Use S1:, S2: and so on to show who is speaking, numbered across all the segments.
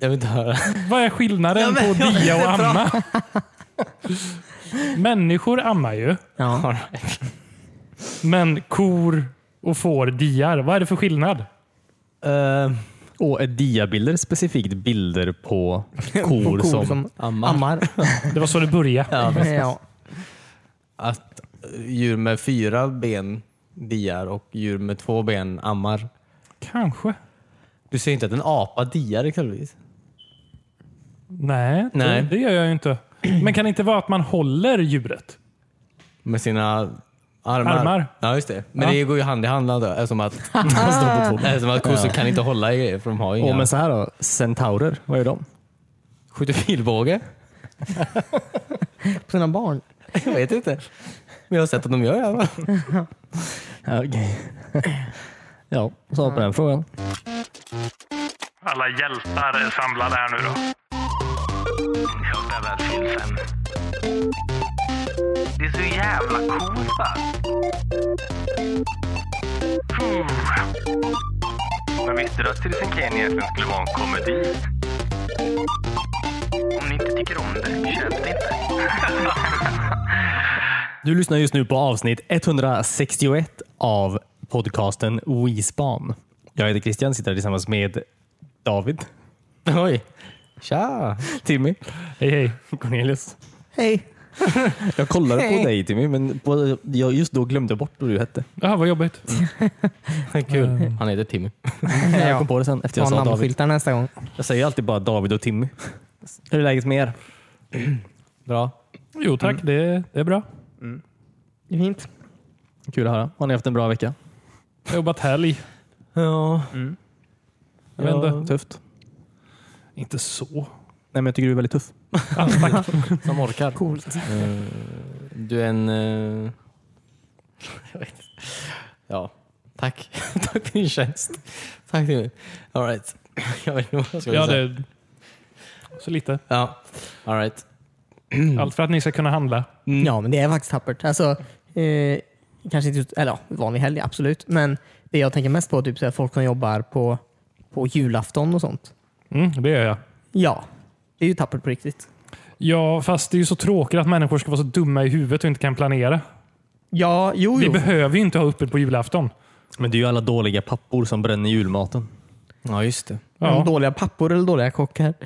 S1: Jag vill inte höra.
S2: Vad är skillnaden på dia och amma? Människor ammar ju,
S1: All
S3: Ja.
S1: right.
S2: men kor och får diar. Vad är det för skillnad?
S1: Eh,
S3: Och är diabilder specifikt bilder på kor,
S1: på
S3: som...
S1: ammar.
S3: ammar?
S2: Det var så det började.
S1: Ja,
S3: Ja. ja.
S1: att djur med fyra ben diar och djur med två ben ammar.
S2: Kanske.
S1: Du ser inte att en apa diar exempelvis?
S2: Nej,
S1: Nej.
S2: Det, det gör jag ju inte. Men kan det inte vara att man håller djuret?
S1: Med sina armar.
S2: Armar.
S1: Ja, just det. Men
S2: Ja.
S1: det går ju hand i hand då, eftersom att, eftersom att kossor kan inte hålla i grejer för de har ju inga.
S3: Och men så här då, centaurer, vad är de?
S1: Skjuter pilbåge?
S3: På sina barn?
S1: Jag vet inte. Men jag har sett att de gör det. va?
S3: Ja, okej. ja, svar på den frågan.
S2: Alla hjältar är samlade här nu då.
S4: hjältar väl finns än. Det är så jävla coolt va? Mm. Men visste du att Citizen Kane egentligen skulle vara en komedi? Om ni inte tycker om det, köp det inte.
S3: Du lyssnar just nu på avsnitt 161 av podcasten WeSpan. Jag heter Christian, sitter här tillsammans med David,
S1: Oj. Tja!
S3: Timmy,
S2: Hej hej.
S3: Cornelius.
S1: Hej!
S3: Jag kollade
S1: Hej.
S3: på dig Timmy, men på, jag just då glömde bort vad du hette.
S2: Jaha, vad jobbigt.
S1: Kul. Han heter Timmy.
S3: Jag kom på det sen efter jag
S5: Ta
S3: sa David.
S5: namnskyltar nästa gång.
S3: Jag säger alltid bara David och Timmy. Hur är läget med er?
S1: Bra.
S2: Jo tack,
S1: Mm.
S2: det, det är bra.
S5: Det är fint.
S3: Kul att höra. Har ni haft en bra vecka?
S2: Jag har jobbat helg.
S1: Ja.
S2: Jag vet inte.
S3: Tufft.
S2: Inte så.
S3: Nej, men jag tycker du är väldigt tuff.
S2: Ja, tack.
S1: Som orkar. Coolt. du är en... eh, jag vet inte. Ja, tack. tack för din tjänst. Tack till mig. All right. jag vet inte vad jag ska
S2: Ja,
S1: säga.
S2: det, så lite.
S1: Ja, all right. Mm.
S2: Allt för att ni ska kunna handla.
S5: Ja, men det är faktiskt tappert. Alltså, eh, kanske inte, ut- eller ja, vanlig helg, absolut. Men det jag tänker mest på är typ så här, folk som jobbar på, på julafton och sånt.
S2: Mm, det gör jag.
S5: Ja, det är ju tappert på riktigt.
S2: Ja, fast det är ju så tråkigt att människor ska vara så dumma i huvudet och inte kan planera.
S5: Ja, jo,
S2: Vi
S5: jo.
S2: behöver ju inte ha öppet på julafton.
S3: Men det är ju alla dåliga pappor som bränner julmaten.
S1: Ja, just det.
S5: Men
S2: Ja.
S5: Dåliga pappor eller dåliga kockar. Man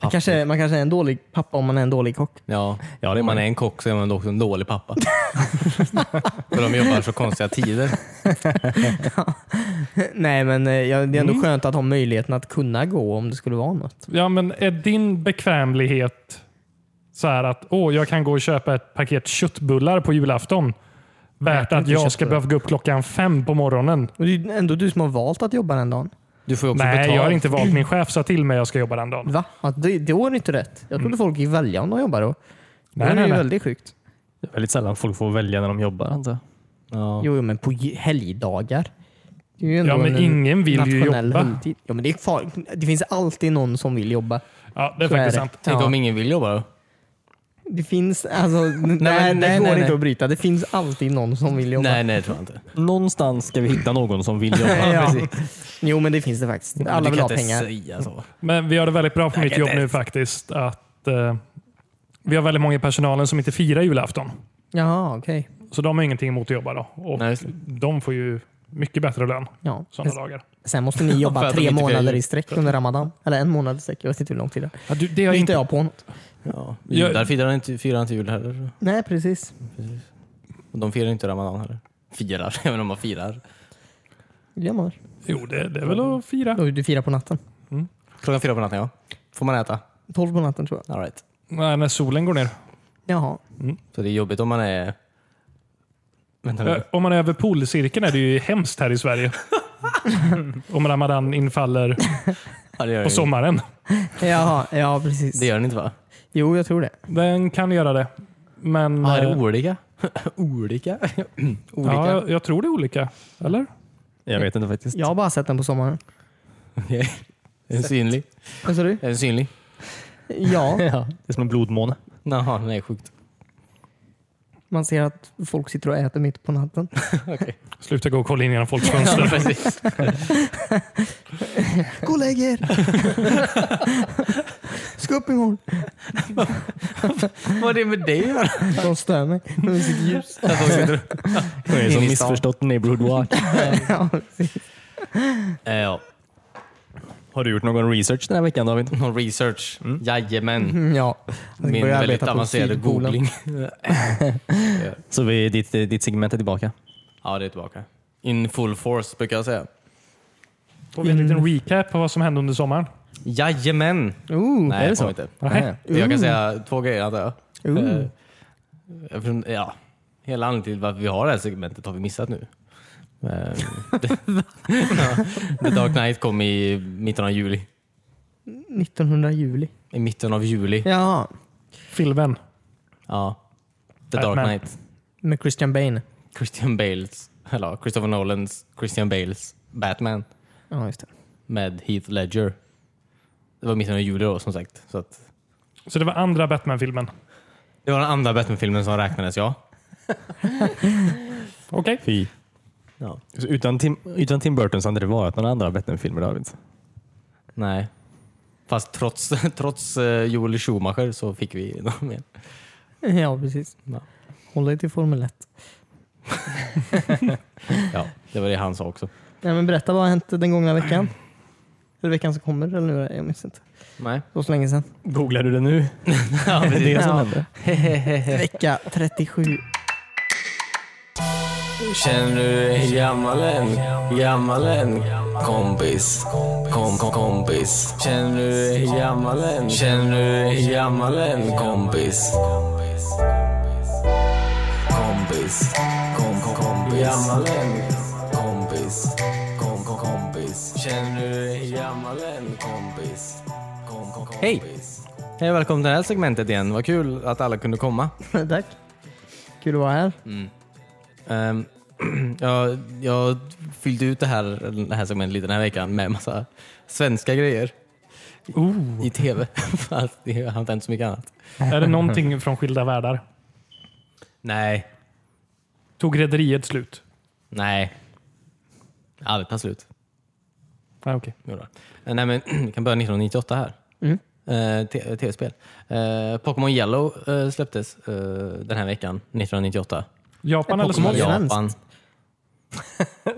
S1: Pappor.
S5: kanske, man kanske är en dålig pappa om man är en dålig kock.
S1: Ja,
S3: Ja, det är
S1: om man
S3: man.
S1: är en kock så är man också en dålig pappa. För de jobbar så konstiga tider.
S5: Nej, men eh, ja, det är ändå skönt att ha möjligheten att kunna gå om det skulle vara något.
S2: ja, men är din bekvämlighet så här att åh, jag kan gå och köpa ett paket köttbullar på julafton värt att jag ska behöva gå upp klockan fem på morgonen?
S5: Och det är ju ändå du som har valt att jobba den dagen.
S1: Du får ju också
S2: Nej,
S1: betalt.
S2: jag har inte valt. Min chef sa till mig att jag ska jobba den dagen.
S5: Va? Ja, det, det var inte rätt. Jag trodde folk gick välja om de jobbar då.
S2: Nej,
S5: det är
S2: nej,
S5: ju
S2: nej.
S5: väldigt sjukt.
S3: Det är väldigt sällan folk får välja när de jobbar. antar jag.
S1: Ja.
S5: Jo, jo, men på j- helgdagar. Det är ju
S2: Ja, men ingen vill ju
S5: nationell
S2: jobba.
S5: helgtid. Ja, men det, är far... det finns alltid någon som vill jobba.
S2: Ja, det är
S5: Så
S2: faktiskt
S5: är det.
S2: sant.
S1: Tänk
S5: Ja.
S1: om ingen vill jobba då?
S5: Det finns, alltså, nej, nej, det
S1: nej,
S5: går
S1: nej, nej.
S5: inte att bryta. Det finns alltid någon som vill jobba.
S1: Nej, nej, det tror jag inte.
S3: Någonstans ska vi hitta någon som vill jobba.
S5: Ja.
S1: precis.
S5: Jo, men det finns det faktiskt.
S1: Men du
S5: Alla vill
S1: kan
S5: ha
S1: inte
S5: pengar.
S1: Säga så.
S2: Men vi har det väldigt bra på mitt
S1: kan
S2: jobb
S1: inte
S2: nu faktiskt. Att, eh, vi har väldigt många i personalen som inte firar julafton.
S5: Jaha, okej.
S2: Så de har ingenting emot att jobba då. Och
S1: Nej, just det.
S2: de får ju mycket bättre lön
S5: Ja.
S2: sådana dagar.
S5: Sen måste ni
S1: För
S5: jobba
S1: att de
S5: tre
S1: inte vill.
S5: månader i sträck under ramadan. Eller en månad i sträck. Jag vet inte hur lång tid det är.
S2: Ja, du, det har
S5: Nu
S2: jag
S5: hittar
S2: inte...
S5: jag på något.
S1: Ja.
S2: Jag-
S1: Judar firar inte, firar inte jul heller.
S5: Nej, precis.
S1: Och de firar inte ramadan heller. Firar, även om man firar.
S5: Det gör man.
S2: Jo, det, det är väl att fira.
S5: Och Du firar på natten.
S1: Klockan fyra på natten, ja. Får man äta?
S5: Tolv på natten tror jag.
S1: All right.
S2: Nej, när solen går ner.
S5: Jaha.
S1: Så det är jobbigt om man är... Vänta
S2: Eh,
S1: nu.
S2: Om man är över polcirkeln är det ju hemskt här i Sverige. Om ramadan infaller
S1: Ja, det, gör den
S2: på
S1: ju.
S2: sommaren.
S5: Jaha, ja precis.
S1: det gör den inte va?
S5: Jo, jag tror det.
S2: Den kan göra det. Men
S1: Ja, är det
S2: eh,
S1: olika? olika? olika?
S2: ja, jag, jag tror det är olika. Eller?
S3: Jag vet inte faktiskt.
S5: Jag har bara sett den på sommaren.
S1: Okej. Är den synlig?
S5: Vad sa du?
S1: Är den synlig?
S5: Ja.
S3: Ja, det är som en blodmåne.
S1: Jaha, nej sjukt.
S5: Man ser att folk sitter och äter mitt på natten.
S2: Sluta gå och kolla in genom folks fönster.
S1: precis.
S5: Gå och lägg er! Ska upp imorgon.
S1: Vad är det med dig att göra?
S5: De stör mig med sitt ljus.
S3: Det är som
S1: In i stan.
S3: missförstått neighborhood watch.
S5: Ja, precis.
S1: Eh, ja.
S3: Har du gjort någon research den här veckan David?
S1: Någon research. Jajamän.
S5: Mm, ja. Jag ska
S1: Min
S5: börja
S1: väldigt
S5: arbeta på
S1: avancerade
S5: Sydpolen.
S1: googling.
S3: Så vi, ditt, ditt segment är tillbaka.
S1: ja, det är tillbaka. In full force brukar jag säga.
S2: Får vi en liten
S1: Mm.
S2: recap på vad som hände under sommaren?
S1: Jajamän!
S5: Ooh,
S1: Nej, det får vi inte.
S2: Nej.
S1: Det Jag kan säga två grejer antar jag.
S5: Ooh.
S1: Eh, eftersom- Ja, hela anledningen till varför vi har det här segmentet har vi missat nu. Eh, ja, The Dark Knight kom i mitten av juli.
S5: 1900 juli.
S1: I mitten av juli.
S5: Ja,
S2: Filmen.
S1: Ja. The
S2: Batman.
S1: Dark Knight.
S5: med Christian Bane.
S1: Christian Bales, eller ja, Christopher Nolans Christian Bales Batman
S5: Ja, just det.
S1: med Heath Ledger. Det var mitten av juli då som sagt. Så att
S2: Så det var andra Batman-filmen.
S1: det var den andra Batman-filmen som räknades ja.
S2: Okej.
S3: Fy.
S1: ja.
S3: Så utan, Tim, utan Tim Burton så hade det varit några andra Batman-filmer David.
S1: Nej. Fast trots, trots eh, Joel Schumacher så fick vi dem igen.
S5: Ja, precis.
S1: Ja.
S5: Håll dig till Formel 1.
S1: Ja, det var det han sa också.
S5: Nej, men berätta vad har hänt den gångna veckan? Eller veckan som kommer? Eller nu? Jag minns inte.
S1: Nej.
S5: Det var så länge sedan.
S3: Googlar du det nu?
S1: Ja,
S3: Det är det som
S5: Ja.
S3: händer.
S5: Vecka 37.
S6: Känner du dig gammal än? Gammal än? Kompis, kom, kom, kompis. Känner du dig gammal än? Känner du dig gammal än? Kompis. Kompis, kom, kom, kompis. Gammal än? Kompis, kom, kom, kompis. Känner du dig gammal än? Kompis, kom, kom, kompis.
S1: Hej! Hej och välkommen till det här segmentet igen. Vad kul att alla kunde komma.
S5: Tack. Kul att vara här.
S1: Ehm, jag, jag fyllde ut det här, det här segmentet lite den här veckan med massa svenska grejer. I, I tv. För att det har inte hänt så mycket annat.
S2: Är det någonting från Skilda Världar?
S1: Nej.
S2: Tog Rederiet slut?
S1: Nej. Aldrig tar slut.
S2: Nej, okej.
S1: Jo då. Eh, Nej, men vi kan börja 1998 här.
S5: Mm.
S1: Eh, te- Tv-spel. Eh, Pokémon Yellow eh, släpptes eh, den här veckan, 1998.
S2: Japan eller
S5: Pokémon.
S2: Småland?
S1: Japan.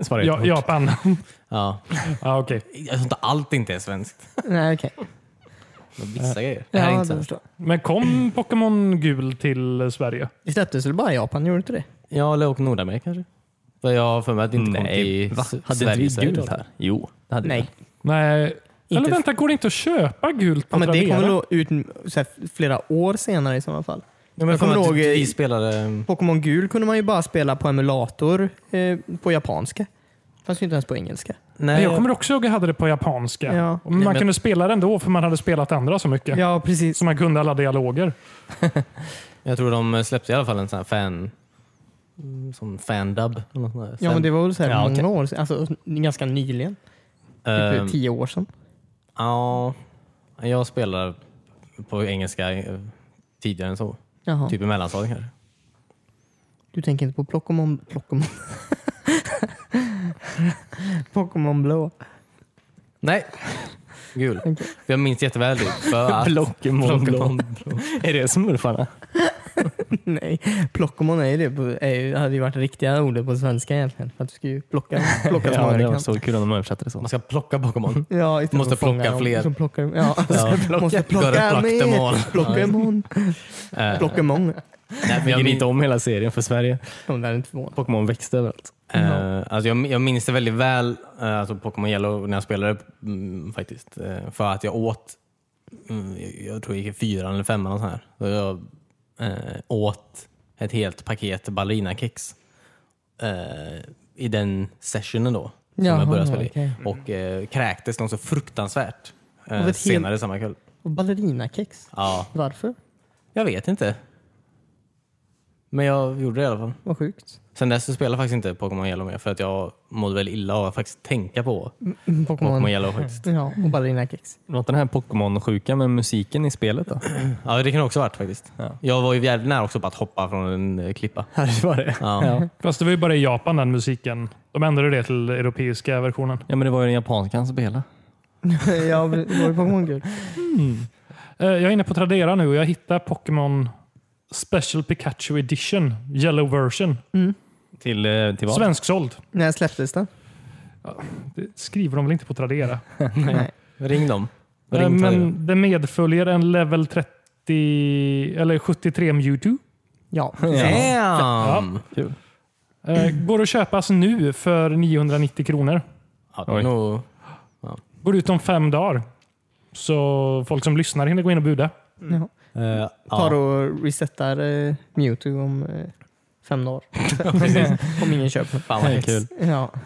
S3: Svara
S2: Ja,
S3: ja,
S2: Japan.
S1: Ja.
S2: ja, okej.
S1: Jag tror inte allt inte är svenskt.
S5: Nej, okej.
S1: Men Vissa grejer. Det här är
S5: Ja,
S1: inte
S5: det
S1: svenskt.
S5: förstår jag.
S2: Men kom Pokémon Gul till Sverige?
S5: Det släpptes väl bara i Japan? Gjorde det inte det?
S1: Ja, eller åk Nordamerika kanske. För jag har för mig att det inte kom
S3: Nej,
S1: till
S3: va?
S1: S-
S3: Hade
S1: Sverige.
S3: inte vi
S1: Sverige
S3: gult
S1: då.
S3: här? Jo, det hade vi.
S5: Nej.
S2: Nej.
S5: Inte-
S2: Eller vänta, går det inte att köpa gult på
S5: Ja, men det
S2: Tradera?
S5: kommer då ut så här, flera år senare i sådana fall.
S1: Ja, men jag
S5: Jag
S1: kommer
S5: kommer
S1: ihåg...
S5: ihåg,
S1: Vi
S5: eh,
S1: spelade... um,
S5: Pokémon Gul kunde man ju bara spela på emulator eh, på japanska. Fanns ju inte ens på engelska.
S2: Nej,
S1: Nej,
S2: jag kommer också ihåg att jag hade det på japanska.
S5: Ja.
S2: Men Man
S1: Nej, men-
S2: kunde spela det ändå för man hade spelat andra så mycket.
S5: Ja, precis.
S2: Så man kunde alla dialoger.
S1: jag tror de eh, släppte i alla fall en sån här fan... mm, Som fandub. eller något sånt där.
S5: Ja, men det var väl så här
S3: Ja,
S5: många
S3: okej.
S5: år sedan. Alltså ganska nyligen. Typ
S1: Ehm,
S5: tio år sedan.
S1: Ja, jag spelar på engelska eh, tidigare än så.
S5: Jaha.
S1: Typ i mellanstadiet kanske.
S5: Du tänker inte på Pokémon... Pokémon... Pokémon Blå.
S1: Nej, gul. För Jag minns jätteväl det. För att
S3: Blockemon.
S1: Blockemon.
S3: Är det smurfarna?
S5: Nej, Plockemon är ju det. På, är ju, hade ju varit riktiga ordet på svenska egentligen. För att du ska ju plocka, plocka så
S3: Ja,
S5: många
S3: det
S5: du
S3: var
S5: kan.
S3: så kul om de översatte det så.
S1: man ska plocka Pokémon.
S5: Ja, istället
S1: Måste
S5: för att fånga
S1: plocka
S5: dem,
S1: fler.
S5: Så plockar, de- ja,
S1: plocka.
S5: Måste
S1: Gotta
S5: plocka
S1: pluck them all.
S5: mer. Plockemon.
S1: Eh,
S5: Plockemon.
S1: nej, men
S3: Vi
S1: jag,
S3: grita
S1: min,
S3: om hela serien för Sverige.
S5: De där är inte förvånade.
S3: Pokémon växte överallt.
S1: eh, alltså jag, jag minns det väldigt väl, eh, alltså Pokémon Yellow, när jag spelade mm, faktiskt. Eh, för att jag åt, mm, jag, jag tror jag gick i fyran eller femman. Och så här. Så jag eh, åt ett helt paket ballerinakex eh, i den sessionen då. Som
S5: Jaha,
S1: jag började spela i.
S5: okej. Mm.
S1: Och eh, kräktes något så fruktansvärt
S5: ett
S1: eh,
S5: helt-
S1: senare samma kväll.
S5: Och ballerinakex.
S1: Ja,
S5: Varför?
S1: jag vet inte. Men jag gjorde det i alla fall.
S5: Vad sjukt.
S1: Sen dess så spelar jag faktiskt inte Pokémon Yellow mer för att jag mådde väl illa av att faktiskt tänka på Pokémon Yellow faktiskt.
S5: Ja, och ballerinakex.
S3: Något den här Pokémon-sjukan med musiken i spelet då?
S1: Ja, det kan det också ha varit faktiskt.
S3: Ja.
S1: Jag var ju jävligt nära också på att hoppa från en eh, klippa.
S3: Ja, det var det.
S1: Ja.
S3: Ja.
S2: Fast det var ju bara i Japan den musiken. De ändrade det till europeiska versionen.
S3: Ja, men det var ju den japanska han spelade.
S5: ja, det var ju Pokémon gul.
S2: Eh, Jag är inne på Tradera nu och jag hittar Pokémon Special Pikachu Edition, Yellow version.
S3: Till, eh, till vad?
S2: Svensksåld.
S5: När släpptes den?
S2: Det skriver de väl inte på Tradera?
S5: Nej.
S1: Ring dem. Ring
S2: Eh,
S1: Tradera.
S2: Men det medföljer en level 30 eller 73 Mewtwo.
S5: Ja.
S1: Damn!
S2: Eh, Går att köpas nu för 990 kronor.
S1: Ja, det är
S3: Oj.
S1: nog...
S2: Går ut om fem dagar. Så folk som lyssnar hinner gå in och buda.
S5: Ja.
S1: eh,
S5: Tar
S1: ja.
S5: och resetar eh, Mewtwo om eh, fem dagar. om ingen köper den.
S1: Fan vad hemskt.
S3: kul.
S5: Ja.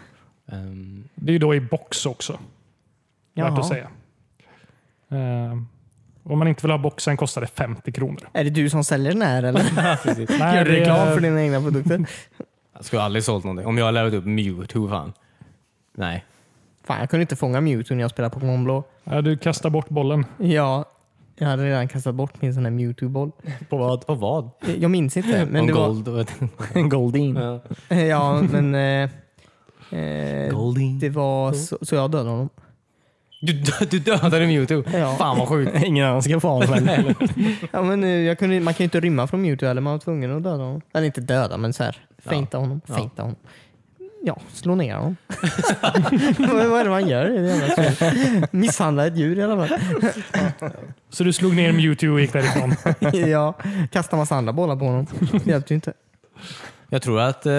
S1: Ehm,
S2: Det är ju då i box också. Värt
S5: Jaha.
S2: att säga. Eh, Om man inte vill ha boxen kostar det 50 kronor.
S5: Är det du som säljer den här eller?
S2: Nej,
S5: Gör du
S2: det är-
S5: reklam för dina egna produkter?
S1: jag skulle aldrig sålt någonting. Om jag hade lärt upp Mewtwo, fan. Nej.
S5: Fan, jag kunde inte fånga Mewtwo när jag spelade Pokémon Blå.
S2: Ja, du kastar bort bollen.
S5: Ja, jag hade redan kastat bort min sån här Mewtwo-boll. Eh,
S1: På vad? På vad?
S5: Jag minns inte. Men
S1: Om
S5: det var,
S1: gold och ett...
S3: Goldin.
S5: ja, men, eh, eh,
S1: Goldin.
S5: det var så, så jag dödade honom.
S1: Du, dö- du dödade Mewtwo?
S5: Ja.
S1: Fan vad sjukt.
S3: Ingen annan ska få av den.
S5: Ja, men, eh, jag kunde, man kan ju inte rymma från Mewtwo eller man var tvungen att döda honom. Eller inte döda, men så här, feinta honom. Feinta honom. Ja, slå ner honom. Vad vad är det man gör? i det jävla spelet? Misshandla ett djur i alla fall.
S2: Så du slog ner Mewtwo och gick därifrån.
S5: ja, kasta massa andra bollar på honom. Det hjälpte ju inte.
S1: Jag tror att eh,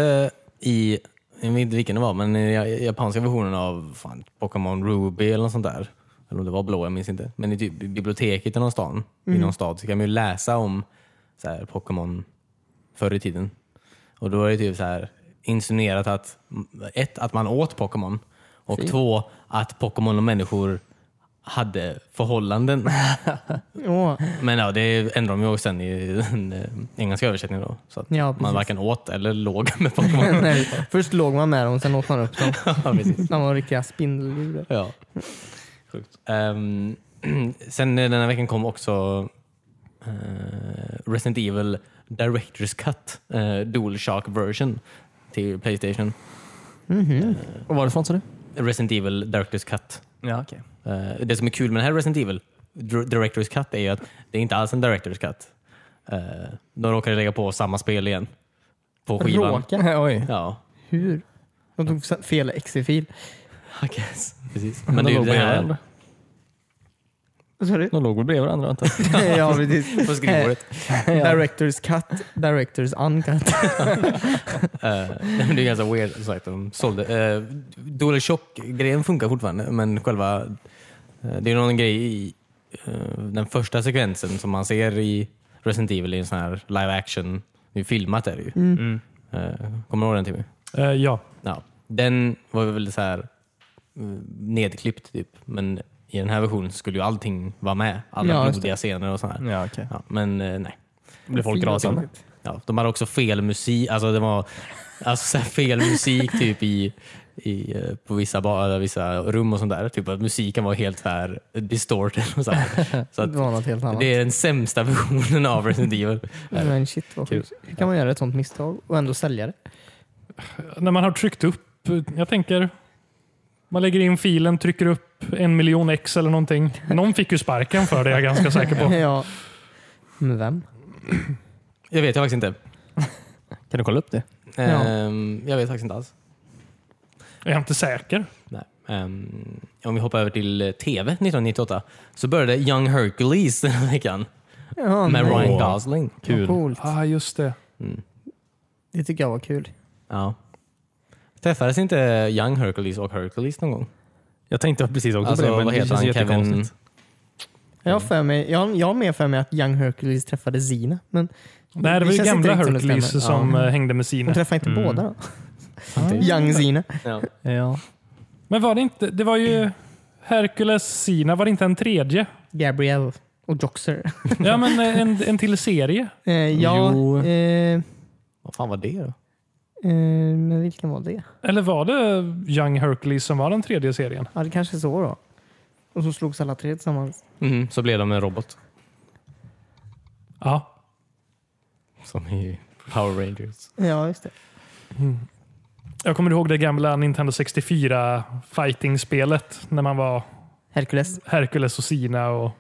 S1: i, jag vet inte vilken det var, men i ja- japanska versionen av fan, Pokémon Ruby eller något sånt där, eller om det var blå, jag minns inte. Men i typ biblioteket i någon, stan,
S5: Mm.
S1: i någon stad så kan man ju läsa om så här, Pokémon förr i tiden. Och då är det typ så här insinuerat att ett, att man åt Pokémon och två, att Pokémon och människor hade förhållanden.
S5: Åh,
S1: Men ja, det ändrade de ju sen i den eh, engelska översättningen då. Så att
S5: Ja,
S1: man
S5: precis.
S1: varken åt eller låg med Pokémon.
S5: Nej, först låg man med dem, sen åt man upp dem.
S1: ja, precis.
S5: De var riktiga spindeldjur.
S1: Ja. Sjukt. Ehm, sen eh, den här veckan kom också eh, Resident Evil Director's Cut eh, Dual Shock version till Playstation.
S5: Mhm.
S3: Vad var det för något sa du?
S1: Resident Evil Director's Cut.
S3: Ja, okej.
S1: Eh, det som är kul med den här Resident Evil Dir- Director's Cut är ju att det är inte alls en Director's Cut. Eh, de råkade lägga på samma spel igen. På skivan.
S5: Råka?
S3: Oj.
S1: Ja,
S5: Hur? De tog sa- fel exe-fil.
S1: I guess. Precis.
S3: Men
S1: Men det är ju
S3: de
S1: det
S3: låg bredvid
S1: här
S3: varandra.
S5: Vad sa du?
S3: De låg väl bredvid varandra antar jag.
S5: ja, precis.
S1: på skrivbordet.
S5: Directors cut, directors uncut.
S1: Eh, nej, men det är ganska weird som sagt. De sålde. Uh, Dual Shock-grejen funkar fortfarande men själva... eh, det är någon grej i eh, den första sekvensen som man ser i Resident Evil i en sån här live action. Det är filmat är det ju.
S5: Mm.
S1: Eh, kommer du ihåg den Timmy?
S2: Eh, ja.
S1: Ja. Den var väl så här eh, nedklippt typ. Men i den här versionen så skulle ju allting vara med. Alla
S5: Ja, just det.
S1: blodiga scener och sånt här.
S3: Ja, okej.
S1: Ja, men eh, nej.
S3: Blev folk rasande?
S1: Ja, de hade också fel musik, alltså det var alltså så här fel musik typ i, i, eh, på vissa, bar, eller vissa rum och sånt där. Typ att musiken var helt så här distorted. Och så här. Så
S5: Det
S1: att
S5: var något helt annat.
S1: det är den sämsta versionen av Resident Evil.
S5: Men shit vad sjukt. Hur kan man göra ett sånt misstag och ändå sälja det?
S2: När man har tryckt upp, eh, jag tänker, man lägger in filen, trycker upp en miljon ex eller någonting. Någon fick ju sparken för det, jag är ganska säker på.
S5: ja. Men vem?
S1: Jag vet jag faktiskt inte.
S3: Kan du kolla upp det?
S1: Ehm, jag vet faktiskt inte alls.
S2: Jag är inte säker.
S1: Nej. Ehm, om vi hoppar över till eh, TV 1998 så började Young Hercules den här veckan
S5: Ja,
S1: med
S5: nej.
S1: Ryan Gosling.
S5: Vad Coolt.
S2: ah, just det.
S5: Det tycker jag var kul.
S1: Ja. Träffades inte Young Hercules och Hercules någon gång?
S3: Jag tänkte precis också
S1: Alltså,
S3: på det, men
S1: vad
S3: det
S1: heter
S3: känns
S1: han? Kevin...
S3: jättekonstigt.
S5: Jag
S1: Mm.
S5: har, för mig, jag, har- jag har med för mig att Young Hercules träffade Zina. Men
S2: Det här var ju
S5: känns inte
S2: gamla
S5: riktigt som det
S2: Hercules som,
S5: stämmer.
S2: eh, hängde med
S5: Hon
S2: Sina.
S5: träffade
S1: Mm.
S5: inte båda då?
S3: Ah,
S1: Inte-
S5: Young Zina.
S1: Ja.
S3: Ja.
S2: Men var det inte, det var
S5: Mm.
S2: ju Hercules, Sina, var det inte en tredje?
S5: Gabrielle och Joxer.
S2: Ja, men eh, en, en till serie.
S5: Eh, ja,
S3: Jo.
S5: eh,
S1: Vad fan var det då?
S5: Eh, men vilken var det?
S2: Eller var det Young Hercules som var den tredje serien?
S5: Ja, det kanske är så då. Och så slogs alla tre tillsammans.
S1: Mhm, så blev de en robot.
S2: Ja.
S1: Som i Power Rangers.
S5: Ja, just det.
S2: Jag kommer ihåg det gamla Nintendo 64 fighting-spelet när man var
S5: Hercules.
S2: Hercules och Sina och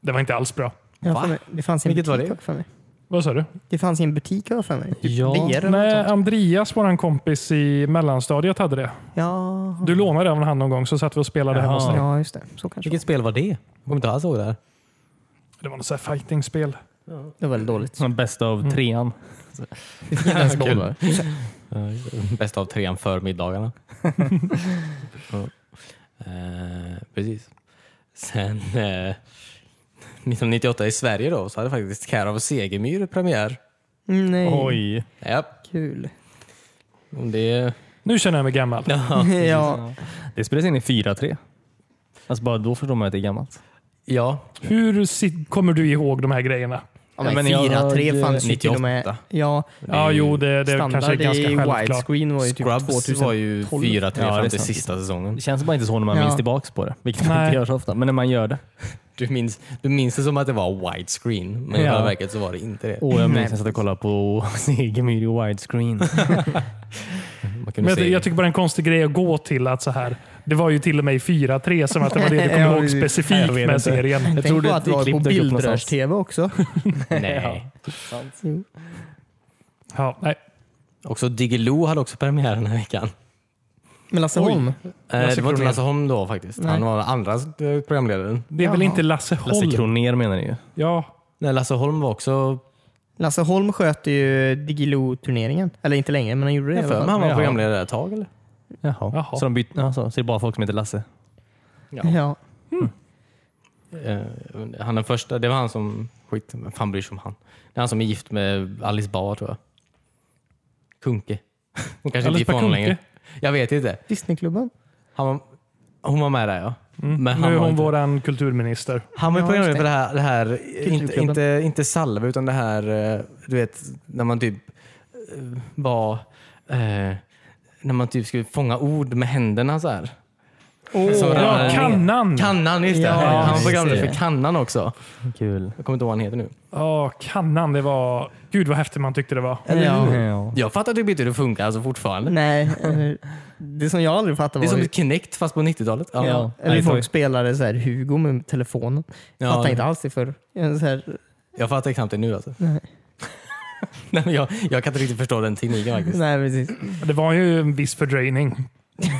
S2: det var inte alls bra.
S5: Jag har
S1: Va?
S5: för mig- Det fanns i en
S1: Vilket var
S5: butik
S1: det?
S5: har jag för mig.
S2: Vad sa du?
S5: Det fanns i en butik har jag för mig. Typ
S3: Ja.
S5: VR eller något
S2: Nej,
S5: sånt.
S2: Andreas, vår kompis i mellanstadiet, hade det.
S5: Ja.
S2: Du lånade även han någon gång så satt vi och spelade hemma hos dig.
S5: ja, just det. Så kanske
S1: Vilket spel var det? Jag kommer inte alls ihåg det här.
S2: Det var något sånt här fighting-spel.
S5: det var väldigt dåligt.
S3: Som bästa av trean.
S1: Kul. Bästa av trean för middagarna. Ja. eh, precis. Sen eh, 1998 i Sverige då så hade faktiskt Care of Segemyhr premiär.
S5: Nej,
S3: Oj.
S1: Ja,
S5: kul.
S1: om det...
S2: Nu känner jag mig gammal.
S5: ja.
S3: Det spelades in i 4-3. Alltså bara då förstår man att det är gammalt.
S1: Ja,
S2: Hur si- kommer du ihåg de här grejerna?
S5: Ja,
S3: Ja,
S5: men
S3: men jag
S5: 4, 3
S3: hade
S5: fanns ju till och med.
S1: 98.
S5: Ja,
S2: Ja, jo, det, det
S5: standard
S2: kanske är ganska
S5: i
S2: självklart.
S5: widescreen var ju typ
S1: Scrubs
S5: 2000.
S1: var ju 4-3
S3: Ja, det
S1: fram
S3: är
S1: till
S3: sant.
S1: sista säsongen.
S3: Det känns bara inte så när man
S5: Ja.
S3: minns tillbaks på det. Vilket man
S2: Nej.
S3: inte gör så ofta. Men när man gör det.
S1: Du minns, du minns det som att det var widescreen, men i
S3: Ja.
S1: själva verket så var det inte det.
S3: Åh, jag
S5: Nej,
S3: minns att jag satt och kollade på Segemyhr i widescreen.
S1: Man kunde
S2: Men jag,
S1: se-
S2: jag tycker bara det är en konstig grej att gå till att så här. Det var ju till och med i 4-3 som att det var det du kom
S5: Ja,
S2: ihåg
S5: precis.
S3: Nej,
S2: specifikt
S3: jag vet
S2: med
S3: inte.
S2: serien.
S3: Jag
S5: Tänk
S3: tror
S5: på
S3: det-
S5: att
S3: det
S5: det var
S3: klipp
S5: på
S3: dök upp någonstans.
S5: Bildrörs-TV också.
S1: nej.
S2: Ja, nej.
S1: Också Diggiloo hade också premiär den här veckan.
S5: Men Lasse Holm.
S1: Eh, det var inte
S2: Kronér.
S1: Lasse Holm då faktiskt. Han var andra eh, programledaren.
S2: Det är väl
S5: Jaha.
S2: inte Lasse Holm?
S3: Lasse Kronér menar ni ju.
S2: ja.
S1: Nej, Lasse Holm var också...
S5: Lasse Holm sköter ju Digilo-turneringen. Eller inte längre, men han gjorde det
S1: Jag har
S5: i alla
S1: för mig han var
S5: fall.
S3: Jaha.
S1: programledare ett tag eller?
S3: Jaha.
S2: Jaha.
S3: Så de bytte, alltså, så det är bara folk som heter Lasse.
S1: mig.
S5: Ja.
S1: Eh, han den första, det var han som... Skit, vem fan bryr sig om han? Det är han som är gift med Alice Bah tror jag. Kunke. Hon kanske inte
S2: Alice
S1: gift med
S2: Bah
S1: honom
S2: Kuhnke?
S1: längre. Jag vet inte.
S5: Disneyklubben.
S1: Han var, hon var med där ja. Men
S2: Mm, Nu
S1: han
S2: är
S1: var,
S2: hon
S1: inte,
S2: våran kulturminister.
S1: han var ju
S5: Ja,
S1: programledare
S5: just
S1: för det här, det här inte,
S5: Kulturklubben.
S1: inte, inte salva utan det här, eh, du vet, när man typ eh, var... Eh, när man typ skulle fånga ord med händerna så här. Så
S2: ja,
S1: ramlade den ner.
S2: kannan!
S1: Kannan, just det.
S5: Ja,
S1: han var
S5: just
S1: programledare
S5: det.
S1: för Kannan också.
S3: Kul.
S1: Jag kommer inte ihåg vad han heter nu.
S2: Ja, kannan. Det var... Gud vad häftigt man tyckte det var.
S5: Ja.
S3: Ja.
S1: Jag fattar typ inte hur det funkar alltså fortfarande.
S5: Nej, eller- det som jag aldrig fattade
S1: Det är
S5: var
S1: som
S5: hur,
S1: ett Kinect fast på 90-talet. Ja.
S3: Ja.
S5: eller hur
S3: Nej,
S5: folk
S3: sorry.
S5: spelade så här Hugo med telefonen.
S1: Ja,
S5: fattade
S1: det-
S5: inte alls det förr. Jag Så här,
S1: Jag fattar knappt det nu alltså.
S5: Nej.
S1: Nej, men jag, jag kan inte riktigt förstå den tekniken faktiskt.
S5: nej, precis.
S2: Det var ju en viss fördröjning.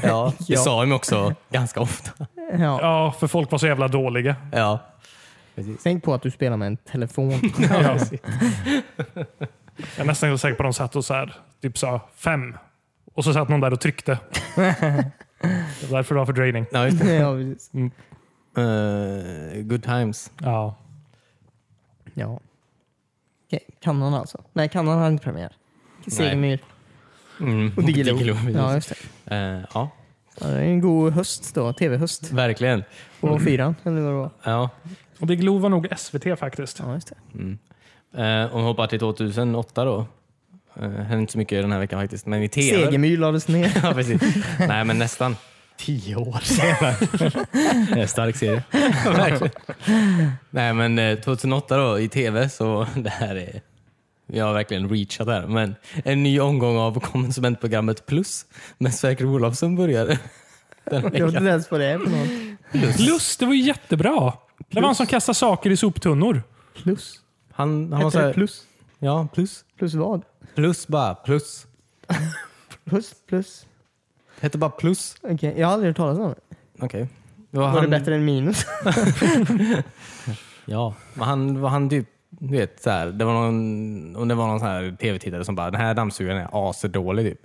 S1: Ja, det
S5: Ja.
S1: sa de också ganska ofta.
S5: Ja.
S2: Ja, för folk var så jävla dåliga.
S1: Ja. Precis.
S5: Tänk på att du spelar med en telefon.
S2: Ja. Jag är nästan säker på att de satt och så här, typ sa fem. Och så satt någon där och tryckte. Det var därför det var fördröjning.
S1: Ja, just det.
S5: ja, precis.
S1: Eh, good times.
S2: Ja.
S5: Ja. Okej, Kannan alltså. Nej, Kannan hade inte premiär. Segemyhr
S1: Mm.
S5: och Diggiloo.
S1: precis.
S5: Ja, just det.
S1: Eh, ja,
S5: Ja, det är en god höst då. TV-höst
S1: verkligen. Mm.
S5: på fyran, eller vad det var.
S1: Ja.
S2: Och det Glo var nog SVT faktiskt.
S5: Ja, just det.
S1: Eh, om vi hoppar till 2008 då. Eh, hände inte så mycket den här veckan faktiskt, men i tv.
S5: Segemyhr lades ner.
S1: Ja, precis. Nej, men nästan. Tio år
S3: Det är en stark serie.
S1: Verkligen. Nej men eh, 2008 då i tv så det här är jag har verkligen reachat här, men en ny omgång av konsumentprogrammet Plus med Sverker Olofsson började.
S5: Jag vet inte ens vad det är för något.
S2: Plus, det var ju jättebra. Det var han som kastade saker i soptunnor.
S5: Plus?
S1: Han, han var så
S5: Hette det
S1: här,
S5: plus?
S1: ja, plus.
S5: Plus vad?
S1: Plus bara, plus.
S5: Plus, plus.
S1: Hette bara plus.
S5: Okej, jag har aldrig hört talas om det.
S1: Okej.
S5: Var det bättre än minus?
S1: Ja, men han, var han typ, du vet, så här, det var någon, om det var någon så här tv-tittare som bara, den här dammsugaren är asdålig typ.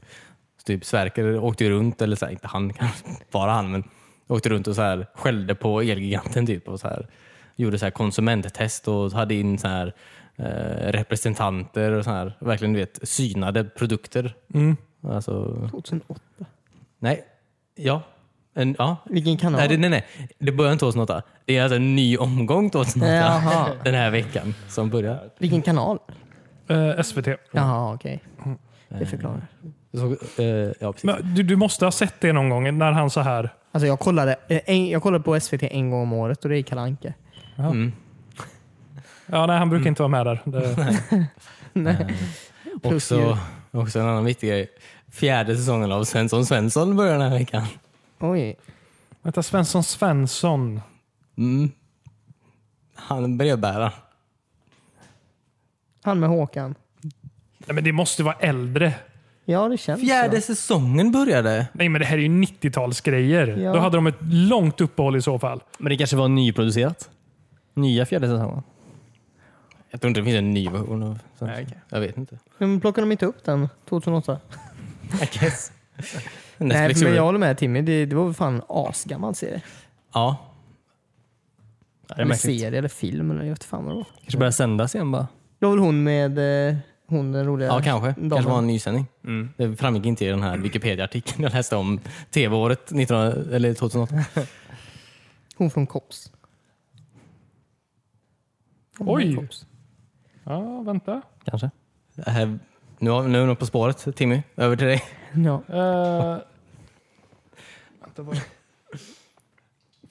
S1: Så typ Sverker åkte ju runt, eller så här, inte han, kanske, bara han, men åkte runt och så här, skällde på Elgiganten typ och så här, gjorde så här konsumenttest och hade in så här, eh, representanter och så här, verkligen du vet, synade produkter.
S7: Mm.
S1: Alltså,
S5: 2008.
S1: nej, ja. En, ja.
S5: Vilken kanal?
S1: Nej, det, nej, nej. Det börjar inte 2008. Det är alltså en ny omgång 2008
S5: Jaha.
S1: den här veckan som börjar.
S5: Mm. Vilken kanal?
S2: Eh, SVT.
S5: Jaha, okej. Det förklarar.
S7: Så, eh, ja, precis.
S2: Men du, du måste ha sett det någon gång när han så här...
S5: Alltså jag kollade, eh, en, jag kollade på SVT en gång om året och det är Kalle Anka.
S7: Mm.
S2: Ja, nej, han brukar inte vara med där. Det,
S5: Plus
S7: Också, också en annan viktig grej. Fjärde säsongen av Svensson Svensson börjar den här veckan.
S5: Oj.
S2: vänta, Svensson Svensson.
S7: Mm. Han är brevbäraren.
S5: Han med Håkan.
S2: Nej, men det måste vara äldre.
S5: Ja, det känns
S7: Fjärde
S5: så.
S7: säsongen började.
S2: Nej, men det här är ju 90-talsgrejer.
S5: Ja.
S2: Då hade de ett långt uppehåll i så fall.
S3: Men det kanske var nyproducerat? Nya fjärde säsongen?
S7: Jag tror inte det finns en ny version av Svensson. Jag vet inte.
S5: Men plockade de inte upp den 2008?
S7: I guess.
S5: Nej,
S7: Netflix
S5: men
S7: gjorde-
S5: jag håller med Timmy. Det, det var väl fan en asgammal serie.
S7: Ja,
S3: Ja, det är
S5: Eller
S3: märkligt.
S5: serie eller film eller jag vet fan vad det var.
S3: Kanske börjar sändas igen bara.
S5: Det var väl hon med eh, hon den roliga
S7: ja kanske.
S5: damen.
S7: kanske var en nysändning.
S3: Mm.
S7: Det framgick inte i den här Wikipedia-artikeln jag läste om tv-året 1900, eller 2008.
S5: Hon från Kops. Hon från
S2: Oj.
S5: Kops.
S2: Ja, vänta.
S3: Kanske.
S7: Det här- Nu, har- nu är hon på spåret. Timmy, över till dig.
S5: Ja.
S2: Eh, vänta bara.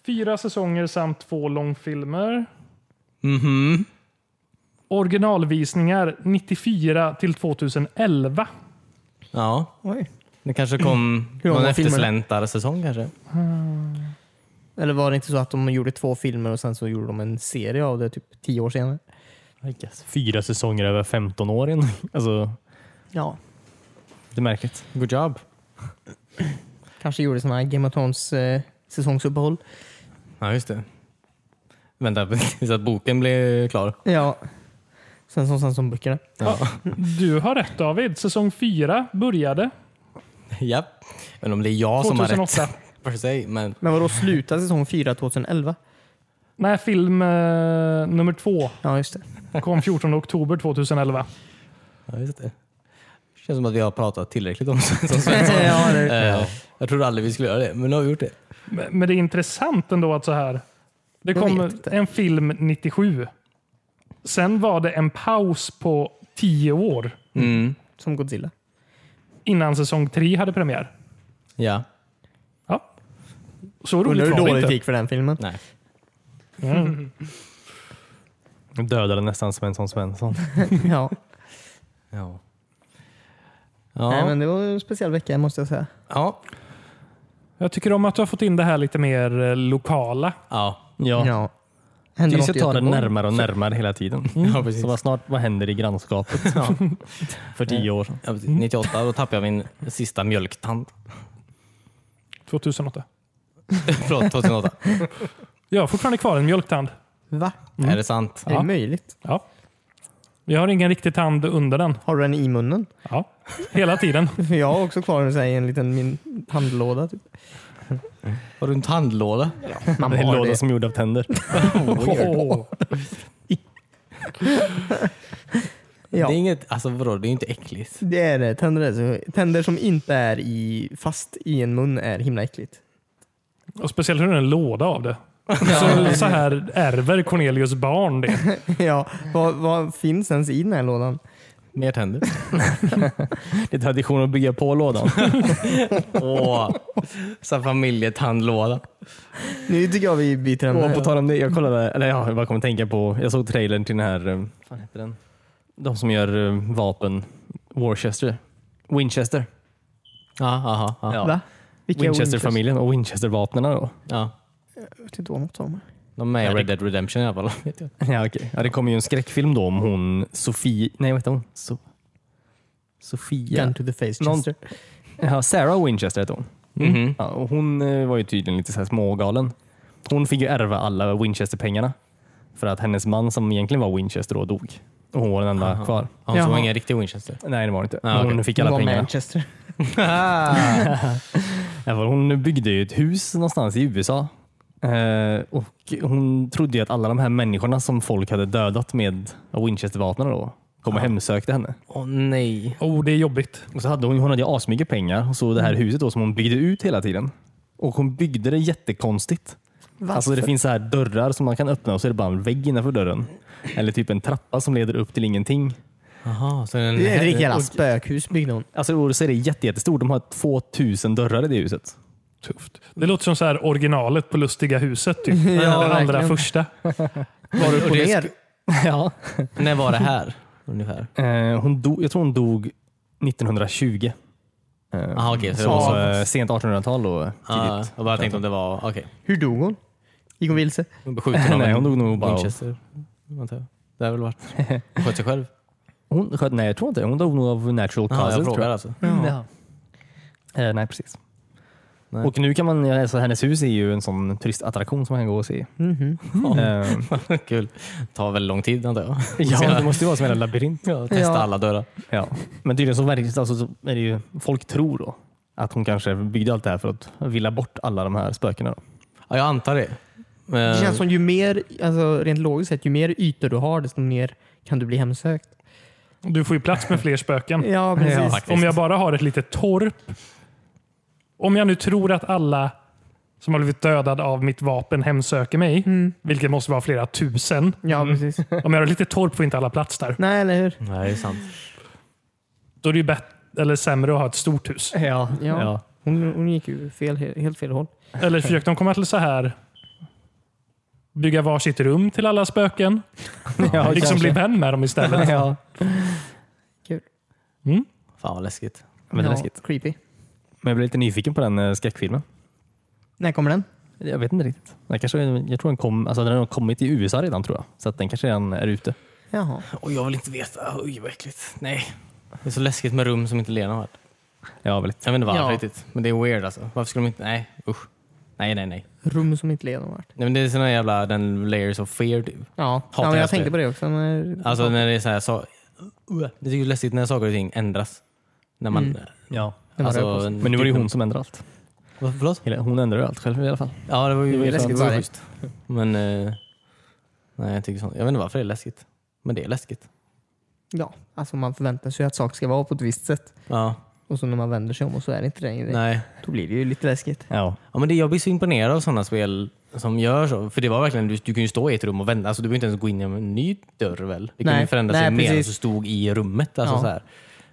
S2: Fyra säsonger samt två långfilmer.
S7: Mhm.
S2: Originalvisningar 94 till 2011.
S7: Ja,
S5: Oj.
S7: det kanske kom
S5: Hur många
S7: någon
S5: filmer?
S7: eftersläntarsäsong kanske.
S5: Eller var det inte så att de gjorde två filmer och sen så gjorde de en serie av det typ tio år senare?
S3: Fyra säsonger över 15 år in. Alltså,
S5: Ja.
S3: det är märkligt.
S7: Good job.
S5: Kanske gjorde såna här Game of Thrones eh, säsongsuppehåll.
S7: Ja, just det. Vänta tills att boken blev klar.
S5: Ja. Sen som, sen som böckerna.
S2: Du har rätt David. Säsong fyra började
S7: Japp. Men om det är jag som har
S2: 2008.
S7: rätt. För sig, men
S5: Men vadå, sluta säsong fyra 2011?
S2: Nej, film eh, nummer två
S5: Ja, just det.
S2: kom 14 oktober 2011.
S7: ja, just det. känns som att vi har pratat tillräckligt om Svensson.
S5: ja, det
S7: Eh, Jag trodde aldrig vi skulle göra det, men nu har vi gjort det.
S2: Men men det är intressant ändå att så här. Det
S5: Jag
S2: kom
S5: vet inte.
S2: en film 97. Sen var det en paus på 10 år
S7: Mm.
S5: som Godzilla.
S2: innan säsong 3 hade premiär.
S7: Ja.
S2: Ja. Så
S5: Undrar
S2: roligt
S5: hur
S2: var det
S5: dåligt det
S2: inte.
S5: gick för den filmen.
S7: Nej.
S3: De Dödade nästan Svensson Svensson.
S5: Ja.
S7: Ja.
S5: Nej,
S7: Ja.
S5: men det var en speciell vecka måste jag säga.
S7: Ja.
S2: Jag tycker om att du har fått in det här lite mer eh, lokala.
S7: Ja.
S3: Ja.
S5: Ja. Hände
S3: Vi
S5: något
S3: ska
S5: i
S3: ta det
S5: Göteborg?
S3: närmare och närmare hela tiden.
S7: Ja, precis.
S3: Så vad snart, vad händer i grannskapet? För tio år sedan.
S7: Ja, precis. 98, då tappade jag min sista mjölktand.
S2: 2008.
S7: Förlåt, 2008.
S2: Jag har fortfarande kvar en mjölktand.
S5: Va?
S7: Är det sant?
S5: Är
S2: Ja.
S5: det möjligt?
S2: Ja. Jag har ingen riktig tand under den.
S5: Har du den i munnen?
S2: Ja. Hela tiden.
S5: För jag har också kvar den så här i en liten min handlåda. Typ.
S7: Har du en tandlåda?
S5: Man
S3: Det är en
S5: har
S3: låda
S5: det.
S3: som är gjord av tänder.
S2: Åh.
S5: Ja.
S7: Det är inget, alltså vadå, det är ju inte äckligt.
S5: Det är det. Tänder, är så. Tänder som inte är i, fast i en mun är himla äckligt.
S2: Och speciellt hur det är en låda av det. Så, så här ärver Cornelius barn det.
S5: ja. vad, vad finns ens i den här lådan?
S7: Mer tänder.
S3: Det är tradition att bygga på lådan.
S7: Åh, så här familjetandlåda.
S5: Nu tycker jag vi byter ämne.
S3: Och på
S5: här.
S3: tal om det, jag kollade, eller ja, jag bara kom att tänka på, jag såg trailern till den här, eh, fan heter den? De som gör eh, vapen, Worcester, Winchester.
S7: Ja, aha, ja.
S3: Ja.
S5: Va? Vilka är
S3: Winchester-familjen och Winchester-vapnen då.
S7: ja.
S5: Jag vet inte vad något om.
S7: De är med i Red Dead Redemption i alla fall. Vet jag.
S3: Ja, okay. ja, det kommer ju en skräckfilm då om hon Sofie, nej vad heter hon? So Sofia?
S5: Gun to the face
S3: Någon-
S5: Chester.
S3: Ja, Sarah Winchester heter hon.
S7: Mhm.
S3: Ja, och hon eh, var ju tydligen lite så här smågalen. Hon fick ju ärva alla Winchester-pengarna för att hennes man som egentligen var Winchester då dog. Och hon var den enda kvar.
S7: Ja, så var
S5: Jaha.
S7: ingen riktig Winchester.
S3: Nej, det var det inte.
S7: Ah, okej.
S3: Hon fick
S5: Hon
S3: alla
S5: var
S3: pengarna.
S5: Manchester.
S3: Ja, för Hon byggde ju ett hus någonstans i USA. Eh, och Hon trodde ju att alla de här människorna som folk hade dödat med Winchester-vapnen då kom och hemsökte henne.
S7: Åh nej.
S2: Oh, det är jobbigt.
S3: Och så hade hon, hon hade ju asmycket pengar och så det här huset då som hon byggde ut hela tiden. Och hon byggde det jättekonstigt.
S5: Varför?
S3: Alltså det finns så här dörrar som man kan öppna och så är det bara en vägg innanför dörren. Eller typ en trappa som leder upp till ingenting.
S7: Jaha, så den,
S5: Det är ett riktigt jävla spökhus byggde hon.
S3: Alltså Orust är det jätte, jättestort. De har 2000 dörrar i det huset.
S2: Tufft. Det låter som så här originalet på Lustiga huset. Typ.
S5: Ja,
S2: det allra
S5: verkligen.
S2: första.
S5: Var upp och
S7: det
S5: ner?
S3: ja.
S7: När var det här? Ungefär.
S3: Eh, hon dog, jag tror hon dog 1920. Eh,
S7: Jaha, okej. så
S3: så
S7: det var så.
S3: eh, sent 1800-tal och tidigt.
S7: Ah, jag bara tänkte om det var... Okej.
S5: Hur dog hon? Gick hon vilse?
S7: Hon blev skjuten av
S3: Nej,
S7: en
S3: hon dog nog bara av-
S7: Winchester. antar jag. Det har väl varit... Hon sköt sig själv.
S3: Hon sköt, nej jag tror inte Hon dog nog av natural
S7: Jaha,
S3: causes.
S7: jag
S3: tror
S7: frågar
S3: jag.
S7: alltså.
S3: Ja. Eh, nej precis.
S7: Nej.
S3: Och nu kan man, alltså, hennes hus är ju en sån turistattraktion som man kan gå och se.
S7: Mm.
S3: Eh,
S7: alltså. Kul. Tar väl lång tid antar jag.
S3: ja, det måste ju vara som en labyrint.
S7: Ja, testa
S5: Ja.
S7: alla dörrar.
S3: Ja. Men tydligen så, verkar, alltså, så är det ju, folk tror då att hon kanske byggde allt det här för att villa bort alla de här spökena. Då.
S7: Ja, jag antar det. Men,
S5: Det känns som ju mer, alltså rent logiskt sett, ju mer ytor du har desto mer kan du bli hemsökt.
S2: Du får ju plats med fler spöken.
S5: Ja,
S7: Ja,
S5: precis.
S7: faktiskt.
S2: Om jag bara har ett litet torp. Om jag nu tror att alla som har blivit dödade av mitt vapen hemsöker mig, vilket måste vara flera tusen.
S5: Ja, precis.
S2: Om jag har ett litet torp får inte alla plats där.
S5: Nej, eller hur?
S7: Nej, det är sant.
S2: Då är det ju bättre eller sämre att ha ett stort hus.
S3: Ja.
S5: Ja. Hon, hon gick ju fel, helt fel håll.
S2: Eller försökte de komma till så här bygga varsitt rum till alla spöken?
S3: Ja,
S2: liksom
S3: kanske.
S2: bli vän med dem istället. Mm.
S3: ja.
S7: Fan vad läskigt.
S3: Väldigt
S5: Alltså, ja,
S3: läskigt.
S5: Creepy.
S3: Men jag blev lite nyfiken på den eh, skräckfilmen.
S5: När kommer den?
S3: Jag vet inte riktigt. Den kanske, jag tror den, kom, alltså den har kommit i USA redan tror jag. Så att den kanske redan är ute.
S5: Jaha.
S7: Och jag vill inte veta. Oj, vad äckligt. Nej. Det är så läskigt med rum som inte Lena har.
S3: Ja, väldigt.
S7: Jag vet inte varför
S5: Ja.
S7: riktigt. Men det är weird alltså. Varför skulle de inte... Nej, usch. Nej, nej, nej.
S5: Rum som inte leder någon vart.
S7: nej men det är såna jävla den layers of fear typ.
S5: Ja, ja
S7: Hatar
S5: men
S7: jag
S5: jag
S7: spel.
S5: tänkte på det också. Men...
S7: Alltså när det är så här, så, det är ju läskigt när saker och ting ändras. När man,
S3: Ja.
S5: Det Typ var det
S7: alltså,
S5: också.
S3: Men nu var det ju hon som ändrade allt.
S7: Vad- Förlåt?
S3: Hela- Hon ändrade ju allt själv i alla fall.
S7: Ja, det var ju
S5: Det var ju
S7: läskigt.
S5: läskigt,
S7: Det var ju
S5: sorry.
S7: schysst. Men eh, nej, jag tycker sånt. Jag vet inte varför det är läskigt. Men det är läskigt.
S5: Ja, alltså man förväntar sig ju att saker ska vara på ett visst sätt.
S7: Ja,
S5: Och så när man vänder sig om och så är det inte det.
S7: nej.
S5: Då blir det ju lite läskigt.
S3: Ja.
S7: Ja, men det, jag blir så imponerad av sådana spel som gör så. För det var verkligen, du, du kan ju stå i ett rum och vända. Alltså, du behöver inte ens gå in genom en ny dörr väl? Det kan
S5: Nej.
S7: ju förändras
S5: Nej,
S7: sig mer än
S5: precis.
S7: som stod i rummet. Alltså,
S5: Ja.
S7: så här.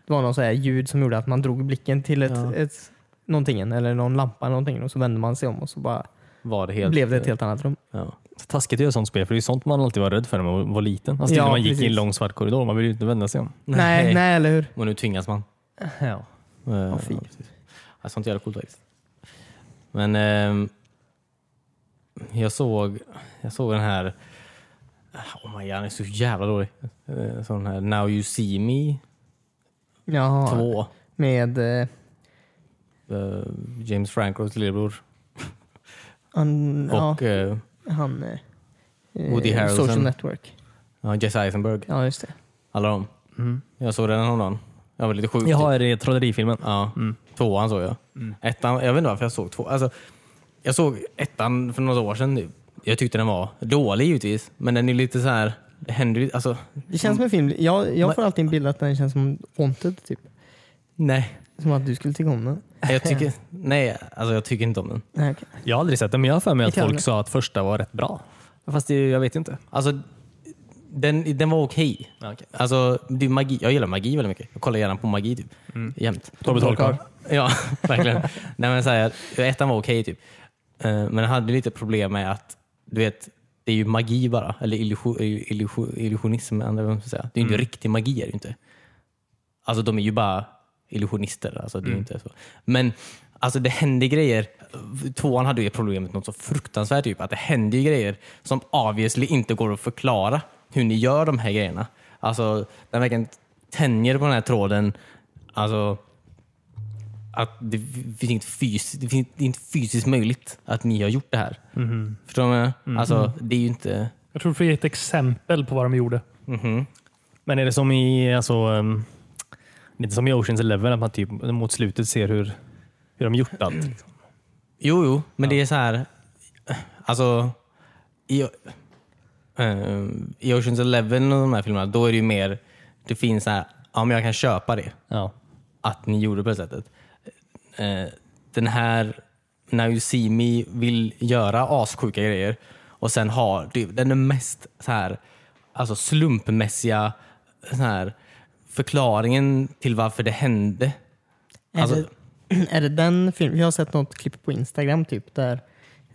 S5: Det var någon så här ljud som gjorde att man drog blicken till ett,
S7: Ja.
S5: ett någonting eller någon lampa eller någonting och så vände man sig om och så bara
S7: Var det helt,
S5: blev det ett helt annat rum.
S7: Ja.
S3: Så taskigt att göra sånt spel, för det är ju sånt man alltid var rädd för när man var liten. Alltså,
S5: Ja,
S3: när man gick i en
S5: precis.
S3: lång svart korridor, man ville ju inte vända sig om.
S5: Nej, nej, eller hur?
S7: Och nu tvingas man.
S3: Ja.
S7: Eh, Ja,
S3: fy.
S7: precis. Ja, Alltså, sånt jävla coolt faktiskt. Men ehm, jag, såg, jag såg den här, oh my god, den är så jävla dålig. Eh, Så den här Now You See Me
S5: Jaha.
S7: 2,
S5: Med eh,
S7: eh, James Francos lillebror
S5: han, ja,
S7: och eh,
S5: han eh,
S7: Woody
S5: eh,
S7: Harrelson.
S5: Social Network.
S7: ja, Jesse Eisenberg.
S5: Ja, just det.
S7: Alla de. Jag såg den häromdagen. Jag var lite sjuk. typ.
S3: Jaha,
S5: eh,
S3: är det trollerifilmen?
S7: Ja, tvåan såg jag. Ettan, jag vet inte varför jag såg två. Alltså, jag såg ettan för några år sedan. nu. Jag tyckte den var dålig givetvis, men den är lite så här. Det händer ju, alltså,
S5: Det känns som en film. Jag, jag får alltid en bild att den känns som Haunted. Typ.
S7: nej.
S5: Som att du skulle tycka om den.
S7: Jag tycker, nej, alltså jag tycker inte om den.
S5: Nej, okej.
S3: Jag har aldrig sett den, men jag har för mig att
S5: Inte jag
S3: folk
S5: heller.
S3: sa att första var rätt bra. Fast det, jag vet inte.
S7: Alltså, den, den var okej.
S3: Ja, okej.
S7: Alltså, det är magi. Jag gillar magi väldigt mycket. Jag kollar gärna på magi typ.
S3: Mm.
S7: jämt.
S3: Tobbe Trollkarl.
S7: Ja, verkligen. Nej, men så här, ettan var okej typ. Eh, Men den hade lite problem med att, du vet, det är ju magi bara. Eller illusion, eh, illusion, illusionism, eller vad man ska säga. Det är ju
S3: Mm.
S7: inte riktig magi. Är det ju inte. Alltså de är ju bara illusionister. Alltså, det är ju inte så. Men alltså, det hände grejer. Tvåan hade ju det problemet något så fruktansvärt. Typ, att det hände ju grejer som obviously inte går att förklara hur ni gör de här grejerna. Alltså, den verkligen tänjer på den här tråden. Alltså, att det finns inget, fys- det finns det är inte fysiskt möjligt att ni har gjort det här. Förstår du vad jag menar? Alltså, det är ju inte...
S2: Jag tror du får ge ett exempel på vad de gjorde.
S3: Men är det som i, alltså, um, lite som i Oceans Eleven, att man typ mot slutet ser hur, hur de gjort allt?
S5: Mm.
S3: Liksom.
S7: Jo, jo, men det är så här... Alltså... I, eh, I Oceans Eleven och de här filmerna, då är det ju mer... Det finns så här, ja men jag kan köpa det.
S3: Ja.
S7: Att ni gjorde på det sättet. Eh, den här Now You See Me vill göra assjuka grejer och sen har det- den är mest så här, alltså slumpmässiga så här, förklaringen till varför det hände.
S5: Är,
S7: Alltså-
S5: det, är det den filmen? Jag har sett något klipp på Instagram typ där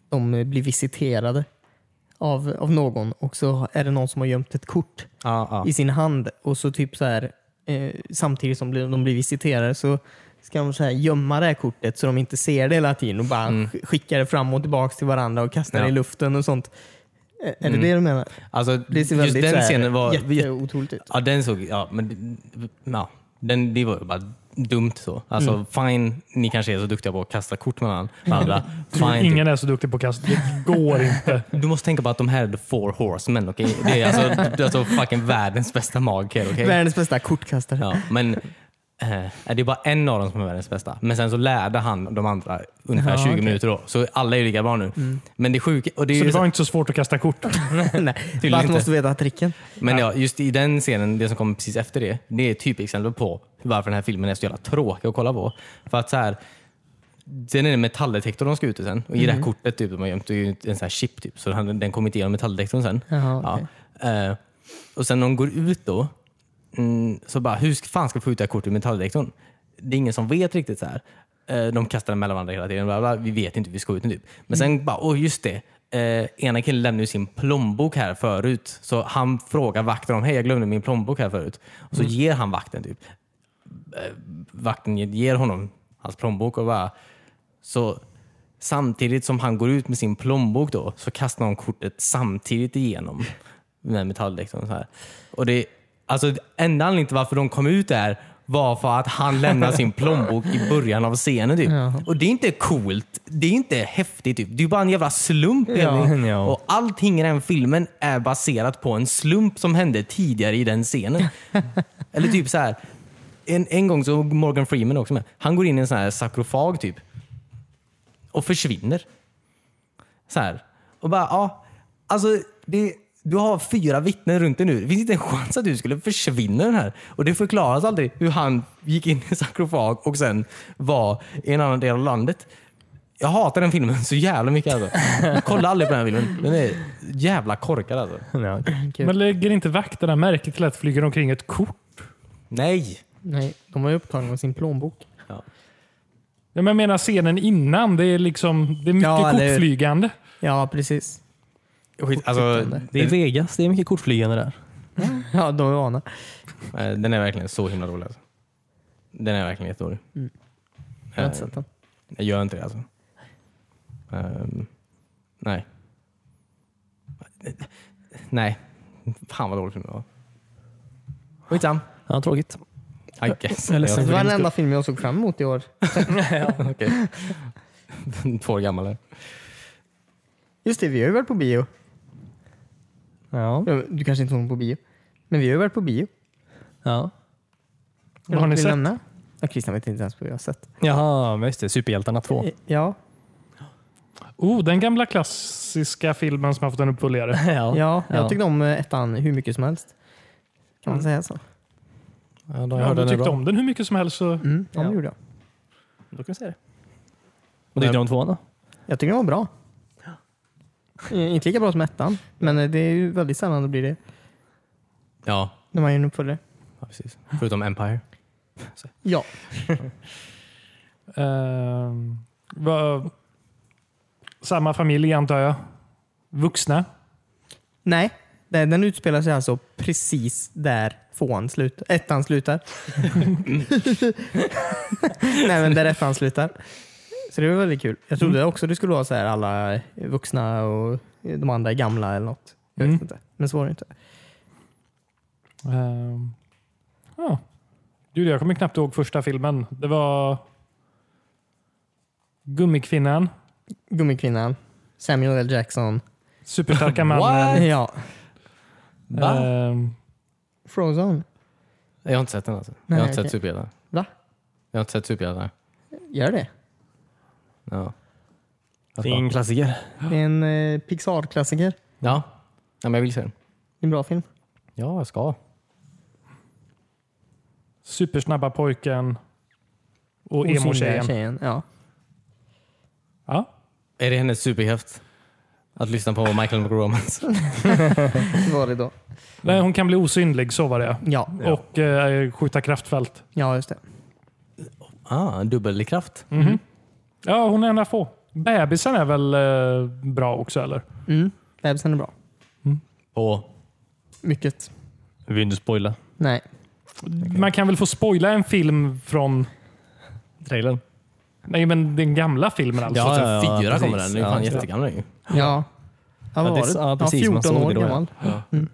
S5: de eh, blir visiterade av, av någon och så är det någon som har gömt ett kort
S7: Ja, ja.
S5: i sin hand och så typ så här eh, samtidigt som de blir visiterade så ska de så här gömma det här kortet så de inte ser det hela tiden och bara sk- skickar det fram och tillbaka till varandra och kastar det i
S7: Mm. Ja.
S5: luften och sånt. Ä- Är det det du menar?
S7: Alltså,
S5: Det ser
S7: just
S5: väldigt så
S7: den
S5: här,
S7: scenen var...
S5: jätteotroligt ut.
S7: Ja, den såg... Ja, men, ja, den, det var ju bara dumt så. Alltså,
S2: Mm.
S7: fine, ni kanske är så duktiga på att kasta kort med varandra. med varandra.
S2: Tror
S7: Fine, typ.
S2: ingen är så duktig på kast. Det går inte.
S7: Du måste tänka på att de här är the four horsemen, okej? Det är alltså, det är alltså fucking världens bästa magiker, okej?
S5: Världens bästa kortkastare.
S7: Ja, men eh, det är bara en av dem som är världens bästa. Men sen så lärde han de andra ungefär 20 minuter då. Så alla är ju lika bra nu. Men det sjuka... Och det
S2: Mm.
S7: är
S2: Så
S7: ju
S2: det
S7: så-
S2: var inte så svårt att kasta kort.
S5: Nej, bara att
S7: inte.
S5: du måste veta tricken.
S7: Men ja, just i den scenen, det som kommer precis efter det, det är ett typexempel på varför den här filmen är så jävla tråkig att kolla på. För att så här, sen är det metalldetektorn de ska ut ur sen. Och i det
S5: Mm.
S7: här kortet typ, de har gömt, det är ju en sån här chip typ, så han, den kommer inte igenom metalldetektorn sen.
S5: Jaha,
S7: ja.
S5: okej.
S7: Eh, och sen när de går ut då, mm, så bara, hur ska- fan ska vi få ut det här kortet ur metalldetektorn? Det är ingen som vet riktigt så här. Eh, De kastar den mellan varandra hela tiden. Bla bla, vi vet inte hur vi ska ut den. Typ. Men sen bara, åh just det. Eh, ena killen lämnade ju sin plånbok här förut. Så han frågar vakten om, hej jag glömde min plånbok här förut. Och så ger han vakten typ. Eh, vakten ger honom hans plånbok och bara, så samtidigt som han går ut med sin plånbok då, så kastar han kortet samtidigt igenom med metalldäktorn. Så här. Och det, alltså, enda anledningen till varför de kom ut där var för att han lämnade sin plånbok i början av scenen. Typ. Och det är inte coolt. Det är inte häftigt. Typ. Det är bara en jävla slump. egentligen.
S3: ja.
S7: Och allting i den filmen är baserat på en slump som hände tidigare i den scenen. Eller typ så här. En, en gång så Morgan Freeman också med. Han går in i en sån här sarkofag typ och försvinner. Så här. Och bara, ja. Alltså, det, du har fyra vittnen runt dig nu. Det finns inte en chans att du skulle försvinna den här. Och det förklaras aldrig hur han gick in i sarkofag och sen var i en annan del av landet. Jag hatar den filmen så jävla mycket alltså. Kolla aldrig på den här filmen. Den är jävla korkad alltså.
S3: Ja, okej.
S2: Men lägger inte vakterna märke till att flyger omkring ett kort?
S7: Nej!
S5: Nej, de var ju upptagna med sin plånbok.
S2: Ja, men Jag menar scenen innan. Det är, liksom, det är mycket
S5: Ja, eller-
S2: kortflygande.
S5: Ja, precis.
S7: Skit, alltså,
S3: Det är Vegas, det är mycket kortflygande där.
S5: Ja, de är vana.
S7: eh, den är verkligen så himla rolig alltså. Den är verkligen jätterolig.
S5: Jag har inte
S7: Eh,
S5: sett den.
S7: Jag gör inte det alltså. Ehm, nej. Nej. Fan vad dålig film det var. Skitsam.
S3: Ja, tråkigt.
S7: I guess.
S3: Jag är ledsen
S5: Det var
S3: för
S5: den
S3: din
S5: enda film jag såg fram emot i år.
S7: Okej. Två år gammal. eller?
S5: Just det, vi har ju varit på bio.
S3: Ja.
S5: Ja, Du kanske inte såg den på bio. Men vi har ju varit på bio.
S3: ja.
S5: Är det
S2: Vad har
S5: något
S2: ni
S5: vi
S2: sett?
S5: lämnar? Ja, Christian vet inte ens vad jag har sett.
S3: Jaha, men just det. Superhjältarna 2.
S5: Ja,
S2: Oh, den gamla klassiska filmen som har fått en uppföljare.
S3: Ja.
S5: ja jag
S3: Ja.
S5: tyckte om eh, ettan hur mycket som helst. Kan
S7: Mm.
S5: man säga så?
S7: Ja,
S2: Ja, om du tyckte om den hur mycket som helst så...
S5: Mm, ja,
S3: Ja.
S5: det gjorde jag.
S3: Då kan vi säga det. Vad tyckte du om tvåan då?
S5: Jag tycker den var bra. Eh, Inte lika bra som ettan, men eh, det är ju väldigt sällan det blir det
S7: Ja,
S5: när man gör en uppföljare.
S7: ja, precis. Förutom Empire.
S5: Ja,
S2: Ehm, var, samma familj antar jag? Vuxna?
S5: Nej, den, den utspelar sig alltså precis där fåan slutar. Ettan slutar. Nej, men där ettan slutar. Så det var väldigt kul. Jag trodde
S2: Mm.
S5: också det skulle vara så här alla vuxna och de andra är gamla eller något. Jag vet
S2: Mm.
S5: inte. Men så var det inte.
S2: Ehm, ja. Gud, jag kommer knappt ihåg första filmen. Det var Gummikvinnan,
S5: Gummikvinnan, Samuel L. Jackson.
S2: Superstarka mannen.
S5: Ja,
S7: Va?
S2: Ehm,
S5: Frozen.
S7: Jag har inte sett den alltså. jag
S5: Nej,
S7: har inte
S5: okej.
S7: sett Superhjältar.
S5: Va?
S7: Jag har inte sett Superhjältar.
S5: Gör det?
S7: Ja.
S3: Det är en klassiker.
S5: Det är en eh, Pixar-klassiker.
S7: Ja. ja, men jag vill se den.
S5: Det är en bra film.
S7: Ja, jag ska.
S2: supersnabba pojken och emo-tjejen.
S5: tjejen. Ja.
S2: Ja.
S7: Är det hennes superkraft? Att lyssna på Michael McRomans?
S5: Det var det då.
S2: Nej, hon kan bli osynlig, så var det.
S5: Ja,
S2: Och eh, skjuta kraftfält.
S5: ja just det.
S7: Ah, dubbelkraft.
S2: Ja, hon är en av få. Bebisen är väl eh, bra också, eller?
S5: Mm. Bebisen är bra.
S3: Mm.
S7: På.
S5: Mycket.
S3: Vill du spoila?
S5: Nej.
S2: Man kan väl få spoila en film från
S3: Trailern?
S2: nej, men den gamla filmen? Alltså.
S3: Ja, ja,
S7: 2004
S3: ja, precis.
S7: kommer den. Den är fan
S3: Ja, just det.
S7: jättegammal ju.
S5: Ja. Ja, vad
S3: Ja, det
S5: var
S3: är
S5: det?
S3: så- ja, precis,
S5: ja,
S3: man
S5: 14
S3: såg
S5: år
S3: det då, ja.
S5: gammal. Mm.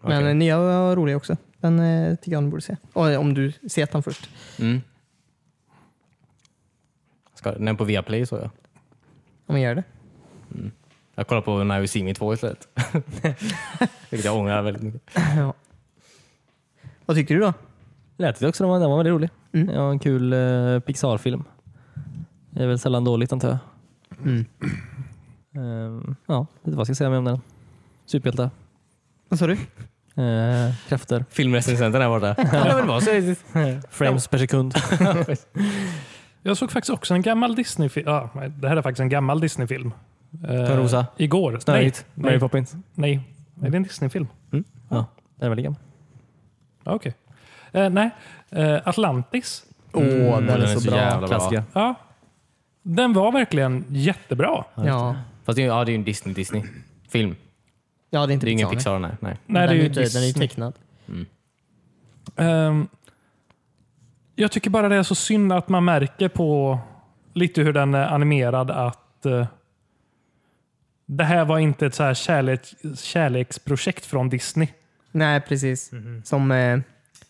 S5: Men den nya var rolig också. Den eh, tycker jag ni borde se. Och, eh, om du sett den först.
S7: Mm. Ska, den är på Viaplay så jag. Mm.
S5: Om jag gör det.
S7: Jag kollar på Now You See Me 2 istället. Vilket jag ångrar väldigt mycket.
S5: Ja. Vad tycker du då?
S3: Lät det också. Den var, den var väldigt rolig.
S5: Mm.
S3: Ja, en kul eh, Pixar-film. Det är väl sällan dåligt antar jag.
S5: Mm.
S3: Ehm, ja, det vad ska jag säga mer om den? Superhjälte.
S5: Vad sa du?
S3: Eh, krafter.
S7: Filmrecensenten är borta.
S3: det väl vara så. Frames per sekund.
S2: Jag såg faktiskt också en gammal Disney-film. Ja, nej, det här är faktiskt en gammal Disney-film. Eh,
S3: Törnrosa.
S2: Igår.
S3: Snöigt.
S2: Nej,
S3: Mary
S2: nej,
S3: Poppins.
S2: nej. Är det en Disney-film?
S3: Den är väldigt gammal.
S2: Ja, Okej. Eh, nej, eh, Atlantis.
S5: Åh, den, är så, bra.
S7: jävla
S3: Klassiker.
S2: Ja. Den var verkligen jättebra.
S5: Ja.
S7: Fast det är, ju- ja, det är ju en Disney Disney film.
S5: ja, det är inte
S7: Det är ingen
S5: nej.
S7: Pixar, nej. nej.
S2: Nej,
S5: den,
S2: det är ju
S5: inte, den är ju
S2: Disney.
S5: tecknad.
S2: Ehm, jag tycker bara det är så synd att man märker på lite hur den är animerad att eh, det här var inte ett så här kärlek, kärleksprojekt från Disney.
S5: Nej, precis. Som eh,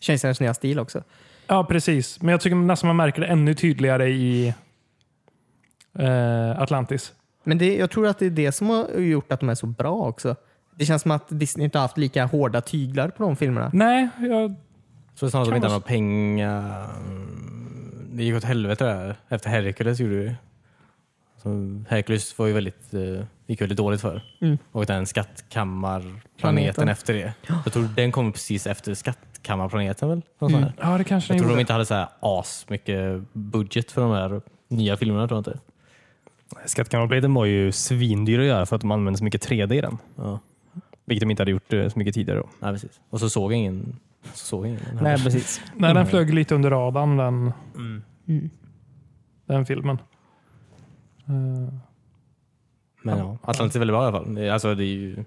S5: Kejsarens nya stil också.
S2: Ja, precis. Men jag tycker nästan man märker det ännu tydligare i eh, Atlantis.
S5: Men det, jag tror att det är det som har gjort att de är så bra också. Det känns som att Disney inte har haft lika hårda tyglar på de filmerna.
S2: Nej, jag,
S7: Så snarare som
S2: Kan
S7: inte
S2: vara
S7: har några pengar. Mm, Det gick åt helvete där. Efter Hercules gjorde det ju. så Hercules var ju väldigt, eh, gick väldigt dåligt för.
S5: Mm.
S7: Och den skattkammarplaneten
S5: Planeten.
S7: efter det. Jag tror den kom precis efter skattkammarplaneten väl? Något sånt där.
S2: ja, det kanske
S7: Jag
S2: den
S7: tror de
S2: gjorde.
S7: inte hade så här as mycket budget för de här nya filmerna. Tror jag inte.
S3: Skattkammarblöjten var ju svindyr att göra för att de använde så mycket 3D i den.
S7: Ja.
S3: Vilket de inte hade gjort eh, så mycket tidigare. Då.
S7: Nej, precis. Och så såg jag ingen. Så såg jag ingen.
S3: precis.
S2: Nej, den flög lite under radarn den,
S5: Mm.
S2: den filmen. Eh,
S7: Men ja, Atlantis är väldigt bra i alla fall. Det- Alltså, det är ju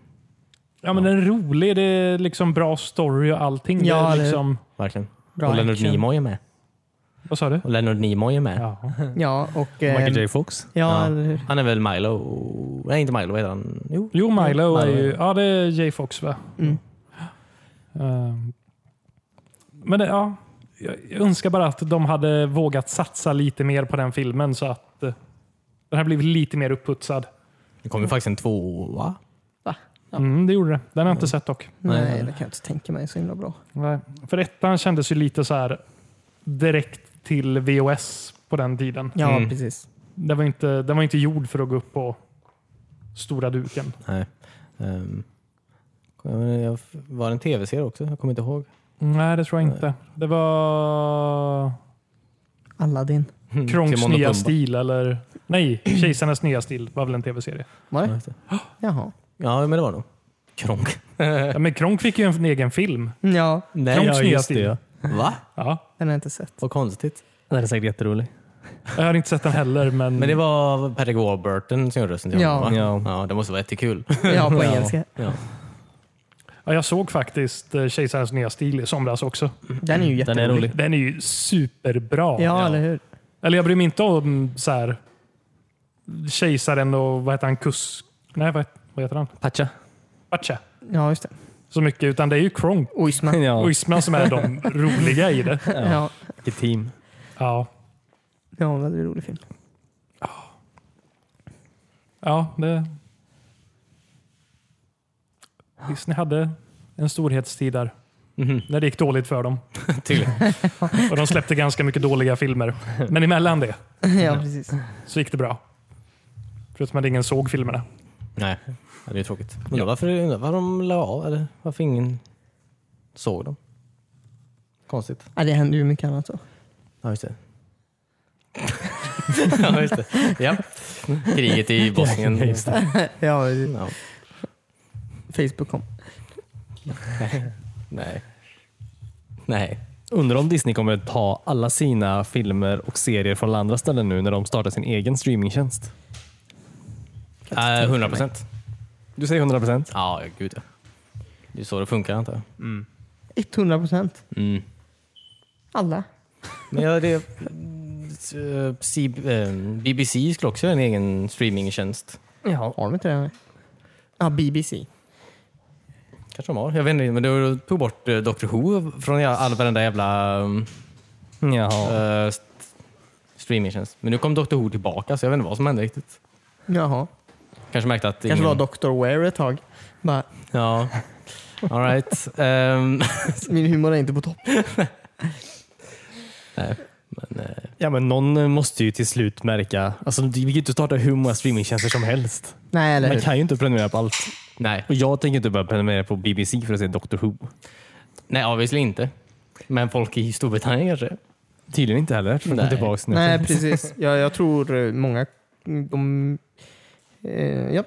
S2: ja, men den är rolig. Det är liksom bra story och allting.
S5: Ja,
S2: det
S5: det-
S2: är liksom,
S7: verkligen.
S5: Bra
S7: och Leonard
S5: action.
S7: Nimoy är med.
S2: Vad sa du?
S7: Och Leonard Nimoy är med.
S2: Ja.
S5: Ja, och... eh,
S3: Michael J Fox.
S5: Ja,
S7: Ja.
S5: eller hur?
S7: Han är väl Milo? Nej, inte Milo. Vad heter han? Jo.
S2: Jo, Milo är
S7: Milo.
S2: ju... Ja, det är Jay Fox va?
S5: Mm.
S2: Eh, Men det, ja, jag jag önskar bara att de hade vågat satsa lite mer på den filmen så att eh, den här blivit lite mer uppputsad.
S7: Det kommer ju faktiskt en tvåa.
S2: Mm, det gjorde det. Den har jag inte sett dock.
S5: Nej, det kan jag inte tänka mig så himla bra.
S2: Nej. För ettan kändes ju lite så här direkt till VOS på den tiden.
S5: Ja,
S7: Mm.
S5: precis.
S2: Den var, inte, den var inte gjord för att gå upp på stora duken.
S7: Nej. Ehm, jag menar, jag- var det en tv-serie också? Jag kommer inte ihåg.
S2: Nej, det tror jag inte. Det var
S5: Aladdin.
S2: Kronks
S7: Timon och
S2: nya
S7: Pumba.
S2: stil eller... Nej, Kejsarnas nya stil var väl en tv-serie.
S5: Var
S7: Ja,
S5: det?
S7: just det.
S5: Jaha.
S7: Ja, men det var det nog. Kronk.
S2: Ja, men Kronk fick ju en egen film.
S5: Ja,
S7: Nej,
S2: Kronks
S7: jag-
S2: nya
S3: just det,
S2: stil.
S3: ja.
S7: Va?
S2: Ja.
S5: den har jag inte sett.
S7: Vad konstigt.
S3: Den är säkert jätterolig.
S2: Jag har inte sett den heller, men...
S7: Men det var Patrick Warburton som gjorde rösten till
S5: Ja.
S7: honom,
S3: Ja.
S7: va? ja, det måste vara jättekul.
S5: Ja, på engelska.
S7: ja.
S2: ja, jag såg faktiskt eh, Kejsarens nya stil i somras också.
S5: Den är ju
S3: Den är
S5: jätterolig.
S3: rolig.
S2: Den är ju superbra.
S5: Ja, eller hur?
S2: Eller jag bryr mig inte om så här, Kejsaren och vad heter han? Kus... Nej, vad heter, vad heter han?
S3: Pacha.
S2: Pacha.
S5: Ja, just det.
S2: Så mycket, utan det är ju Kronk
S5: Oisman. Ja.
S3: Ja,
S2: och Isman som är de roliga i det.
S5: Ja.
S3: vilket team.
S2: Ja,
S5: ja, en väldigt rolig film.
S2: ja det... Disney hade en storhetstid där. När det gick dåligt för dem.
S7: Tydligen.
S2: Och de släppte ganska mycket dåliga filmer. Men emellan det
S5: Ja, precis.
S2: så gick det bra. Förutom att ingen såg filmerna.
S7: Nej, ja, det är tråkigt. Undrar varför, undrar varför de la av eller varför ingen såg dem. Konstigt.
S5: Ja, det händer ju mycket annat då.
S7: Ja, just det. ja, just det. Ja. Kriget i Bosnien.
S5: Ja,
S7: Ja.
S5: Facebook kom.
S7: Nej. Nej.
S3: Undrar om Disney kommer ta alla sina filmer och serier från andra ställen nu när de startar sin egen streamingtjänst.
S7: Äh, 100 procent.
S3: Du säger 100 procent?
S7: Ja, ja, gud ja. Det är så det funkar antar jag.
S5: 100 procent.
S7: Mm.
S5: Alla.
S7: Men ja, det, eh, C- eh, BBC skulle också göra en egen streamingtjänst.
S5: Ja. Har de inte det? nej? Ja, BBC.
S7: Kanske de har. Jag vet inte, men de tog bort eh, Doctor Who från ja- all varenda jävla um,
S3: Jaha.
S7: eh, st- streamingtjänst. Men nu kom Doctor Who tillbaka så jag vet inte vad som hände riktigt.
S5: Jaha.
S7: Kanske märkte att
S5: Kanske var
S7: ingen...
S5: Dr. Ware ett tag. Bara,
S7: Ja. All right. Ehm,
S5: min humor är inte på topp.
S7: nej. Men, eh,
S3: Ja, men någon måste ju till slut märka. Alltså, vi kan ju inte starta hur många streamingtjänster som helst.
S5: Nej, eller
S3: Man
S5: hur?
S3: kan ju inte prenumerera på allt.
S7: nej.
S3: Och jag tänker inte börja prenumerera på BBC för att se Doctor Who.
S7: nej, obviously inte. Men folk i Storbritannien kanske?
S3: Tydligen inte heller. eftersom de
S7: Nej.
S3: kom tillbaks nu.
S5: Nej, precis. Jag, jag tror eh, många... De, eh, ja.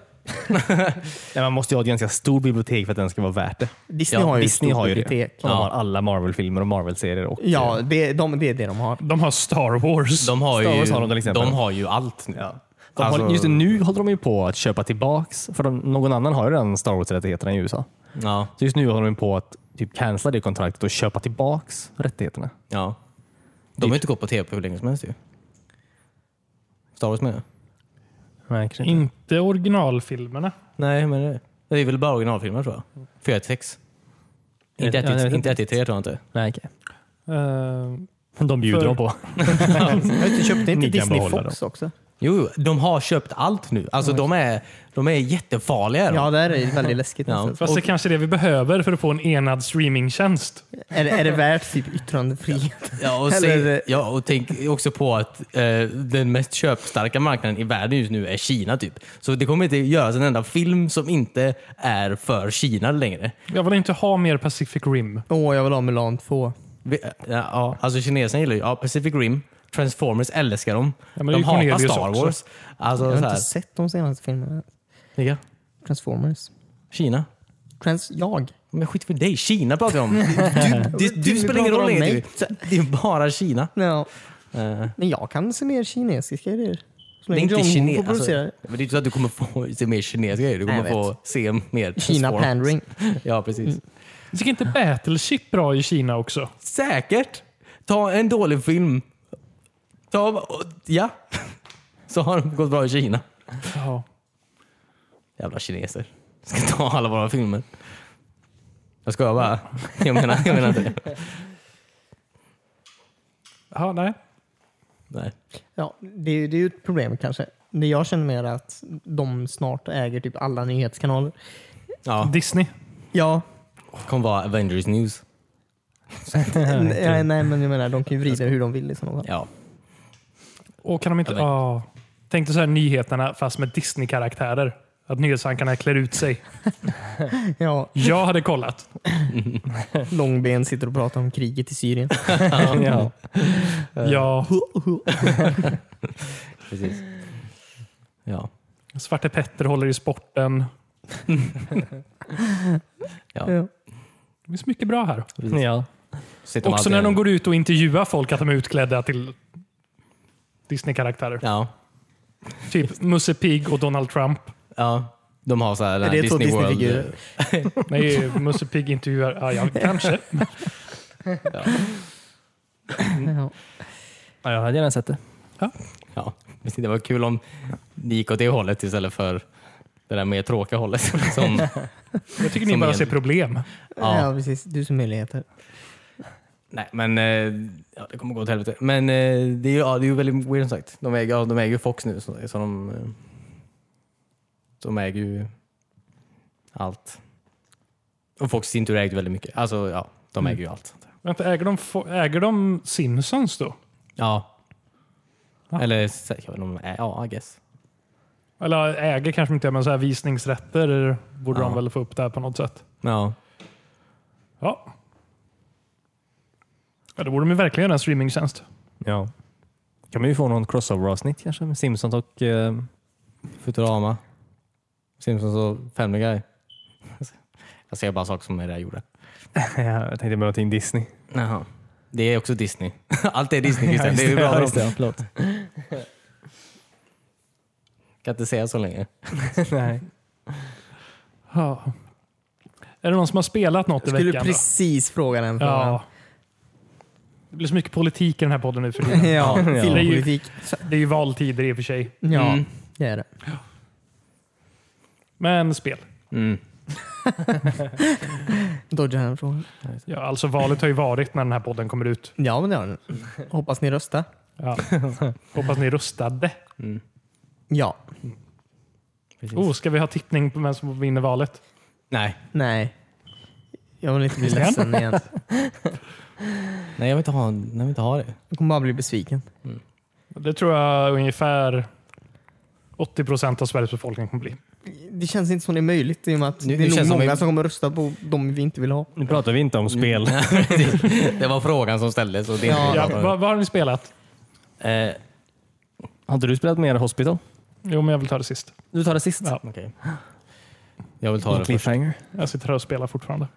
S3: Nej, man måste ju ha ett ganska stort bibliotek för att den ska vara värt det.
S5: Disney
S7: Ja,
S5: har ju
S3: Disney
S5: ett stort
S3: har ju det.
S5: bibliotek.
S3: Och De har alla Marvel-filmer och Marvel-serier. Och,
S5: Ja, det, de, det är det de har.
S2: De har Star Wars.
S7: De har,
S3: Star
S7: ju,
S3: Wars har de till exempel.
S7: de har ju allt nu.
S3: Ja. De
S7: Alltså-
S3: håller, just nu håller de ju på att köpa tillbaks, för de, någon annan har ju redan Star Wars-rättigheterna i USA.
S7: Ja.
S3: Så just nu håller de på att typ cancella det kontraktet och köpa tillbaks rättigheterna.
S7: Ja. De har inte gått på tv hur länge som helst ju. Star Wars menar jag.
S3: Nej, kanske inte.
S2: Inte originalfilmerna.
S7: Nej, men det- det är väl bara originalfilmer tror jag. 4 till 6. Inte
S3: Ja, jag vet
S7: 1
S3: inte.
S7: till 3 tror jag inte.
S3: Nej, okej.
S2: Eh,
S3: De bjuder
S2: För-
S3: de på.
S5: Jag köpte inte
S3: Ni kan
S5: Disney
S3: behålla
S5: Fox också?
S7: Jo, jo, de har köpt allt nu. Alltså de är, de är jättefarliga.
S5: Ja,
S7: Ja.
S5: det här är väldigt läskigt.
S7: Ja.
S5: nästan.
S2: fast det är kanske är det vi behöver för att få en enad streamingtjänst.
S5: Är, det- är det värt typ yttrandefrihet?
S7: Ja, och,
S5: Eller-
S7: se, ja, och tänk också på att eh, den mest köpstarka marknaden i världen just nu är Kina. typ. Så det kommer inte göras en enda film som inte är för Kina längre.
S2: Jag vill inte ha mer Pacific Rim.
S5: Åh, jag vill ha Mulan 2.
S7: Vi- Ja, ja, alltså kineserna gillar ju ja, Pacific Rim, Transformers älskar de.
S2: men det är
S7: de
S2: ju
S7: hatar
S2: Cornelius
S7: Star
S2: också.
S7: Wars.
S5: Jag
S7: Alltså,
S5: har
S7: så
S5: inte
S7: här.
S5: sett de senaste filmerna.
S7: Vilka?
S5: Transformers.
S7: Kina.
S5: Trans... Jag?
S7: Men skit för dig, Kina pratar jag om. Du, du, du,
S5: Du
S7: spelar ingen roll
S5: pratar om
S7: längre.
S5: mig.
S7: du. Det är bara Kina.
S5: Ja.
S7: Eh,
S5: Men jag kan se mer kinesiska grejer. Så
S7: det är
S5: länge
S7: inte
S5: John Woo
S7: kines.
S5: får
S7: Alltså,
S5: producera
S7: men det är inte så att du kommer få se mer kinesiska grejer. Du
S5: Nej,
S7: kommer
S5: jag
S7: få se mer
S5: Kina Mm.
S7: Transformers.
S5: pandering.
S7: Ja, precis.
S2: Jag tycker inte Battleship bra i Kina också?
S7: Säkert. Ta en dålig film. Ta, och- ja. Så har det gått bra i Kina.
S2: Ja.
S7: Jävla kineser. Ska ta alla våra filmer. Jag skojar bara. Jag menar, jag menar inte det.
S2: Ja, nej.
S7: Nej.
S5: Ja, det, är ju- det är ju ett problem kanske. Det jag känner mer är att de snart äger typ alla nyhetskanaler.
S7: Ja,
S2: Disney.
S5: Ja,
S7: kommer vara Avengers News.
S5: nej, Eh, nej, men jag menar de kan ju vrida hur de vill i sådana fall.
S7: Ja.
S2: Och kan de inte...
S7: Jag vet inte.
S2: Ja. Tänk dig så här nyheterna fast med Disney-karaktärer. Att nyhetsankarna klär ut sig.
S5: Ja,
S2: Jag hade kollat.
S5: Långben sitter och pratar om kriget i Syrien.
S3: ja.
S2: Ja.
S7: Precis. Ja.
S2: Svarte Petter håller i sporten.
S5: Ja.
S2: Det finns mycket bra här.
S3: ja.
S7: Sitter
S2: Också
S7: alltid-
S2: när de går ut och intervjuar folk att de är utklädda till Disney-karaktärer.
S7: Ja.
S2: Typ Musse Pig och Donald Trump.
S7: ja. De har så här den
S5: Är det
S7: här
S5: två
S7: Disney World.
S5: Disney-figurer?
S2: Nej, Musse Pig intervjuar... Ja, ja kanske.
S7: eh,
S5: Ja.
S3: ja, jag hade gärna sett det.
S7: Ja. Precis, Det var kul om ni gick åt det hållet istället för det där mer tråkiga hållet. Som,
S2: Jag tycker ni
S7: Som
S2: bara
S7: gäller.
S2: ser problem.
S5: ja, precis. Du som möjligheter.
S7: nej, men eh, ja, det kommer gå åt helvete. Men eh, det är ju ja, det är ju väldigt weird som sagt. De äger, ja, de äger ju Fox nu, så, så de, eh, de äger ju allt. Och Fox i sin tur ägde väldigt mycket. Alltså, ja, de äger ju allt.
S2: Vänta, äger de, fo- äger de Simpsons då?
S7: Ja.
S2: Ja.
S7: Eller säkert, jag vet inte om de är- ja, I guess.
S2: Eller äger kanske inte, men så här visningsrätter borde de
S7: Ja.
S2: väl få upp där på något sätt.
S7: Ja.
S2: Ja. Ja, då borde de ju verkligen göra en streamingtjänst.
S3: Ja. Kan man ju få någon crossover-avsnitt kanske med Simpsons och... eh,
S7: Futurama. Simpsons och Family Guy. Jag säger bara saker som är det jag gjorde.
S3: Ja, jag tänkte på någonting Disney.
S7: Jaha. Det är också Disney. Allt är Disney Christian. det är
S3: Ja,
S7: bra.
S3: just
S7: Ja,
S3: det, ja, förlåt.
S7: kan inte säga så länge.
S3: Nej.
S2: Ja. Är det någon som har spelat något i
S5: Skulle
S2: veckan? då?
S5: precis fråga den frågan.
S2: Ja. Det blir så mycket politik i den här podden nu för
S5: Ja,
S2: tiden.
S5: filmpolitik.
S2: Det är ju valtider i och för sig.
S5: Ja,
S7: Mm.
S5: det är det.
S2: Men spel.
S7: Mm.
S5: Dodgar den frågan.
S2: Ja, alltså valet har ju varit när den här podden kommer ut.
S5: Ja, men det har den. Hoppas ni röstar.
S2: Ja. Hoppas ni röstade.
S5: Ja.
S7: Precis.
S2: Oh, ska vi ha tippning på vem som vinner valet?
S7: Nej.
S5: Nej. Jag vill inte bli
S2: Igen?
S5: ledsen igen.
S7: Nej, jag vill inte ha, jag vill inte ha det.
S5: Jag kommer bara bli besviken.
S2: Det tror jag ungefär 80 procent av Sveriges befolkning kommer bli.
S5: Det känns inte som det är möjligt i och med att
S7: Nu-
S5: det
S7: nu
S5: är nog
S7: känns som
S5: många
S7: vi-
S5: som kommer rösta på de vi inte vill ha.
S3: Nu pratar vi inte om spel.
S7: Det var frågan som ställdes. Och det
S5: Ja.
S2: Ja, vad, vad har ni spelat?
S7: Eh,
S3: Har inte du spelat mer Hospital?
S2: Jo, men jag vill ta det sist.
S3: Du tar det sist.
S2: Ja.
S7: okej. Jag vill ta det först.
S3: Cliffhanger.
S2: Jag sitter här och spelar fortfarande.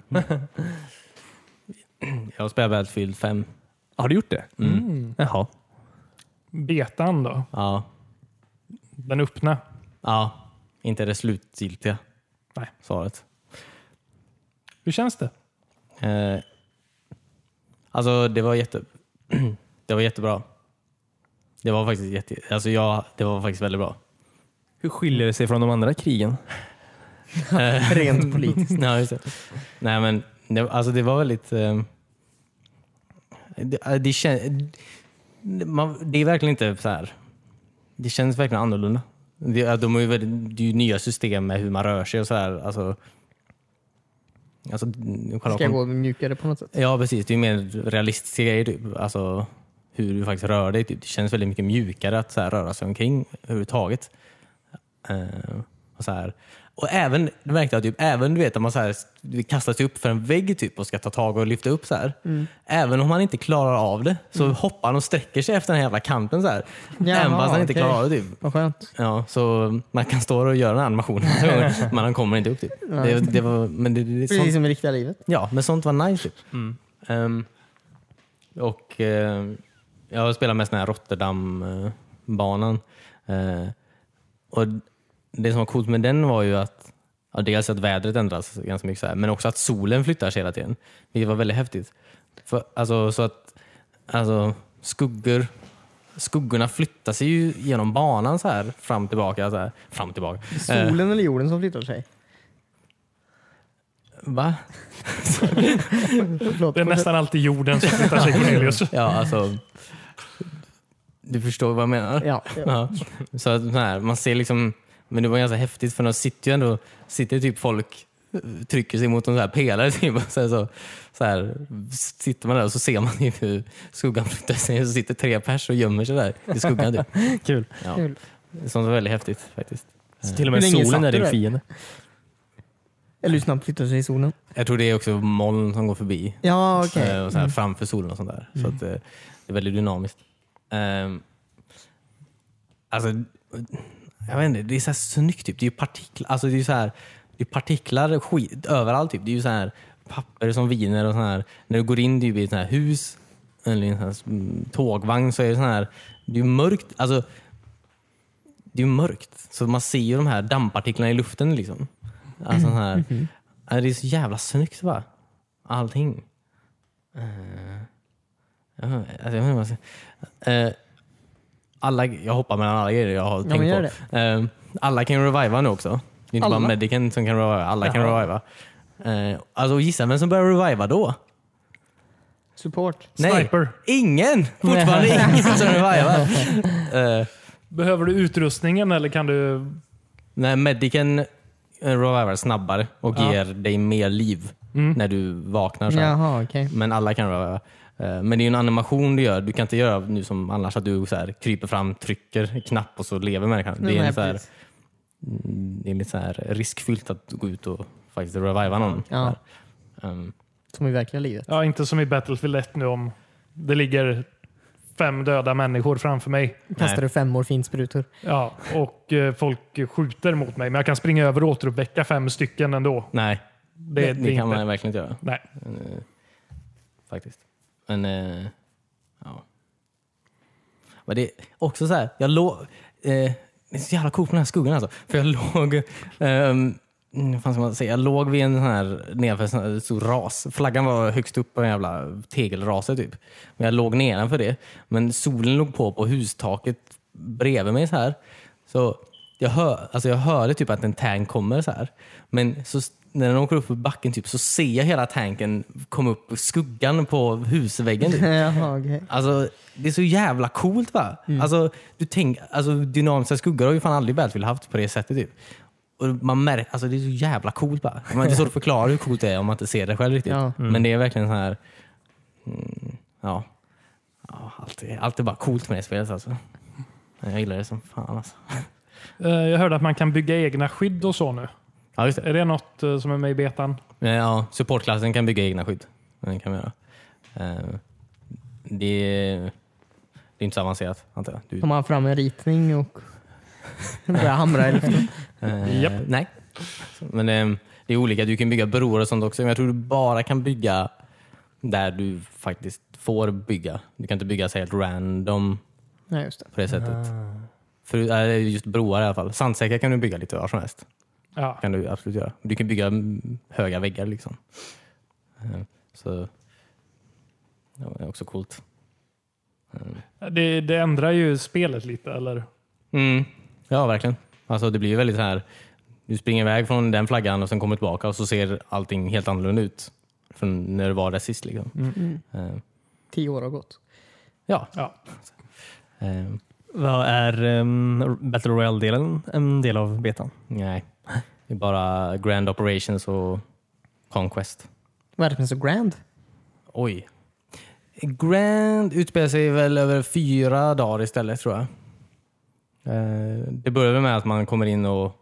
S7: Jag spelar Battlefield 5.
S3: Har du gjort det? Mm. Jaha.
S2: Betan då?
S7: Ja.
S2: Den öppna?
S7: ja. Inte det slutgiltiga
S2: Nej.
S7: svaret.
S2: Hur känns det?
S7: Eh, alltså det var jätte... det var jättebra. Det var faktiskt jätte... Alltså jag, det var faktiskt väldigt bra.
S3: Hur skiljer det sig från de andra krigen?
S5: Rent politiskt.
S7: ja, just det. Nej men det, alltså det var väldigt... Eh, det, det, kän, man, det är verkligen inte så här. Det känns verkligen annorlunda. Det, de är ju väldigt, det är ju nya system med hur man rör sig och sådär. Alltså, alltså, själva
S5: Ska jag gå mjukare på något sätt?
S7: Ja precis, det är ju mer realistiska grejer. Typ. Alltså, hur du faktiskt rör dig. Typ. Det känns väldigt mycket mjukare att så här, röra sig omkring överhuvudtaget. Eh, och, så här. och även, det märkte jag, typ, även du vet om man så här, kastar sig upp för en vägg typ, och ska ta tag och lyfta upp så här.
S5: Mm.
S7: Även om man inte klarar av det så hoppar han och sträcker sig efter den här jävla kanten så här.
S5: Jaha,
S7: även fast han inte
S5: okej.
S7: klarar av det. Typ.
S5: Vad skönt.
S7: Ja, så man kan stå och göra den här animationen men han kommer inte upp. Typ. Det, det var, men det, det, sånt-
S5: Precis som i riktiga livet.
S7: Ja, men sånt var nice. Typ. Ehm, och ehm, jag spelar mest den här Rotterdam-banan. Eh, och det som var coolt med den var ju att ja, dels att vädret ändras ganska mycket, så här, men också att solen flyttar sig hela tiden. Vilket var väldigt häftigt. För, alltså, så att alltså, skuggor Skuggorna flyttar sig ju genom banan så här fram tillbaka. Så här, fram och tillbaka. Eh,
S5: Solen eller jorden som flyttar sig?
S7: va?
S5: Förlåt.
S2: Det är nästan alltid jorden som flyttar sig Cornelius.
S7: Ja, alltså. Du förstår vad jag menar?
S5: Ja.
S7: Ja. Så att, så här, man ser liksom, men det var ganska häftigt för de sitter ju ändå, sitter typ folk eh, trycker sig mot en så här pelare typ, och sen så, så här, sitter man där och så ser man ju hur skuggan flyttar sig och så sitter tre pers och gömmer sig där i skuggan. Typ.
S3: Kul.
S7: Ja.
S5: Kul.
S7: Sånt var väldigt häftigt faktiskt.
S3: Så till och
S5: Hur
S3: med
S5: länge satt
S3: solen är
S5: du
S3: din
S5: där?
S3: fiende.
S5: Eller hur snabbt flyttar sig solen?
S7: Jag tror det är också moln som går förbi
S5: Ja, okej.
S7: Eh, och så här, framför solen och sånt där. Så att, eh, det är väldigt dynamiskt. Ehm, alltså, jag vet inte, det är så här snyggt. Typ. Det är ju partiklar, alltså, det är ju så här, det är partiklar skit, överallt. Typ. Det är ju så här papper som viner och sån här. När du går in typ, i ett sånt här hus eller i en sån här mm, tågvagn så är det sån här, det är ju mörkt. Alltså, det är ju mörkt, så man ser ju de här dammpartiklarna i luften. Liksom. Alltså, sån här,
S5: Mhm.
S7: Ja, Det är så jävla snyggt bara. Allting. Eh, Jag vet inte- alltså, jag vet inte vad jag ska- Eh, alla, jag hoppar mellan alla grejer jag har
S5: men
S7: tänkt
S5: gör
S7: på. Eh, alla kan reviva nu också. Det är inte
S5: Alla?
S7: bara Medicen som kan reviva. Alla kan
S2: Jaha.
S7: reviva. Eh, alltså gissa vem som börjar reviva då?
S5: Support.
S2: Sniper.
S7: ingen! Fortfarande ingen som revivar. Eh,
S2: Behöver du utrustningen eller kan du...
S7: nej, Medicen eh, revivar snabbare och
S2: Ja.
S7: ger dig mer liv
S5: Mm.
S7: när du vaknar. Så här.
S5: Jaha, okej.
S7: Men alla kan röra. Eh, Men det är ju en animation du gör. Du kan inte göra nu som annars att du så här, kryper fram, trycker en knapp och så lever människan. Det är,
S5: Nej,
S7: en så här, mm,
S5: precis.
S7: det är lite så här riskfyllt att gå ut och faktiskt reviva någon.
S5: Ja.
S7: Där. Ehm,
S5: Som i verkliga livet.
S2: Ja, inte som i Battlefield 1 nu om det ligger fem döda människor framför mig.
S5: Kastar du fem morfinsprutor?
S2: Ja, och eh, folk skjuter mot mig, men jag kan springa över och återuppväcka fem stycken ändå.
S7: Nej,
S2: Det, det,
S7: det,
S2: är
S7: kan
S2: inte.
S7: man verkligen inte göra.
S2: Nej.
S7: Faktiskt. Men, eh, ja. Men det är också så här, jag låg... Eh, det är så jävla coolt med den här skuggan alltså. För jag låg... ehm, vad fan ska man säga? Jag låg vid en sån här, nedanför en sån här stor ras. Flaggan var högst upp på en jävla tegelrase typ. Men jag låg nedanför det. Men solen låg på på hustaket bredvid mig så här. Så jag, hör, alltså jag hörde typ att en tank kommer så här. Men så, s- när den åker upp för backen typ, så ser jag hela tanken komma upp ur skuggan på husväggen. Typ.
S5: Jaha, okej.
S7: Alltså, det är så jävla coolt va? Alltså, du tänk, alltså, dynamiska skuggor har ju fan aldrig Battlefield haft på det sättet. Typ. Och man märker, alltså, det är så jävla coolt va? Man det är svårt att förklara hur coolt det är om man inte ser det själv riktigt.
S5: Ja.
S7: Men det är verkligen så här... Mm, ja. ja allt, är, allt är bara coolt med det spelet alltså. Men Jag gillar det som fan alltså.
S2: Eh, Jag hörde att man kan bygga egna skydd och så nu.
S7: Ja, just det.
S2: Är det något eh, som är med i betan?
S7: Eh, Ja, supportklassen kan bygga egna skydd. Den kan vi göra. Eh, Det är, det är inte så avancerat antar jag. Du,
S5: Tar man fram en ritning och börjar hamra i luften.
S7: Eh,
S2: Japp.
S7: Nej. Men ehm, det är olika. Du kan bygga broar och sånt också. Men jag tror du bara kan bygga där du faktiskt får bygga. Du kan inte bygga så helt random
S5: Nej, just det.
S7: på det sättet. För, eh, just broar i alla fall. Sandsäckar kan du bygga lite var som helst.
S2: Ja.
S7: kan du absolut göra. Du kan bygga mm, höga väggar liksom. Eh, Så det är också coolt.
S2: Det, det ändrar ju spelet lite, eller?
S7: Mm. Ja, verkligen. Alltså det blir ju väldigt så här. Du springer iväg från den flaggan och sen kommer tillbaka och så ser allting helt annorlunda ut från när du var där sist. Liksom. Eh,
S5: Tio år har gått.
S7: ja.
S2: Ja.
S7: Eh,
S3: Vad är ehm, Battle Royale-delen en del av betan?
S7: nej, det är bara Grand Operations och Conquest.
S5: Vad är det som är så grand?
S7: Oj. Grand utspelar sig väl över fyra dagar istället tror jag. Eh, Det börjar väl med att man kommer in och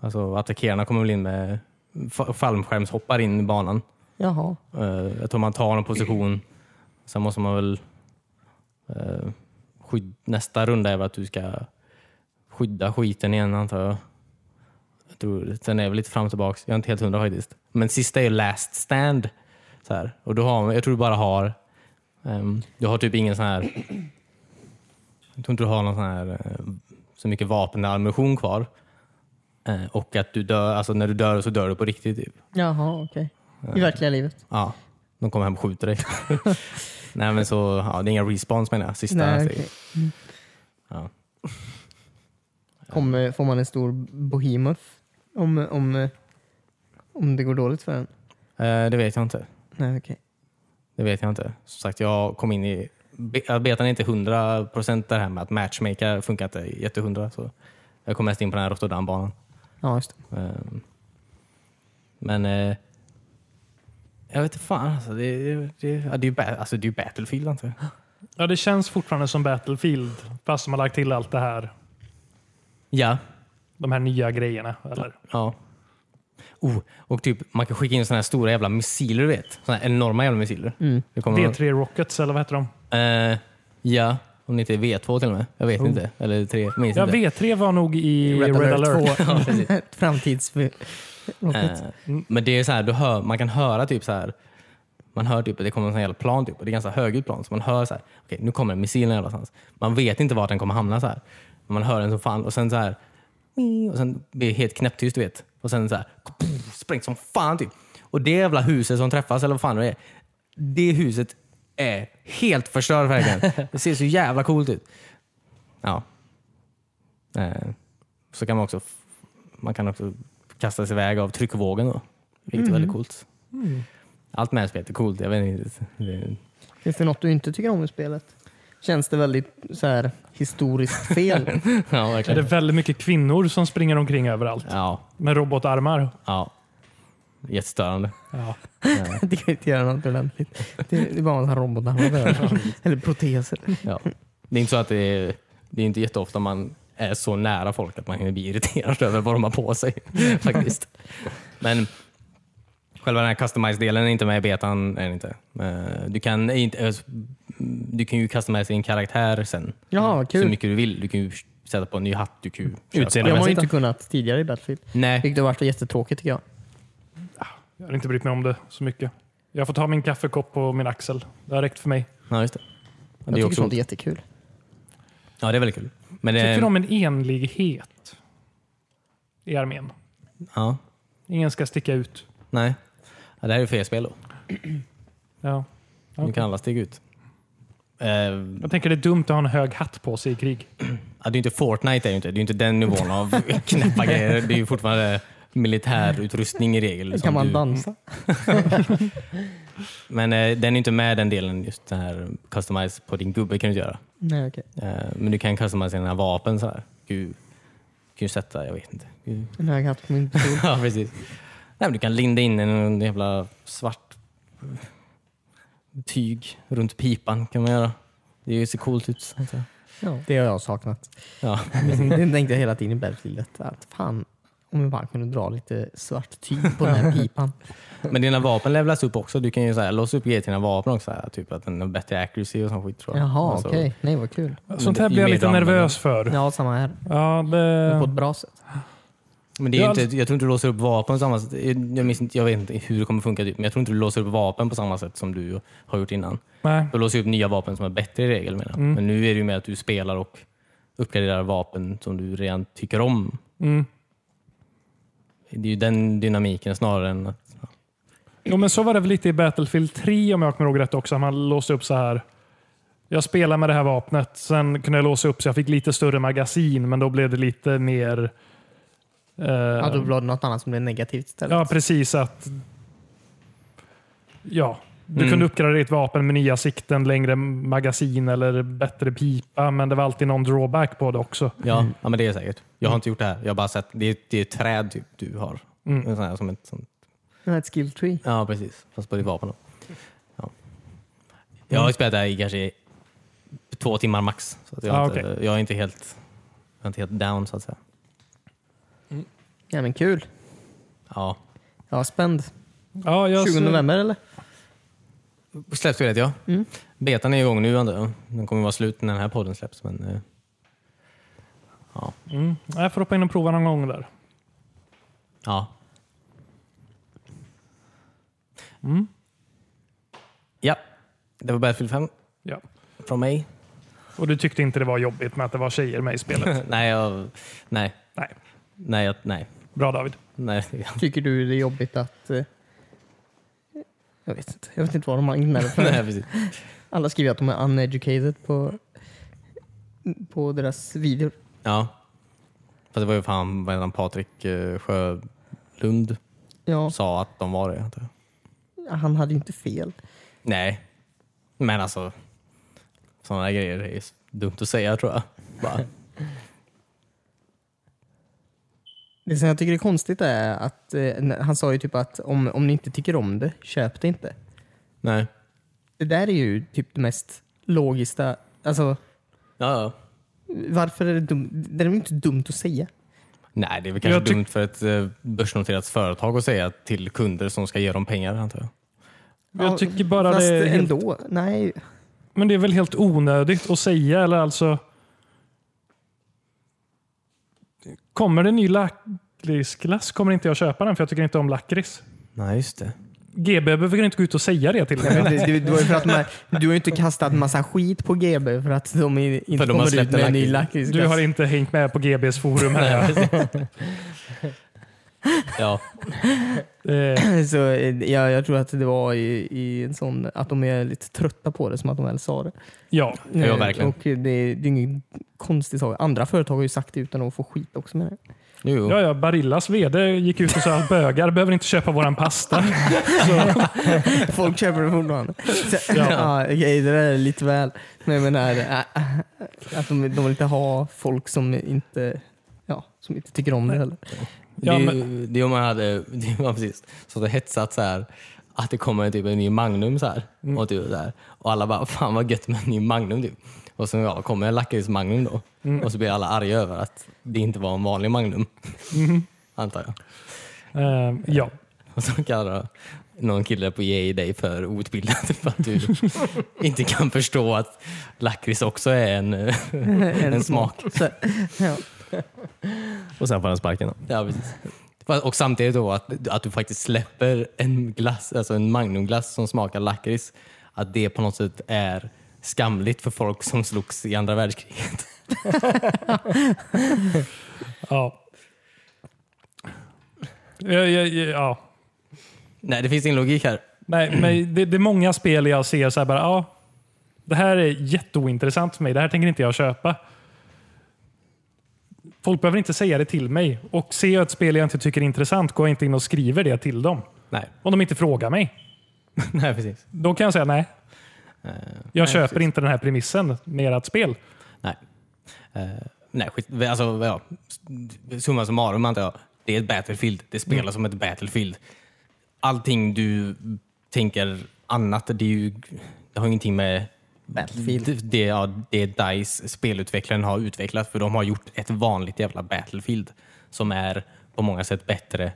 S7: alltså, attackerarna kommer väl in med fa- fallskärmshoppar in i banan.
S5: Jaha.
S7: Eh, jag tror man tar en position. Sen måste man väl... eh, skyd- nästa runda är väl att du ska skydda skiten igen antar jag. jag tror, sen är det väl lite fram och tillbaks. Jag är inte helt hundra faktiskt. Men sista är last stand. Så här. Och då har, jag tror du bara har... ehm, du har typ ingen sån här... Jag tror inte du har någon sån här, eh, så mycket vapen eller ammunition kvar. Eh, och att du dör, alltså när du dör så dör du på riktigt. Typ.
S5: Jaha, okej. I verkliga livet.
S7: Ja, de kommer hem och skjuter dig. Nej men så, ja, det är inga respawns menar jag. Sista
S5: Nej,
S7: steget.
S5: okej.
S7: Eh,
S5: Mm.
S7: Ja.
S5: Kommer, får man en stor behemoth om, om, om det går dåligt för en?
S7: Eh, Det vet jag inte.
S5: Nej, okej.
S7: Det vet jag inte. Som sagt, jag kom in i... be- Betan är inte 100% där här med att matchmaker funkar inte jättehundra. Så jag kom mest in på den här Rotterdambanan.
S5: Ja, just det.
S7: Ehm, Men eh, jag vet inte fan alltså. Det, det, det, ja, det är ju ba- alltså, det är ju Battlefield antar jag.
S2: Ja, det känns fortfarande som Battlefield, fast de har lagt till allt det här.
S7: Ja,
S2: De här nya grejerna. Eller?
S7: Ja. Oh, och typ, man kan skicka in såna här stora jävla missiler, du vet. Såna här enorma jävla missiler. Det kommer
S2: V3 Rockets, eller vad heter de?
S7: Eh, ja, om det inte är V2 till och med. Jag vet inte. Eller 3, jag minns
S2: Ja,
S7: inte.
S2: V3 var nog i Red, Alert.
S7: Ja, precis.
S5: Ett framtidsrocket.
S7: Eh, Men det är så här, du hör, man kan höra typ så här. Man hör typ att det kommer en sån jävla plan typ, och det är ganska högljutt plan. Så man hör så här, okej nu kommer en missil någonstans. Man vet inte vart den kommer hamna så här. Men man hör den som fan och sen så här. Och sen blir det helt knäpptyst du vet. Och sen så här, pff, sprängs som fan typ. Och det jävla huset som träffas eller vad fan det är. Det huset är helt förstört verkligen. Det ser så jävla coolt ut. Ja. Eh, Så kan man också man kan också kastas iväg av tryckvågen då. Vilket är
S2: Mm.
S7: väldigt coolt. Allt med spelet är coolt. Jag vet inte. Det-
S5: Finns det något du inte tycker om med spelet? Känns det väldigt så här, historiskt fel?
S7: Ja,
S2: Är det
S7: verkligen.
S2: väldigt mycket kvinnor som springer omkring överallt
S7: Ja,
S2: med robotarmar?
S7: ja. Jättestörande.
S2: Ja.
S5: det kan inte göra något ordentligt. Det det är bara en sån här robotarmar. Eller proteser.
S7: Ja. Det är inte så att det är, det är inte jätteofta man är så nära folk att man hinner bli irriterad över vad de har på sig. faktiskt. Men själva den här customize-delen är inte med i betan. Är det inte. Eh, Du kan inte, eh, du kan ju kasta med sig en karaktär sen.
S5: Jaha,
S7: Mm. Så
S5: kul.
S7: mycket du vill. Du kan ju sätta på en ny hatt. Du kan ju köpa-
S3: Utseende.
S5: De har ju
S3: mässigt
S5: inte kunnat tidigare i Battlefield.
S7: Nej,
S5: Vilket har varit jättetråkigt tycker jag.
S2: Jag har inte brytt mig om det så mycket. Jag får ta min kaffekopp på min axel. Det har räckt för mig.
S7: ja, just det. Ja,
S5: Jag
S7: Det är
S5: tycker
S7: också,
S5: sånt är jättekul.
S7: ja, det är väldigt kul. Men,
S2: Jag tycker
S7: eh,
S2: om en enlighet i armén.
S7: ja,
S2: Ingen ska sticka ut.
S7: nej. Ja, det här är ju fel spel då.
S2: Ja.
S7: Nu kan alla stiga ut. Eh,
S2: Jag tänker det är dumt att ha en hög hatt på sig i krig.
S7: ja, det är ju inte Fortnite, är det, inte. det är ju inte den nivån av knäppa grejer. Det är ju fortfarande militärutrustning i regel. liksom. som
S5: Kan man
S7: du-
S5: dansa?
S7: Men eh, den är inte med den delen, just den här customize på din gubbe kan du inte göra.
S5: Nej, okej.
S7: Eh, men du kan customize dina vapen så här. Du du kan ju sätta, jag vet inte. Du-
S5: En hög hatt på min pistol.
S7: ja, precis. Nej, men du kan linda in en jävla svart tyg runt pipan kan man göra. Det ser coolt ut. antar jag.
S5: Ja. Det har jag saknat.
S7: Ja.
S5: Det tänkte jag hela tiden i Battlefield. detta, Att fan, om vi bara kunde dra lite svart tyg på den här pipan.
S7: Men dina vapen levlas upp också. Du kan ju så här, låsa upp grejer till dina vapen också. Så här, typ att den har bättre accuracy och sån skit tror jag.
S5: Jaha,
S7: Alltså,
S5: okej. Nej, vad kul.
S2: Sånt här
S7: det-
S2: blir jag
S7: ju mer
S2: lite
S7: du använder
S2: nervös för.
S5: Ja, samma här.
S2: Ja, det...
S5: Men På ett bra sätt.
S7: Men det är ju
S2: Ja,
S7: inte, jag tror inte du låser upp vapen på samma sätt. Jag, minns inte, jag vet inte hur det kommer funka, typ, men jag tror inte du låser upp vapen på samma sätt som du har gjort innan.
S2: Nej. Mm.
S7: Du låser upp nya vapen som är bättre i regel menar jag. Men nu är det ju mer att du spelar och uppgraderar vapen som du redan tycker om.
S2: Mm.
S7: Det är ju den dynamiken snarare än att...
S2: Jo, men så var det väl lite i Battlefield 3 om jag kommer ihåg rätt också. Man låste upp så här. Jag spelar med det här vapnet. Sen kunde jag låsa upp så jag fick lite större magasin, men då blev det lite mer... eh,
S5: Ja, då var det något annat som blev negativt istället.
S2: Ja, precis. att Ja, du
S5: Mm.
S2: kunde uppgradera ditt vapen med nya sikten, längre magasin eller bättre pipa, men det var alltid någon drawback på det också.
S7: Ja, ja men det är säkert. Jag har inte gjort det här. Jag har bara sett, det är, det är ett träd typ, du har.
S2: Mm.
S7: En sån här, som ett, sånt.
S5: Ja, ett skill tree.
S7: Ja, precis. Fast på ditt vapen då. Ja. Jag har ju spelat det här i kanske två timmar max. Så att jag,
S2: Ah,
S7: är inte, jag är inte helt, jag är inte helt down så att säga.
S5: Ja, men kul.
S7: Ja.
S5: Jag var spänd.
S2: Ja, jag
S5: 20 november eller?
S7: Släpps ju rätt ja. Betan är igång nu antar jag. Den kommer vara slut när den här podden släpps. Men, eh,
S2: Mm. Jag får hoppa in och prova någon gång där.
S7: ja. Ja, det var Battlefield 5
S2: Ja.
S7: från mig.
S2: Och du tyckte inte det var jobbigt med att det var tjejer med i spelet?
S7: nej, jag, nej,
S2: Nej.
S7: nej, jag, nej,
S2: Bra David.
S7: nej.
S5: Tycker du det är jobbigt att... eh, Jag vet inte. Jag vet inte vad de har gnäller för.
S7: nej precis.
S5: Alla skriver att de är uneducated på, på deras videor.
S7: Ja. Fast det var ju fan vad heter han, Patrik eh, Sjölund
S5: Ja,
S7: sa att de var det. antar jag.
S5: han hade ju inte fel.
S7: Nej, men alltså sådana där grejer är dumt att säga tror jag. Bara.
S5: Det som jag tycker är konstigt är att eh, när- han sa ju typ att om, om ni inte tycker om det, köp det inte.
S7: nej.
S5: Det där är ju typ det mest logiska. Alltså,
S7: Ja, ja.
S5: varför är det dumt? Det är ju inte dumt att säga.
S7: Nej, det är väl kanske
S2: Jag tyck-
S7: dumt för ett eh, börsnoterat företag att säga till kunder som ska ge dem pengar, antar jag.
S2: Jag tycker bara
S5: Fast
S2: det är helt,
S5: ändå. Nej,
S2: Men det är väl helt onödigt att säga, eller alltså... Kommer det ny lakritsglass kommer inte jag köpa den, för jag tycker inte om lakrits.
S7: Nej, just det.
S2: GB behöver inte gå ut och säga det till mig.
S5: men det, det, det var ju för att de här, du har ju inte kastat massa skit på GB för att de i- inte
S7: För de har
S5: kommer
S7: släppt
S5: ut med
S7: en
S5: en ny
S7: lakrits.
S5: lakrits.
S2: Du har inte hängt med på GBs forum här.
S7: Ja,
S2: Eh,
S5: Så eh, jag, jag tror att det var i, i en sån, att de är lite trötta på det som att de väl sa det.
S2: ja,
S7: ja
S5: Eh,
S7: verkligen.
S5: Och det, är- det är ingen konstig sak. Andra företag har ju sagt det utan att få skit också med det.
S7: Jo, jo.
S2: ja, ja. Barillas VD gick ut och sa att bögar behöver inte köpa våran pasta. Så,
S5: Folk köper det fortfarande. Så, ja. okej, det där är lite väl. Men jag menar, äh, äh, att de, de vill inte ha folk som inte, ja, som inte tycker om det heller.
S2: Ja,
S7: det, är ju- det är om man hade det var precis, så det hetsat så här att det kommer typ en ny Magnum så här,
S2: Mm.
S7: och, typ, så här, och alla bara “Fan vad gött med en ny Magnum” typ. Och så ja, kommer en lakrits Magnum då
S2: Mm.
S7: och så blir alla arga över
S2: Mm.
S7: att det inte var en vanlig Magnum. Antar jag.
S2: eh, ja.
S7: Och så kallar någon kille på Yay dig för outbildad för att du inte kan förstå att lakrits också är en, eh, en smak.
S5: Så, ja.
S3: Och sen får han sparken. då.
S7: Ja, precis. Fast- Och samtidigt då att, att du faktiskt släpper en glass, alltså en magnumglass som smakar lakrits, att det på något sätt är skamligt för folk som slogs i andra världskriget.
S2: Ja. Ja, ja, ja.
S7: Nej, det finns ingen logik här.
S2: Nej, men det, det är många spel jag ser så här bara, ja, det här är jätteointressant för mig. Det här tänker inte jag köpa. Folk behöver inte säga det till mig. Och ser jag ett spel jag inte tycker är intressant går jag inte in och skriver det till dem.
S7: Nej,
S2: Om de inte frågar mig.
S7: Nej precis.
S2: Då kan jag säga nej.
S7: Eh,
S2: Jag köper inte den här premissen med ert spel.
S7: Nej. Eh, nej, skit. Alltså, ja. Summa summarum antar jag. Det är ett Battlefield. Det spelas som ett Battlefield. Allting du tänker annat, det, är ju, det har ingenting med
S5: Battlefield.
S7: Mm. Det, det, ja, det DICE, spelutvecklaren, har utvecklat. För de har gjort ett vanligt jävla Battlefield som är på många sätt bättre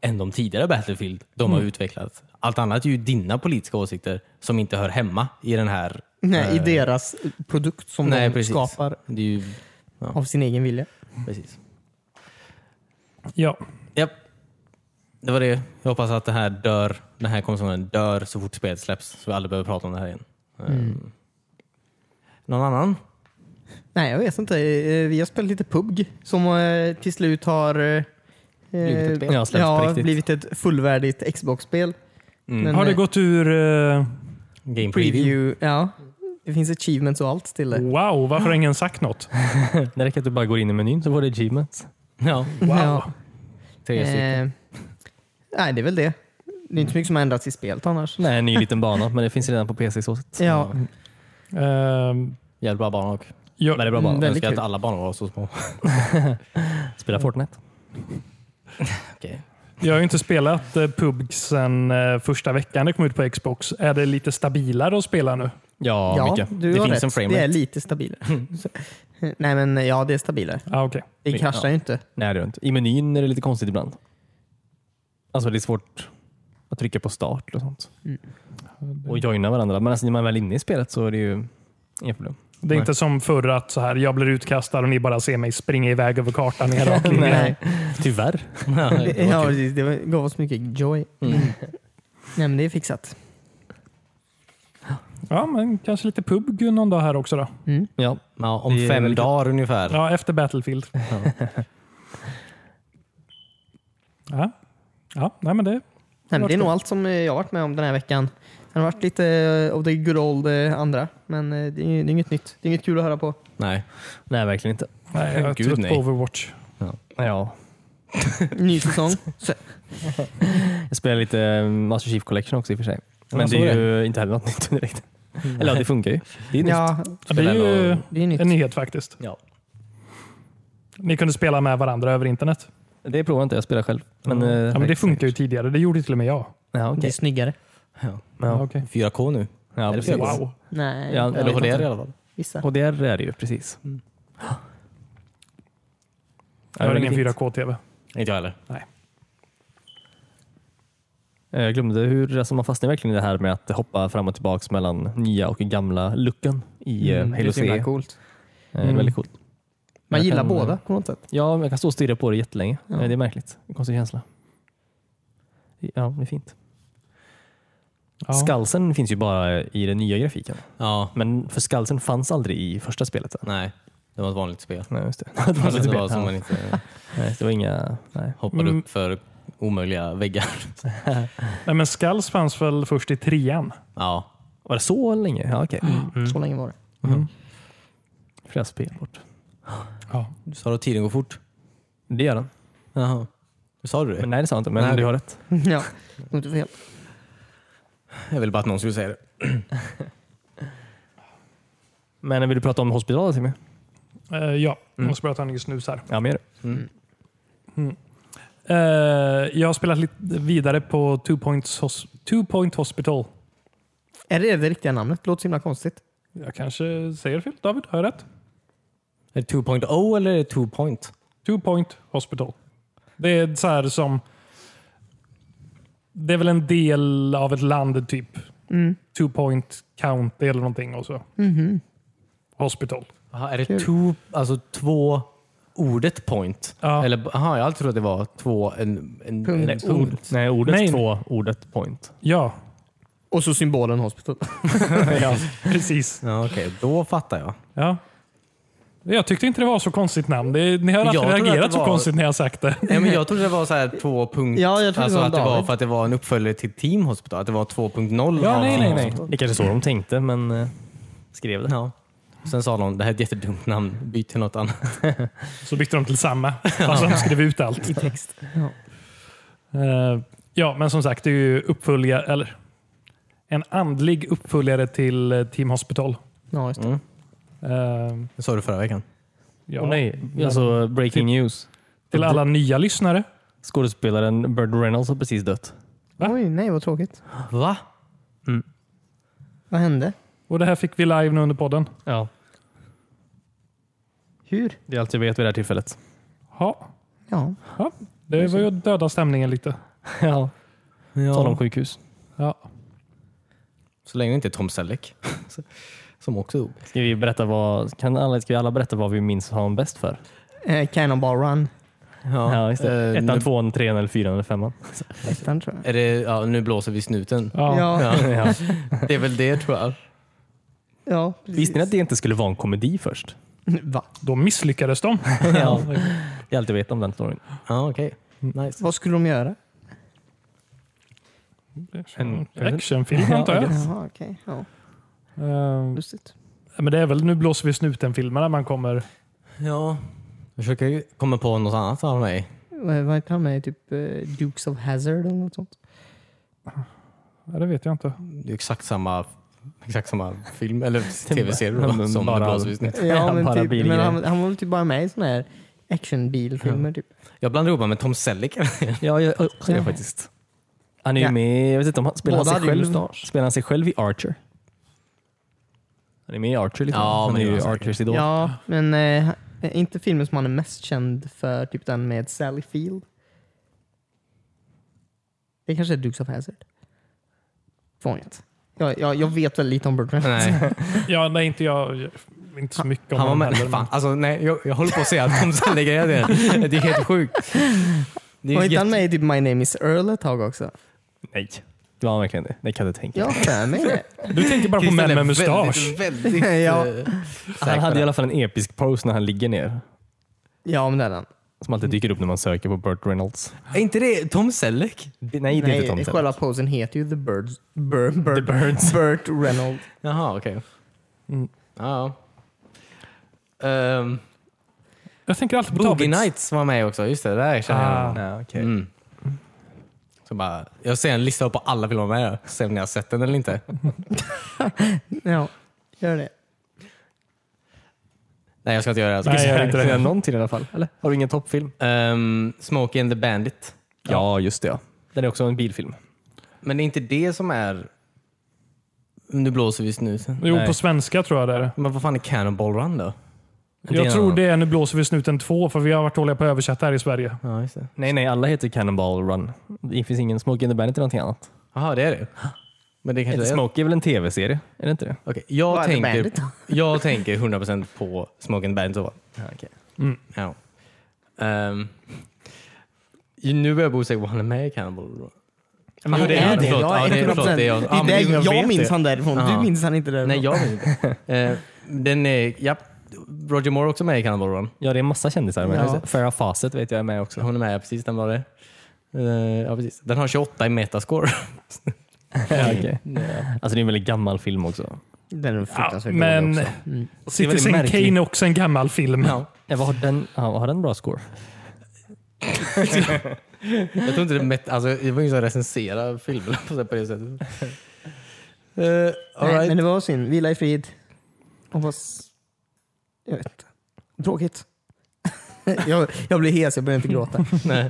S7: än de tidigare Battlefield de har
S5: Mm.
S7: utvecklat. Allt annat är ju dina politiska åsikter som inte hör hemma i den här...
S5: Nej, I
S7: eh,
S5: deras produkt som
S7: nej,
S5: de
S7: precis.
S5: skapar
S7: Det är ju,
S5: av sin egen vilja.
S7: precis.
S2: Ja,
S7: Japp. Det var det. Jag hoppas att det här dör, den här konsolen dör så fort spelet släpps så vi aldrig behöver prata om det här igen. Ehm. Någon annan?
S5: Mm. Nej, jag vet inte. Eh, Vi har spelat lite PUBG som eh, till slut har eh,
S7: Blivit ett spel.
S5: Ja,
S7: Ja, släppts på riktigt. Mm.
S5: blivit ett fullvärdigt Xbox-spel. Men,
S2: har det
S5: eh,
S2: gått ur... eh,
S7: Game preview?
S5: preview? Ja, det finns achievements och allt till det.
S2: wow, varför har ingen sagt något?
S3: Det räcker att du bara går in i menyn så får du achievements.
S7: Ja,
S5: Ja.
S7: tre stycken.
S5: Eh, nej, det är väl det. Det är inte så mycket som har ändrats i spelet annars.
S3: Nej, en ny liten bana, men det finns redan på PC-såset.
S5: Ja,
S2: Ehm,
S7: Jävligt bra banor dock.
S2: jag,
S3: Men det är bra
S5: Mm,
S3: bana.
S7: Jag
S5: väldigt
S7: önskar att
S5: kul.
S7: alla banor var så små.
S3: Spela Fortnite.
S7: Okej.
S2: Jag har ju inte spelat eh, PUBG sedan eh, första veckan det kom ut på Xbox. Är det lite stabilare att spela nu?
S3: Ja,
S5: ja
S3: mycket.
S5: du
S7: Det
S5: har
S7: finns
S5: rätt.
S7: en frame
S5: det
S7: rate.
S5: är lite stabilare. Så- eh, nej, men ja, det är stabilare.
S2: Ah, okay.
S5: Det
S3: Ja.
S5: kraschar ju inte.
S3: Nej, det är inte. I menyn är det lite konstigt ibland. Alltså det är svårt att trycka på start och sånt. Och joina varandra. Men alltså, när man väl är inne i spelet så är det ju inga problem.
S2: Det är inte som förr att så här, jag blir utkastad och ni bara ser mig springa iväg över kartan i en rak linje.
S5: Nej.
S3: Tyvärr.
S7: Ja, det
S5: Det,
S7: var
S5: ja,
S7: kul.
S5: precis. det var- gav oss mycket joy. Mm. Nej, men det är fixat.
S2: Ja, men kanske lite PUBG någon dag här också då.
S3: Ja.
S7: ja, om
S3: Det är
S7: fem
S3: väldigt-
S7: dagar ungefär.
S2: Ja, efter Battlefield. Ja, ja nej, men det.
S5: Nej, men det är
S2: Vart
S5: nog
S2: då?
S5: allt som eh, jag har varit med om den här veckan. Det har varit lite eh, of the good old eh, andra, men eh, det är, ju- det är inget nytt. Det är inget kul att höra på.
S7: Nej.
S3: Nej, verkligen inte.
S2: Nej, jag är
S7: Gud,
S2: trött
S7: nej.
S2: på Overwatch.
S3: Ja.
S5: Ny säsong. Så,
S3: Jag spelar lite eh, Master Chief Collection också i och för sig. Men
S7: jag
S3: det Mm.
S7: såg
S3: är ju inte heller något nytt direkt. Eller ja, det funkar ju. Det är nytt.
S5: ja,
S2: Ja, Det är ju
S5: det är nytt.
S2: en nyhet faktiskt.
S7: Ja.
S2: Ni kunde spela med varandra över internet.
S3: Det provar jag inte, jag spelar själv. Men, eh,
S2: Ja, men det funkar ju tidigare. Det gjorde till och med jag.
S5: Det
S3: Ja,
S5: är
S3: okej.
S5: snyggare.
S7: Ja.
S3: Ja.
S7: 4K nu.
S3: Ja,
S7: Är det
S3: precis.
S7: fel?
S2: Wow.
S5: Nej,
S3: Ja,
S5: jag
S7: Eller
S5: vet
S7: HDR
S5: inte.
S7: i alla fall.
S5: Vissa.
S3: Och där är det ju, precis.
S2: Jag har
S3: det är
S2: ingen
S3: fint.
S2: 4K-tv.
S7: Inte jag heller.
S3: Eh, Jag glömde hur alltså man fastnar verkligen i det här med att hoppa fram och tillbaka mellan nya och gamla looken i mm,
S5: det är
S3: Halo
S5: så
S3: C.
S5: himla coolt.
S3: Eh,
S2: Mm.
S3: Väldigt coolt.
S5: Man
S3: Jag
S5: gillar
S3: kan-
S5: båda på något sätt.
S3: Ja, men jag kan stå och stirra på det jättelänge.
S5: Ja.
S3: Eh, Det är märkligt. En konstig känsla. Ja, det är fint.
S2: Ja.
S3: Skalsen finns ju bara i den nya grafiken.
S7: Ja,
S3: Men för skalsen fanns aldrig i första spelet. Än.
S7: nej. Det var ett vanligt spel.
S3: Nej, just det. det, var
S7: Det var
S3: spel.
S7: som man
S3: Ja.
S7: inte
S3: Nej, det var inga... Nej.
S7: hoppade
S2: Mm.
S7: upp för omöjliga väggar.
S2: Nej, men Skulls fanns väl först i trean?
S7: Ja,
S3: Var det så länge? Ja, okej.
S5: Så länge var det.
S3: Flera spel bort.
S2: Ja.
S7: du sa att tiden går fort.
S3: Det gör den.
S7: Jaha. Sa du det?
S3: Men nej, det sa jag inte. Men
S7: Nej.
S3: du har rätt.
S5: ja, det är inte fel.
S7: Jag ville bara att någon skulle säga det.
S3: Men vill du prata om hospitalet Timmy?
S2: Eh, ja,
S3: Mm.
S2: jag måste börja ta en ny snus här.
S3: Ja, mer.
S2: Eh, jag har spelat lite vidare på Two, Points Hos- Two Point Hospital.
S5: Är det det riktiga namnet? Låter så himla konstigt.
S2: Jag kanske säger fel, David? Har jag rätt?
S7: Är det 2.0 eller är det 2 point?
S2: Two Point Hospital. Det är så här som... det är väl en del av ett land, typ
S5: Mm.
S2: Two Point County eller någonting. Och så.
S5: Mhm.
S2: Hospital.
S7: Aha, är det
S5: Kul.
S7: two, alltså två ordet point?
S2: Ja.
S7: Eller, aha, jag alltid trodde att det var två, en, en,
S5: Punkt.
S7: en punkt.
S3: Nej, ordet
S2: Nej.
S3: två, ordet point.
S2: Ja,
S5: Och så symbolen hospital.
S2: precis.
S7: Ja, Okej, då fattar jag.
S2: Ja. Jag tyckte inte det var så konstigt namn. Det, ni har
S7: Jag
S2: alltid
S7: trodde att det
S2: reagerat så
S7: var-
S2: konstigt när jag har sagt det.
S7: Nej, men jag trodde det var så här två punkt,
S5: Ja, jag trodde
S7: alltså
S5: det var
S7: att det var
S5: David.
S7: för att det var en uppföljare till Team Hospital, att det var 2.0
S2: Ja,
S7: av
S2: nej,
S7: Team
S2: nej, nej.
S7: Hospital.
S3: Det är kanske så de tänkte, men eh, skrev det.
S7: Ja. Sen sa någon, det här är ett jättedumt namn, byt till något annat.
S2: Så bytte de till samma. Alltså de skrev ut allt. I text. Ja. ja, men som sagt, det är ju uppföljare, eller en andlig uppföljare till eh, Team Hospital.
S5: Ja, just det.
S2: Eh,
S7: Det sa du förra veckan.
S2: ja.
S3: Åh nej, alltså breaking news.
S2: Till alla nya lyssnare.
S3: Skådespelaren Bird Reynolds har precis dött.
S2: Va?
S5: Oj, nej vad tråkigt.
S7: Va?
S5: Vad hände?
S2: Och Det här fick vi live nu under podden.
S3: Ja,
S5: Hur?
S3: det är allt jag vet vid det här tillfället.
S2: Ja,
S5: Ja.
S2: ja. Det var ju att döda stämningen lite.
S3: Ja. Tala om
S7: Ja.
S3: sjukhus.
S2: Ja.
S7: Så länge det inte är Tom Selleck, så- som också dog.
S3: Ska vi, berätta vad, kan alla, ska vi alla berätta vad vi minns honom bäst för?
S5: Eh, Cannonball Run.
S7: Ja,
S3: Ja, just det.
S7: eh,
S3: Ettan,
S7: nu,
S3: tvåan, trean eller fyran eller femman.
S5: Ettan tror jag.
S7: är det, ja, nu blåser vi snuten.
S2: Ja.
S5: Ja, ja.
S3: Ja.
S7: Det är väl det tror jag.
S5: precis.
S3: Visste ni att det inte skulle vara en komedi först?
S5: Va?
S2: Då misslyckades de.
S3: Ja. Jag alltid vet om den storyn.
S7: Ja, okej. Nice.
S5: Vad skulle de göra?
S3: En-
S2: Actionfilm
S3: Ja,
S2: antar jag.
S5: Jaha, okej. Ja,
S2: Eh,
S5: lustigt.
S2: men det är väl Nu blåser vi snuten-filmerna man kommer...
S7: Ja. Jag försöker komma på något annat av mig.
S5: Vad vad hette han med? Typ eh, Dukes of Hazard eller något sånt?
S2: Ja, det vet jag inte.
S7: Det är exakt samma, exakt samma film eller tv-serie då,
S3: Men
S7: som
S3: bara-
S7: bara... blåser vi snuten.
S5: Ja, men,
S3: Bara
S5: typ,
S3: bilgrejer.
S5: men han, han var väl typ bara med i såna här actionbilfilmer typ.
S7: Jag blandar ihop honom med Tom Selleck.
S3: Ja, jag också
S5: Ja.
S3: det faktiskt. Han är ju
S5: Ja.
S3: med, jag vet inte om han spelar han
S5: Båda
S3: sig
S5: hade ju
S3: själv.
S5: mustasch.
S3: Spelar han sig själv i Archer? Han är med i Archer lite.
S7: Ja,
S3: han
S7: men
S3: är
S7: det
S3: ju
S7: var han
S3: Archers idol.
S5: Ja, men eh, inte filmen som han är mest känd för, typ den med Sally Field. Det kanske är Dukes of Hazard. Fånigt. Jag, jag, jag vet väl lite om Bertrand.
S7: Nej,
S2: Ja, nej, inte jag. Inte så mycket om
S7: han var
S2: honom
S7: med.
S2: heller,
S7: Fan, alltså, nej, jag, jag håller på att säga att Tom Selleck är det. Det är helt sjukt. Det
S5: Var
S7: är
S5: inte han
S7: jätte...
S5: med i typ My Name Is Earl ett tag också?
S3: Nej, det var han verkligen det. Det kan jag inte tänka.
S5: Jag har för mig det.
S2: men- Du tänker bara på män med mustasch.
S7: Väldigt, väldigt,
S5: Ja.
S7: eh,
S3: han hade
S7: säker på
S3: i
S7: det.
S3: alla fall en episk pose när han ligger ner.
S5: Ja, men det är han.
S3: Som alltid dyker upp när man söker på Burt Reynolds.
S7: Är inte det Tom Selleck?
S3: Det- Nej, det är inte Tom Selleck.
S5: själva posen heter ju The Birds. Bur, Bur, The Birds. Burt Reynolds.
S7: Jaha, okej.
S2: Mm.
S7: Ja. Ehm,
S2: Jag tänker alltid på
S7: Boogie
S2: Davids.
S7: Nights var med också. Just det, där känner jag.
S2: Ah.
S3: Ja, okej.
S7: Mm. Så bara, jag ser en lista på alla filmer med det. Se om ni har sett den eller inte.
S5: Ja, gör det.
S7: Nej, jag ska inte göra det. alltså.
S2: Nej,
S7: Nej,
S2: jag gör
S3: Är
S2: inte
S3: inte
S2: det.
S3: det någonting i alla fall? Eller? Har du ingen toppfilm?
S7: Ehm, Smokey and the Bandit.
S3: Ja, just det. Ja. Den är också en bilfilm.
S7: Men det är inte det som är... Nu blåser vi snusen.
S2: Jo,
S3: Nej.
S2: på svenska tror jag det är. det.
S7: Men vad fan är Cannonball Run då?
S2: Jag
S7: är
S2: tror
S7: någon-
S2: det är Nu blåser vi snuten 2, för vi har varit dåliga på att översätta här i Sverige.
S7: Ja, just det.
S3: Nej, nej, alla heter Cannonball Run. Det finns ingen Smokey and the Bandit eller någonting annat.
S7: Jaha, det är det. Men det kanske det är.
S3: Smokey är väl en tv-serie? Är det inte det?
S7: Okej, jag,
S5: Vad är det
S7: tänker,
S5: Bandit då?
S7: jag tänker 100% på Smoking Bandit. så.
S2: Mm.
S7: Ja. Ehm, nu är jag osäker på vad han är med i Cannibal. Run.
S5: Han
S7: Jo, det är han. Förlåt. Ja,
S5: Jag
S7: det är-
S5: är 100%.
S7: förlåt, det
S5: Det
S7: är
S5: är
S7: jag. Ja, men
S5: där
S7: jag
S5: jag
S7: vet
S5: minns
S7: det.
S5: han därifrån.
S7: Ja.
S5: Du minns han inte därifrån.
S7: Nej, jag vet inte. Eh, den är, ja, Roger Moore är också med i Cannibal Run.
S3: Ja, det är massa kändisar med.
S5: Ja.
S3: Farah Fawcett vet jag är med också.
S7: Hon är med, precis. Den var det. Eh, ja, precis. Den har 28 i metascore.
S3: Ja, okej. Alltså det är en väldigt gammal film också.
S5: Den är fruktansvärt
S2: Ja, men-
S5: dålig också. Mm.
S2: Citizen
S3: märklig.
S2: Kane är också en gammal film.
S7: Ja.
S3: Ja, vad har, den, ja, vad har den bra score?
S7: Jag tror inte det met- alltså, jag var ju så att recensera filmerna på det- på det sättet. Eh, all
S5: Nej,
S7: right.
S5: Men det var synd. Vila i frid. Hoppas... Jag vet inte. Tråkigt. jag, jag blir hes, jag börjar inte gråta.
S7: Nej.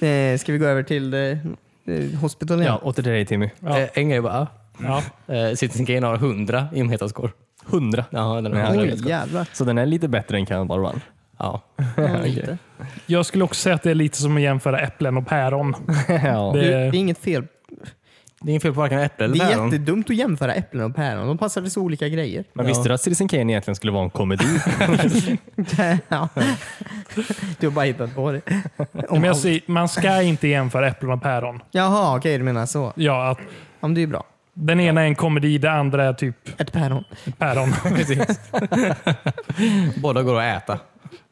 S5: eh, ska vi gå över till eh, eh, Hospital igen?
S3: Ja, åter till dig Timmy.
S2: Ja.
S7: Eh, en grej bara.
S2: Ja.
S7: Eh, Citizen Kane har 100 i metascore.
S3: 100.
S7: Ja, den
S3: Ja,
S7: har
S3: okej.
S7: 100.
S5: Oj, jävlar.
S3: Så den är lite bättre än Cannonball Run.
S7: Ja.
S5: Ja, lite.
S2: Jag skulle också säga att det är lite som att jämföra äpplen och päron.
S3: ja.
S5: Det, det
S2: Det,
S5: är inget fel.
S7: Det är inget fel på varken äpple eller
S5: Det är
S7: päron.
S5: jättedumt att jämföra äpplen och päron. De passar till så olika grejer.
S3: Men visste du att Citizen Kane egentligen skulle vara en komedi?
S5: ja. Du har bara hittat på det.
S2: men jag säger, man ska inte jämföra äpplen och päron.
S5: Jaha, okej du menar så.
S2: Ja, att
S5: Ja, men det är ju bra.
S2: den ena är en komedi, det andra är typ
S5: Ett päron.
S2: päron.
S7: Precis. Båda går att äta.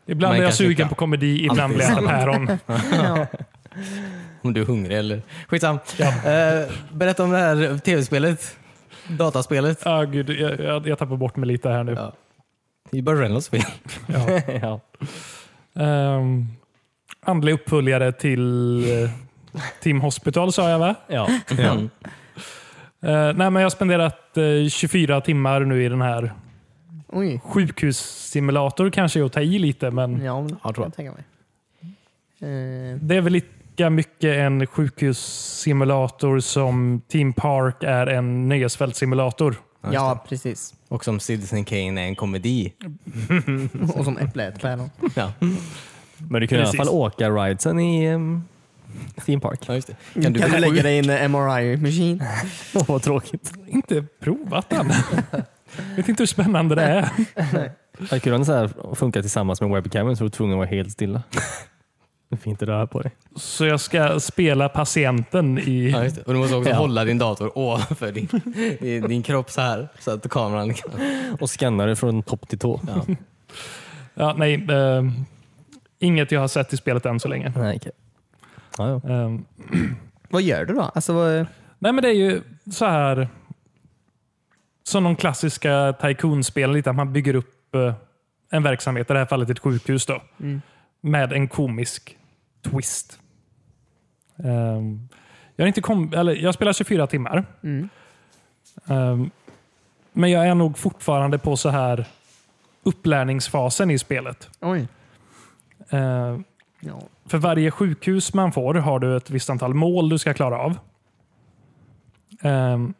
S2: Ibland
S7: Man
S2: är jag
S7: kan
S2: sugen
S7: tycka.
S2: på komedi, ibland
S7: Alltid
S2: blir jag päron.
S5: Ja.
S7: Om du är hungrig eller... Skitsam. Eh, berätta om det här tv-spelet. Dataspelet.
S2: Ah, gud, jag, jag, jag tappar bort mig lite här nu.
S7: Ja. Det är bara Reynolds spel.
S2: Ja.
S3: ja.
S2: Ehm, andlig uppföljare till eh, Tim Hospital sa jag va?
S3: Ja.
S2: Eh, nej, men jag har spenderat eh, 24 timmar nu i den här
S5: Oj.
S2: sjukhussimulator kanske är att ta i lite, men
S5: Mm. Ja, men,
S7: Ja,
S5: jag
S7: tror
S5: tror
S7: jag.
S5: jag. tänka mig. Eh,
S2: det är väl lika mycket en sjukhussimulator som Team Park är en nöjesfältssimulator.
S5: ja, precis.
S7: Och som Citizen Kane är en komedi.
S5: Och som äpple är ett päron.
S7: Ja,
S3: Men du kunde i alla
S2: Precis.
S3: fall åka ridesen i um, theme park.
S7: ja just det.
S5: Kan
S7: Kan du
S5: du,
S7: bli
S5: lägga
S7: sjuk?
S5: dig i en MRI-maskin?
S3: Åh, vad tråkigt.
S2: Inte provat den. vet inte hur spännande det är.
S3: Hade kulan så här funkat tillsammans med webcamen så var du tvungen att vara helt stilla. Du får inte röra på dig.
S2: Så jag ska spela patienten i...
S7: Ja, just det. Och du måste också
S3: Ja.
S7: hålla din dator ovanför din, din, din kropp så här så att kameran kan...
S3: Och skanna dig från topp till tå.
S7: Ja.
S2: Ja, nej, eh, inget jag har sett i spelet än så länge.
S3: Nej, okej. Ja, ja.
S2: Eh,
S5: Vad gör du då? Alltså, vad,
S2: Nej, men det är ju så här som de klassiska Tycoon-spelen, lite att man bygger upp eh, en verksamhet, i det här fallet ett sjukhus, då, med en komisk twist. Ehm, jag, har inte kom, eller, jag spelar 24 timmar.
S5: Mm.
S2: Ehm, men jag är nog fortfarande på så här upplärningsfasen i spelet.
S5: oj.
S2: Ehm,
S5: Ja.
S2: för varje sjukhus man får har du ett visst antal mål du ska klara av. Ehm,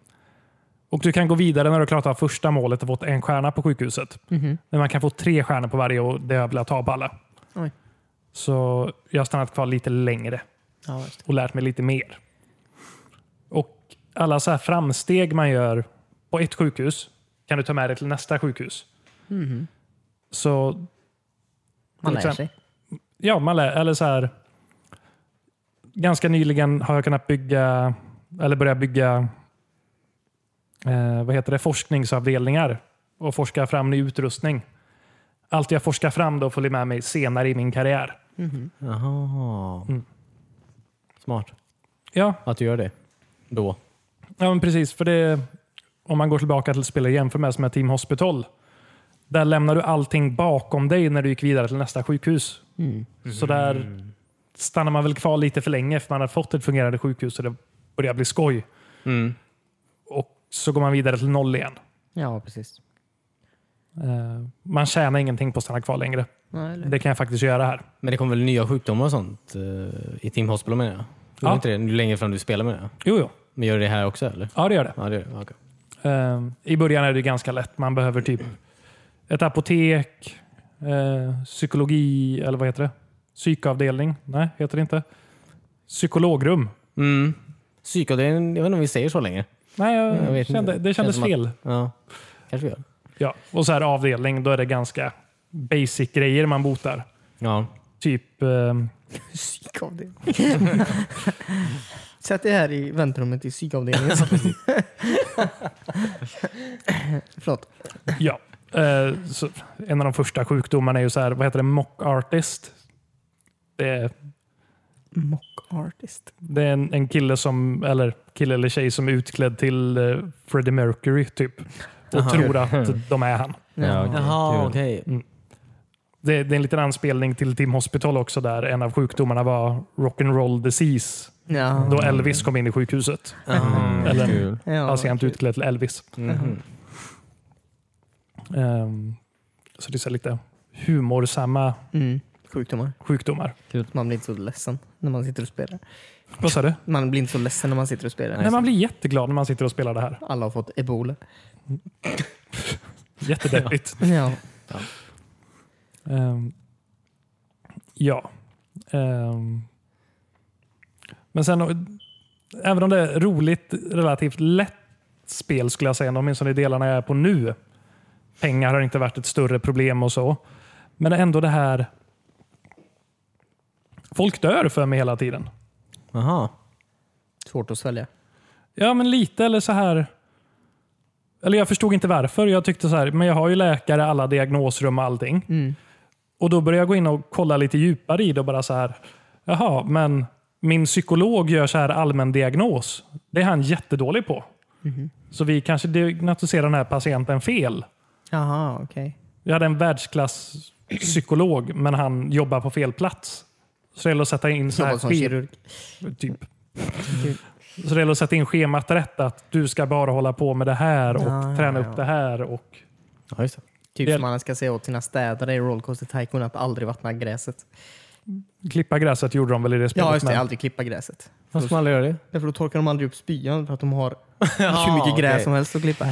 S2: och Du kan gå vidare när du har klarat av första målet och fått en stjärna på sjukhuset.
S5: Mhm.
S2: Men man kan få tre stjärnor på varje och det har jag velat ha på alla.
S5: Oj.
S2: Så jag har stannat kvar lite längre
S5: Ja, just
S2: och lärt mig lite mer. Och Alla så här framsteg man gör på ett sjukhus kan du ta med dig till nästa sjukhus. Så
S5: det. Man lär
S2: Liksom.
S5: sig.
S2: ja, man lär, eller så här, ganska nyligen har jag kunnat bygga, eller börja bygga, eh, vad heter det, forskningsavdelningar och forska fram ny utrustning. Allt jag forskar fram då följer med mig senare i min karriär. Mm.
S7: Jaha. Smart
S2: Ja,
S7: att du gör det. Då.
S2: ja men precis. För det, om man går tillbaka till spelet och jämför med som är Team Hospital. Där lämnar du allting bakom dig när du gick vidare till nästa sjukhus. Så där stannar man väl kvar lite för länge för man har fått ett fungerande sjukhus och det börjar bli skoj. Mm. Och så går man vidare till noll igen.
S5: Ja, precis.
S2: Eh, Man tjänar ingenting på att stanna kvar längre.
S5: Ja, eller?
S2: Det kan jag faktiskt göra här.
S7: Men det kommer väl nya sjukdomar och sånt eh, i Team Hospital menar jag? Gjorde
S2: Ja.
S7: inte det? Ju längre fram du spelar menar jag.
S2: Jo, jo.
S7: Men gör det här också eller?
S2: Ja, det gör det.
S7: Ja, det gör det. Okej.
S2: Eh, I början är det ganska lätt. Man behöver typ ett apotek, eh, psykologi, eller vad heter det? Psykavdelning? Nej, heter det inte. Psykologrum?
S7: Mm. Psykoavdelningen, jag vet inte om vi säger så länge.
S2: Nej, jag,
S7: Jag vet
S2: kände,
S7: inte.
S2: det kändes
S7: Känns som att-
S2: fel.
S7: Ja, kanske vi gör.
S2: Ja. Och så här avdelning, då är det ganska basic grejer man botar.
S7: Ja.
S2: Typ eh,
S5: Psykavdelningen. Sätt dig här i väntrummet i psykavdelningen. Förlåt.
S2: Ja. Eh, så en av de första sjukdomarna är ju så här, vad heter det, mock artist. Det är,
S5: Mock artist.
S2: det är en, en kille som, eller kille eller tjej som är utklädd till eh, Freddie Mercury typ. Och tror att de är han.
S3: Ja, Ah, okej.
S7: Jaha,
S3: Kul.
S7: okej.
S2: Det, det är en liten anspelning till Tim Hospital också där en av sjukdomarna var rock'n'roll disease.
S5: Ja.
S2: Då Elvis kom in i sjukhuset.
S7: Ah,
S2: Eller en
S3: Kul.
S5: Ja,
S2: patient utklädd till Elvis.
S7: mhm.
S2: Ehm, så det är så här lite humorsamma
S5: Mm. Sjukdomar.
S2: sjukdomar.
S5: Man blir inte så ledsen när man sitter och spelar.
S2: Vad sa du?
S5: Man blir inte så ledsen när man sitter och spelar.
S2: Nej, man blir jätteglad när man sitter och spelar det här.
S5: Alla har fått ebola.
S2: Jättedeppigt.
S5: Ja.
S2: Ehm, Ja. Ehm. Men sen, även om det är roligt, relativt lätt spel skulle jag säga, åtminstone i delarna jag är på nu. Pengar har inte varit ett större problem och så. Men ändå det här... Folk dör för mig hela tiden.
S7: Aha.
S5: Svårt att svälja.
S2: Ja, men lite eller så här. Eller jag förstod inte varför. Jag tyckte så här, men jag har ju läkare, alla diagnosrum och allting. Och då började jag gå in och kolla lite djupare i det och bara så här. Jaha, men min psykolog gör så här allmän diagnos. Det är han jättedålig på. Så vi kanske diagnostiserar den här patienten fel.
S5: Jaha, okej.
S2: Vi hade en världsklass psykolog, men han jobbar på fel plats. Så det gäller att sätta in så här
S5: Jobbat som
S2: ske-
S5: kirurg.
S2: Typ. Så det gäller att sätta in schemat rätt. Att du ska bara hålla på med det här och
S5: Ja,
S2: träna
S5: ja,
S2: upp det
S5: ja.
S2: här. Och,
S3: Ja, just det.
S5: Typ
S2: Det-
S5: som man ska säga åt sina städare i Rollcoaster Tycoon att aldrig vattna gräset.
S2: klippa gräset gjorde de väl i det spelet.
S5: Ja, just det.
S2: men-
S5: Aldrig klippa gräset.
S7: Fast man aldrig gör det?
S5: Därför då torkar de aldrig upp spyan för att de har hur
S7: Ja,
S5: mycket gräs
S7: okej.
S5: som helst att klippa.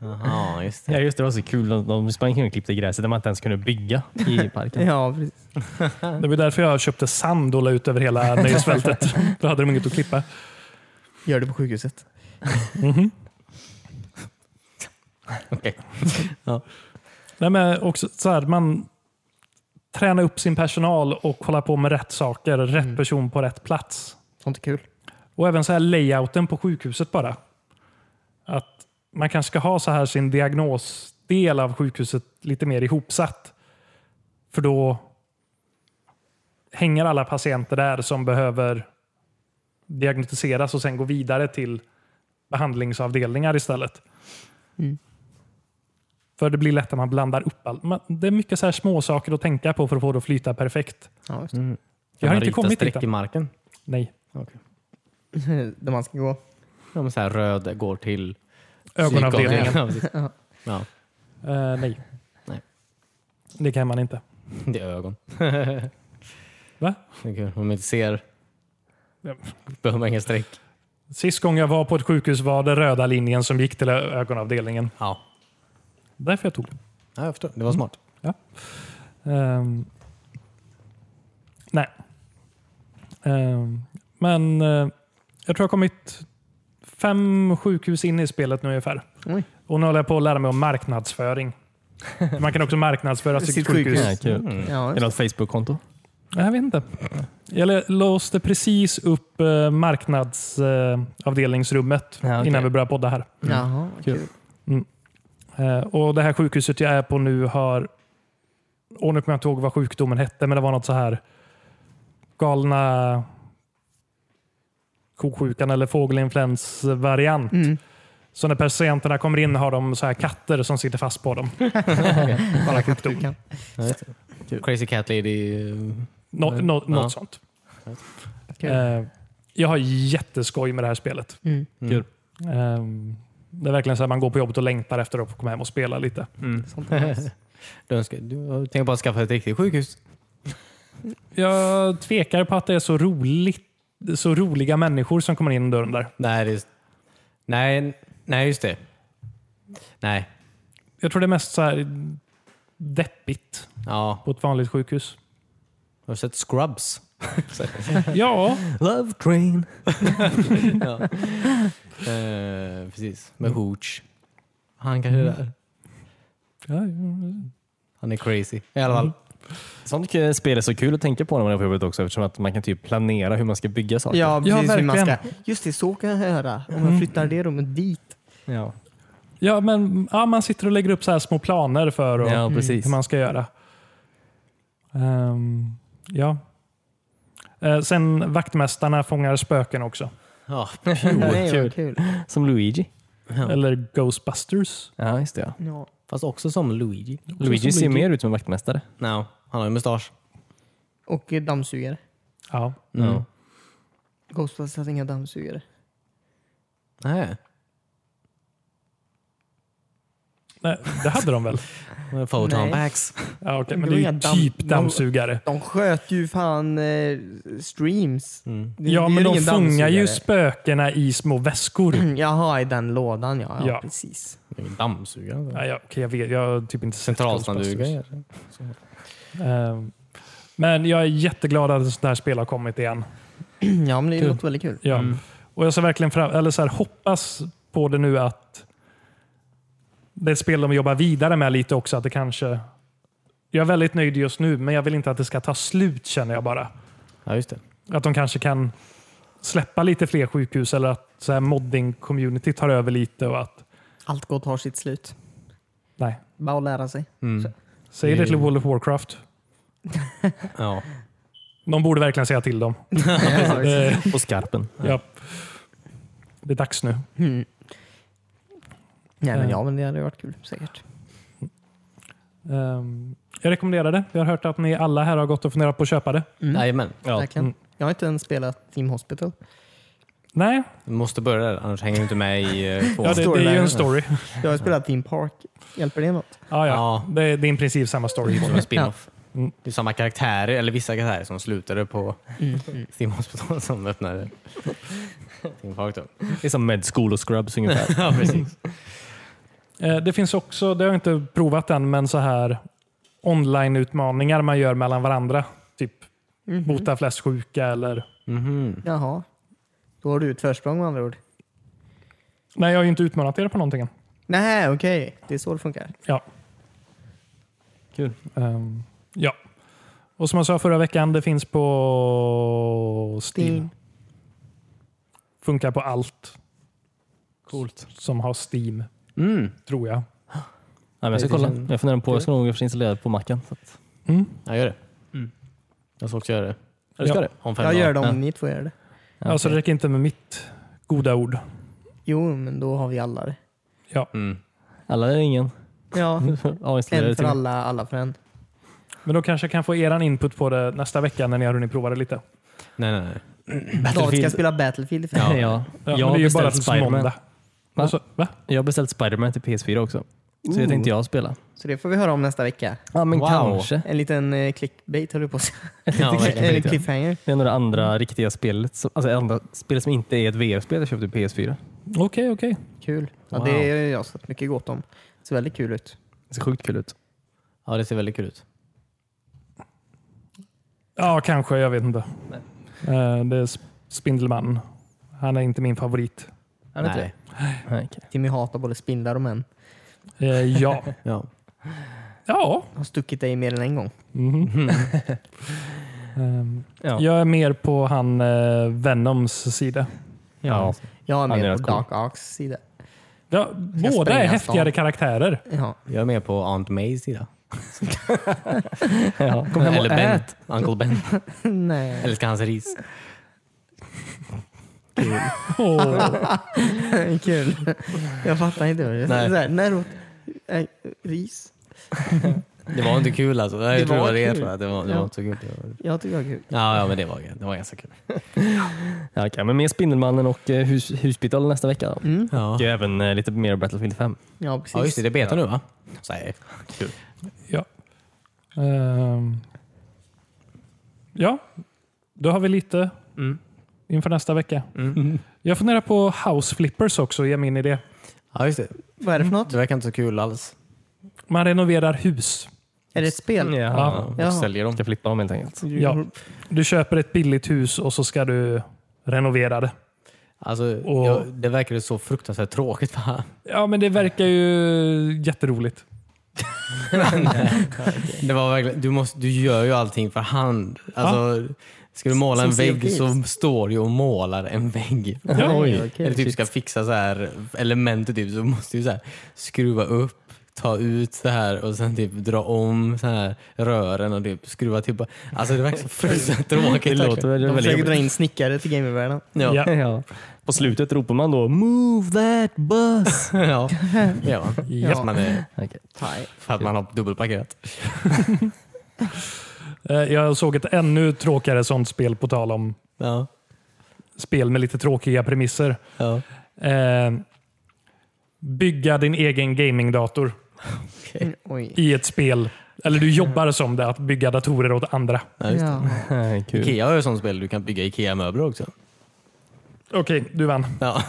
S7: Aha, just
S3: Ja, just det. Det var så kul. De, de sprang kring och klippte gräset där man inte ens kunde bygga i parken.
S5: Ja, precis.
S2: Det var därför jag köpte sand och la ut över hela nöjesfältet. Då hade de inget att klippa.
S5: Gör det på sjukhuset.
S2: Nej, men också så här, man tränar upp sin personal och håller på med rätt saker. Rätt
S5: Mm.
S2: person på rätt plats.
S5: Sånt är kul.
S2: Och även så här layouten på sjukhuset bara. Att man kanske ska ha så här sin diagnosdel av sjukhuset lite mer ihopsatt. För då hänger alla patienter där som behöver diagnostiseras och sen gå vidare till behandlingsavdelningar istället. För det blir lätt att man blandar upp allt. Man- Det är mycket så här små saker att tänka på för att få det att flyta perfekt.
S5: Ja, just
S2: Jag har
S7: Man
S2: inte
S7: ritar
S2: kommit dit
S7: streck i
S2: än.
S7: marken.
S2: Nej.
S5: det. Där man ska gå.
S7: Ja, men så här röd går till
S2: Ögonavdelningen.
S7: psykavdelningen. Ja, precis. ja,
S2: Eh, nej.
S7: Nej.
S2: Det kan man inte.
S7: det är ögon.
S2: Va?
S7: Det är kul. Om man inte ser
S2: Ja.
S7: behöver man inga streck.
S2: Sist gång jag var på ett sjukhus var det röda linjen som gick till ö- ögonavdelningen.
S7: Ja.
S2: Därför jag tog den.
S7: ja, jag förstår. Det var smart.
S2: Ehm, nej. Ehm, men eh, jag tror jag har kommit fem sjukhus in i spelet nu ungefär.
S5: Oj.
S2: Och nu håller jag på att lära mig om marknadsföring. Man kan också marknadsföra sitt,
S5: Sitt
S2: sjukhus.
S5: sjukhus.
S7: Mm.
S3: Ja, kul.
S5: Ja,
S3: Är det något Facebook-konto?
S2: Nej, Jag vet inte. Jag låste precis upp eh, marknadsavdelningsrummet
S3: Ja, okej.
S2: innan vi började podda här.
S5: Jaha, vad kul.
S2: Eh, Och Det här sjukhuset jag är på nu har... Och nu kommer jag inte ihåg vad sjukdomen hette, men det var något så här galna koksjukan eller fågelinfluensvariant.
S5: Mm.
S2: Så när patienterna kommer in har de så här katter som sitter fast på dem.
S5: Kolla kattdukan.
S7: Crazy Cat Lady.
S2: Nå, nå, något
S7: Ja.
S2: sånt.
S5: Kul.
S2: Eh, Jag har jätteskoj med det här spelet.
S5: Mm.
S3: Kul.
S2: Ehm, Det är verkligen så att man går på jobbet och längtar efter att få komma hem och spela lite.
S5: Sånt är nice.
S7: Du, önskar, du tänker bara skaffa ett riktigt sjukhus?
S2: Jag tvekar på att det är så roligt så roliga människor som kommer in dörren där.
S7: Nej, det är, nej, nej, just det. Nej.
S2: Jag tror det är mest så här deppigt
S7: Ja,
S2: på ett vanligt sjukhus.
S7: har du sett Scrubs?
S2: Ja,
S7: Love Train. ja. eh, precis, med Hooch. Han kanske är där. Han är crazy. I alla fall.
S3: Sånt k- spel är så kul att tänka på när man är på jobbet också eftersom att man kan typ planera hur man ska bygga saker.
S5: Ja,
S2: Ja,
S5: precis. hur man ska.
S2: verkligen. Mm.
S5: Just det, så kan jag höra. Om jag flyttar det rummet dit.
S3: ja.
S2: ja men ja, man sitter och lägger upp så här små planer för och, Mm.
S3: Ja, precis.
S2: hur man ska göra. Ehm, ja. Eh, sen vaktmästarna fångar spöken också.
S7: Ja.
S5: Nej,
S3: kul.
S5: vad kul.
S3: Som Luigi.
S2: Eller Ghostbusters.
S3: Ja, just det. Ja.
S5: Ja.
S7: Fast också som Luigi.
S3: Luigi ser mer ut som en vaktmästare.
S7: No, han har ju mustasch.
S5: Och eh, dammsugare.
S2: Ja.
S7: Mm.
S5: Ghostbusters hade inga dammsugare.
S7: Nej,
S2: Nej, det hade de väl?
S7: han är photon
S5: Nej.
S7: packs.
S2: Ja, okay, men
S5: Det
S2: det
S5: var
S2: är ju
S5: inga damm-
S2: typ dammsugare.
S5: De sköt ju fan eh, streams. Det- det
S2: Mm. Ja,
S5: är
S2: men
S5: ju
S2: de
S5: ingen
S2: fångar ju
S5: dammsugare. Mm.
S2: spökena i små väskor.
S5: Jaha, i den lådan ja. Ja,
S2: Ja.
S5: precis.
S7: Dammsugare.
S2: Ja, jag, okej, jag, vet, jag har typ inte sett
S7: Centralsnandugare.
S2: Ghostbusters. Ehm, Men jag är jätteglad att ett sånt här spel har kommit igen.
S5: Ja, men det
S2: Kul.
S5: låter väldigt kul.
S2: Ja.
S7: Mm.
S2: Och Jag ser verkligen fram, eller så här, hoppas på det nu att det är ett spel de jobbar vidare med lite också. Att det kanske, jag är väldigt nöjd just nu, men jag vill inte att det ska ta slut känner jag bara.
S7: Ja, just det.
S2: Att de kanske kan släppa lite fler sjukhus eller att så här modding-community tar över lite. och att
S5: Allt gott har sitt slut.
S2: Nej,
S5: Bara att lära sig.
S2: säg
S7: Det-
S2: Little World of Warcraft.
S7: Ja.
S2: De borde verkligen säga till dem. det,
S3: På skarpen.
S2: ja. det är dags nu.
S5: Mm. Nej, men
S2: Eh.
S5: ja, men det hade varit kul säkert.
S2: Ehm, jag rekommenderar det. Jag har hört att ni alla här har gått och funderat på att köpa det.
S7: Jajamän.
S3: Ja.
S5: Mm. Verkligen.
S2: Mm.
S5: Jag har inte ens spelat Team Hospital.
S2: Nej,
S7: Du måste börja där, annars hänger du inte med i eh, tvåan.
S2: ja, det, det är ju en story.
S5: Jag har spelat Team Park. Hjälper det något?
S2: Ja, ja.
S7: Ja.
S2: Det, är, det är i princip samma story.
S7: Som en spin-off.
S2: Mm.
S7: Det är samma karaktärer, eller vissa karaktärer som slutade på Steam Hospital som öppnade Team Park då.
S3: Det är som Med School och Scrubs ungefär.
S7: Ja, precis.
S2: Eh, Det finns också, det har jag inte provat än, men så här online-utmaningar man gör mellan varandra. Typ bota flest sjuka eller...
S7: Mhm.
S5: Jaha. Då har du ett försprång med andra ord.
S2: Nej, jag har ju inte utmanat er på någonting än.
S5: Nej, okej. Det är så det funkar.
S2: Ja.
S3: Kul.
S2: Ehm, ja. Och som jag sa förra veckan, det finns på Steam.
S5: Steam.
S2: Funkar på allt
S3: Coolt.
S2: som har Steam,
S7: Mm.
S2: tror jag.
S3: Ja, men jag ska kolla. Jag funderar på, jag ska nog installera det på macken. Så att,
S2: Mm.
S7: Jag gör det. Jag ska också göra det.
S2: Ja, du ska det?
S7: Om fem
S5: Jag
S7: dagar.
S5: gör det om ni två gör det.
S2: Alltså, det räcker inte med mitt goda ord.
S5: Jo, men då har vi alla det.
S7: Mm.
S3: alla eller ingen.
S5: Ja,
S2: Mm.
S3: Ja, installera det
S5: en
S3: till
S5: för
S3: mig.
S5: alla, alla för en.
S2: Men då kanske jag kan få er input på det nästa vecka när ni har hunnit prova det lite.
S7: Nej, nej, nej.
S5: David ska spela Battlefield.
S7: Ja.
S3: Ja. Ja.
S2: Ja,
S3: Jag
S2: men
S3: har
S2: det är ju bara
S3: beställt
S2: till
S3: Spiderman.
S2: måndag.
S3: Va?
S2: Och Så, va?
S3: Jag har beställt Spiderman till PS4 också. Så det tänkte jag spela.
S5: Så det får vi höra om nästa vecka.
S3: Ja, men
S7: Wow.
S3: kanske.
S5: En liten eh, clickbait höll du på att säga.
S7: Ja, verkligen.
S5: Eller cliffhanger.
S3: Det är nog det andra riktiga spelet, som- alltså det andra spelet som inte är ett VR-spel jag köpte på PS4.
S2: Okej, okej.
S5: Kul. Ja,
S7: Wow.
S5: Det har jag sett mycket gott om. Det ser väldigt kul ut.
S3: Det ser sjukt kul ut.
S7: ja, det ser väldigt kul ut.
S2: Ja, kanske. Jag vet inte. Eh, Det är Sp- Spindelmannen. Han är inte min favorit.
S3: Är det inte
S7: Nej.
S3: det? Nej, Ah, okej.
S5: Timmy hatar både spindlar och män.
S2: Eh, Ja.
S7: Ja.
S2: ja.
S5: Har stuckit dig mer än en gång.
S2: Mhm. Ehm,
S3: Ja.
S2: Jag är mer på han eh, Venoms sida.
S3: Ja.
S5: Jag är
S3: Han är
S5: med
S3: rätt
S5: på
S3: cool.
S5: Dark Arks sida.
S2: Ja, båda är
S5: spränga
S2: häftigare
S5: stan.
S2: karaktärer.
S5: Ja.
S7: Jag är med på Aunt Mays sida.
S3: ja. Kom hem och
S7: Eller Ben.
S3: ät.
S7: Uncle Ben.
S5: Nej.
S7: Älskar hans ris.
S2: Åh.
S5: Kul. Jag fattar inte. Nej.
S7: Nej.
S5: Såhär, när åt... Äh, ris?
S7: Det var inte kul alltså. Jag
S5: Det
S7: tror det
S5: var
S7: var det jag
S5: kul.
S7: tror att det var, det
S5: Ja.
S7: var inte så kul.
S5: Jag tycker det var kul.
S7: Ja, ja men det var, det var ganska kul.
S3: Ja, okej, men mer Spindelmannen och eh, hus, Husbital nästa vecka. Då.
S7: Ja,
S3: Och även eh, lite mer Battlefield 5.
S5: Ja, precis.
S7: ja just det. Det är beta nu va? Så här,
S2: Ja. Ehm. ja, då har vi lite
S7: Mm.
S2: inför nästa vecka. Jag funderar på house flippers också, ge mig in i det.
S7: Ja, just det.
S5: Vad är det för något?
S7: Det verkar inte så kul alls.
S2: Man renoverar hus.
S5: Är det ett spel?
S7: Mm.
S3: Ja.
S7: Och
S5: Ja.
S7: Säljer dem.
S3: Ska flippa dem helt enkelt.
S2: Ja.
S7: Mm.
S2: Du köper ett billigt hus och så ska du renovera det.
S7: Alltså,
S2: Och-
S7: jag, det verkade så fruktansvärt tråkigt. Va?
S2: Ja, men det verkar ju jätteroligt.
S7: Det var verkligen, du, måste, du gör ju allting för hand. Alltså, ska du måla
S5: Som
S7: en vägg
S5: CFDs.
S7: så står du och målar en vägg.
S5: Ja,
S3: Oj.
S5: okej.
S7: Eller typ ska fixa så här element typ, så måste du så här skruva upp, ta ut så här och sen typ dra om så här rören och typ skruva tillbaka. Alltså det verkar så fruktansvärt tråkigt.
S3: Det låter
S7: verkligen.
S3: väl
S5: De försöker
S3: väldigt
S5: dra in snickare till gamervärlden.
S7: Ja.
S2: Ja.
S7: Ja.
S3: Ja. På slutet ropar man då “Move that bus”.
S7: ja. ja.
S2: Ja.
S7: Man är,
S3: Okej.
S5: Thai.
S7: för att man har dubbelparkerat.
S2: Eh, Jag såg ett ännu tråkigare sånt spel, på tal om
S7: Ja.
S2: spel med lite tråkiga premisser.
S7: Ja.
S2: Eh, bygga din egen gamingdator
S5: Mm, Oj.
S2: i ett spel. Eller du jobbar som det, att bygga datorer åt andra.
S7: Ja, just det. Mm,
S5: Ja.
S3: Nej, Kul.
S7: Ikea har ju sånt spel du kan bygga Ikea-möbler också.
S2: Okej, du vann.
S7: Ja.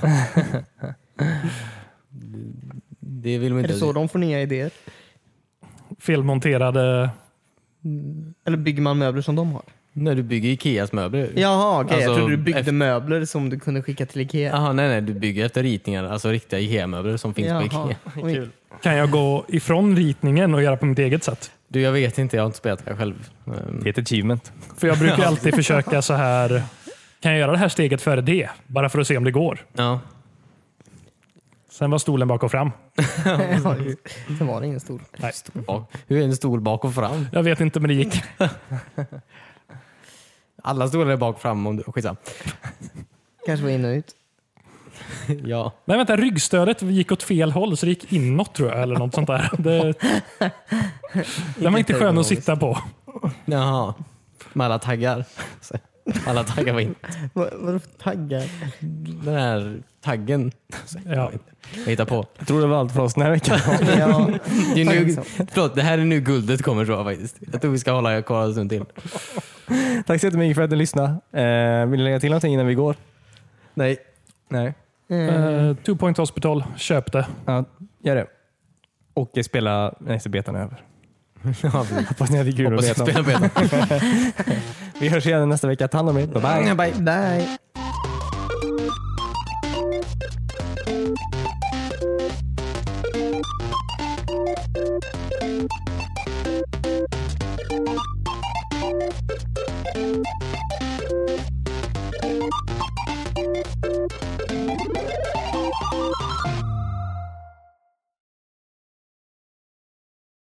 S7: Det vill man
S5: Är
S7: inte.
S5: det så de får nya idéer?
S2: Felmonterade
S5: Eller bygger man möbler som de har?
S7: När du bygger Ikeas möbler.
S5: Jaha, okej. jag
S7: Alltså,
S5: trodde du byggde
S7: efter-
S5: möbler som du kunde skicka till Ikea.
S7: Jaha, nej, nej, du bygger efter ritningar, alltså riktiga Ikea-möbler som finns
S5: Jaha.
S7: på Ikea.
S5: Oj.
S2: Kan jag gå ifrån ritningen och göra på mitt eget sätt?
S7: Du, jag vet inte, jag har inte spelat det här själv. Ehm,
S3: Det är ett achievement.
S2: För jag brukar alltid försöka så här. Kan jag göra det här steget före det? Bara för att se om det går.
S7: Ja,
S2: Sen var stolen bak och fram.
S5: Ja, just. Sen var det ingen stor.
S2: Nej,
S7: bak. Hur är en stol bak och fram?
S2: jag vet inte, men det gick.
S7: Alla stolar är bak och fram om du... Skitsamma.
S5: Kanske var in och ut.
S7: Ja.
S2: Nej, vänta. Ryggstödet gick åt fel håll, så det gick inåt tror jag. Eller något sånt där. Det, den var inte skön att sitta på.
S7: Jaha. Med alla taggar. Så, Alla taggar var in.
S5: Vad- Vadå för taggar?
S7: Den här taggen. Så,
S2: Ja.
S7: Jag hittar på.
S3: Jag tror det var allt för oss den här veckan.
S5: Ja,
S7: Det, är nu,
S5: Tack
S7: förlåt, det här är nu guldet kommer tror jag faktiskt. Jag tror vi ska hålla kvar en stund till.
S3: Tack så jättemycket för att ni lyssnade. Eh, vill ni lägga till någonting innan vi går?
S7: Nej.
S3: Nej.
S5: Eh,
S2: Uh, two Point Hospital, köp det.
S3: Ja, gör det. Och eh, spela... Nej, så betan är över.
S7: Ja,
S3: Hoppas ni hade kul
S7: hoppas
S3: att
S7: jag
S3: beta.
S7: spelar benen.
S3: Vi hörs igen nästa vecka. Ta hand om er. Bye bye.
S5: Bye. Bye.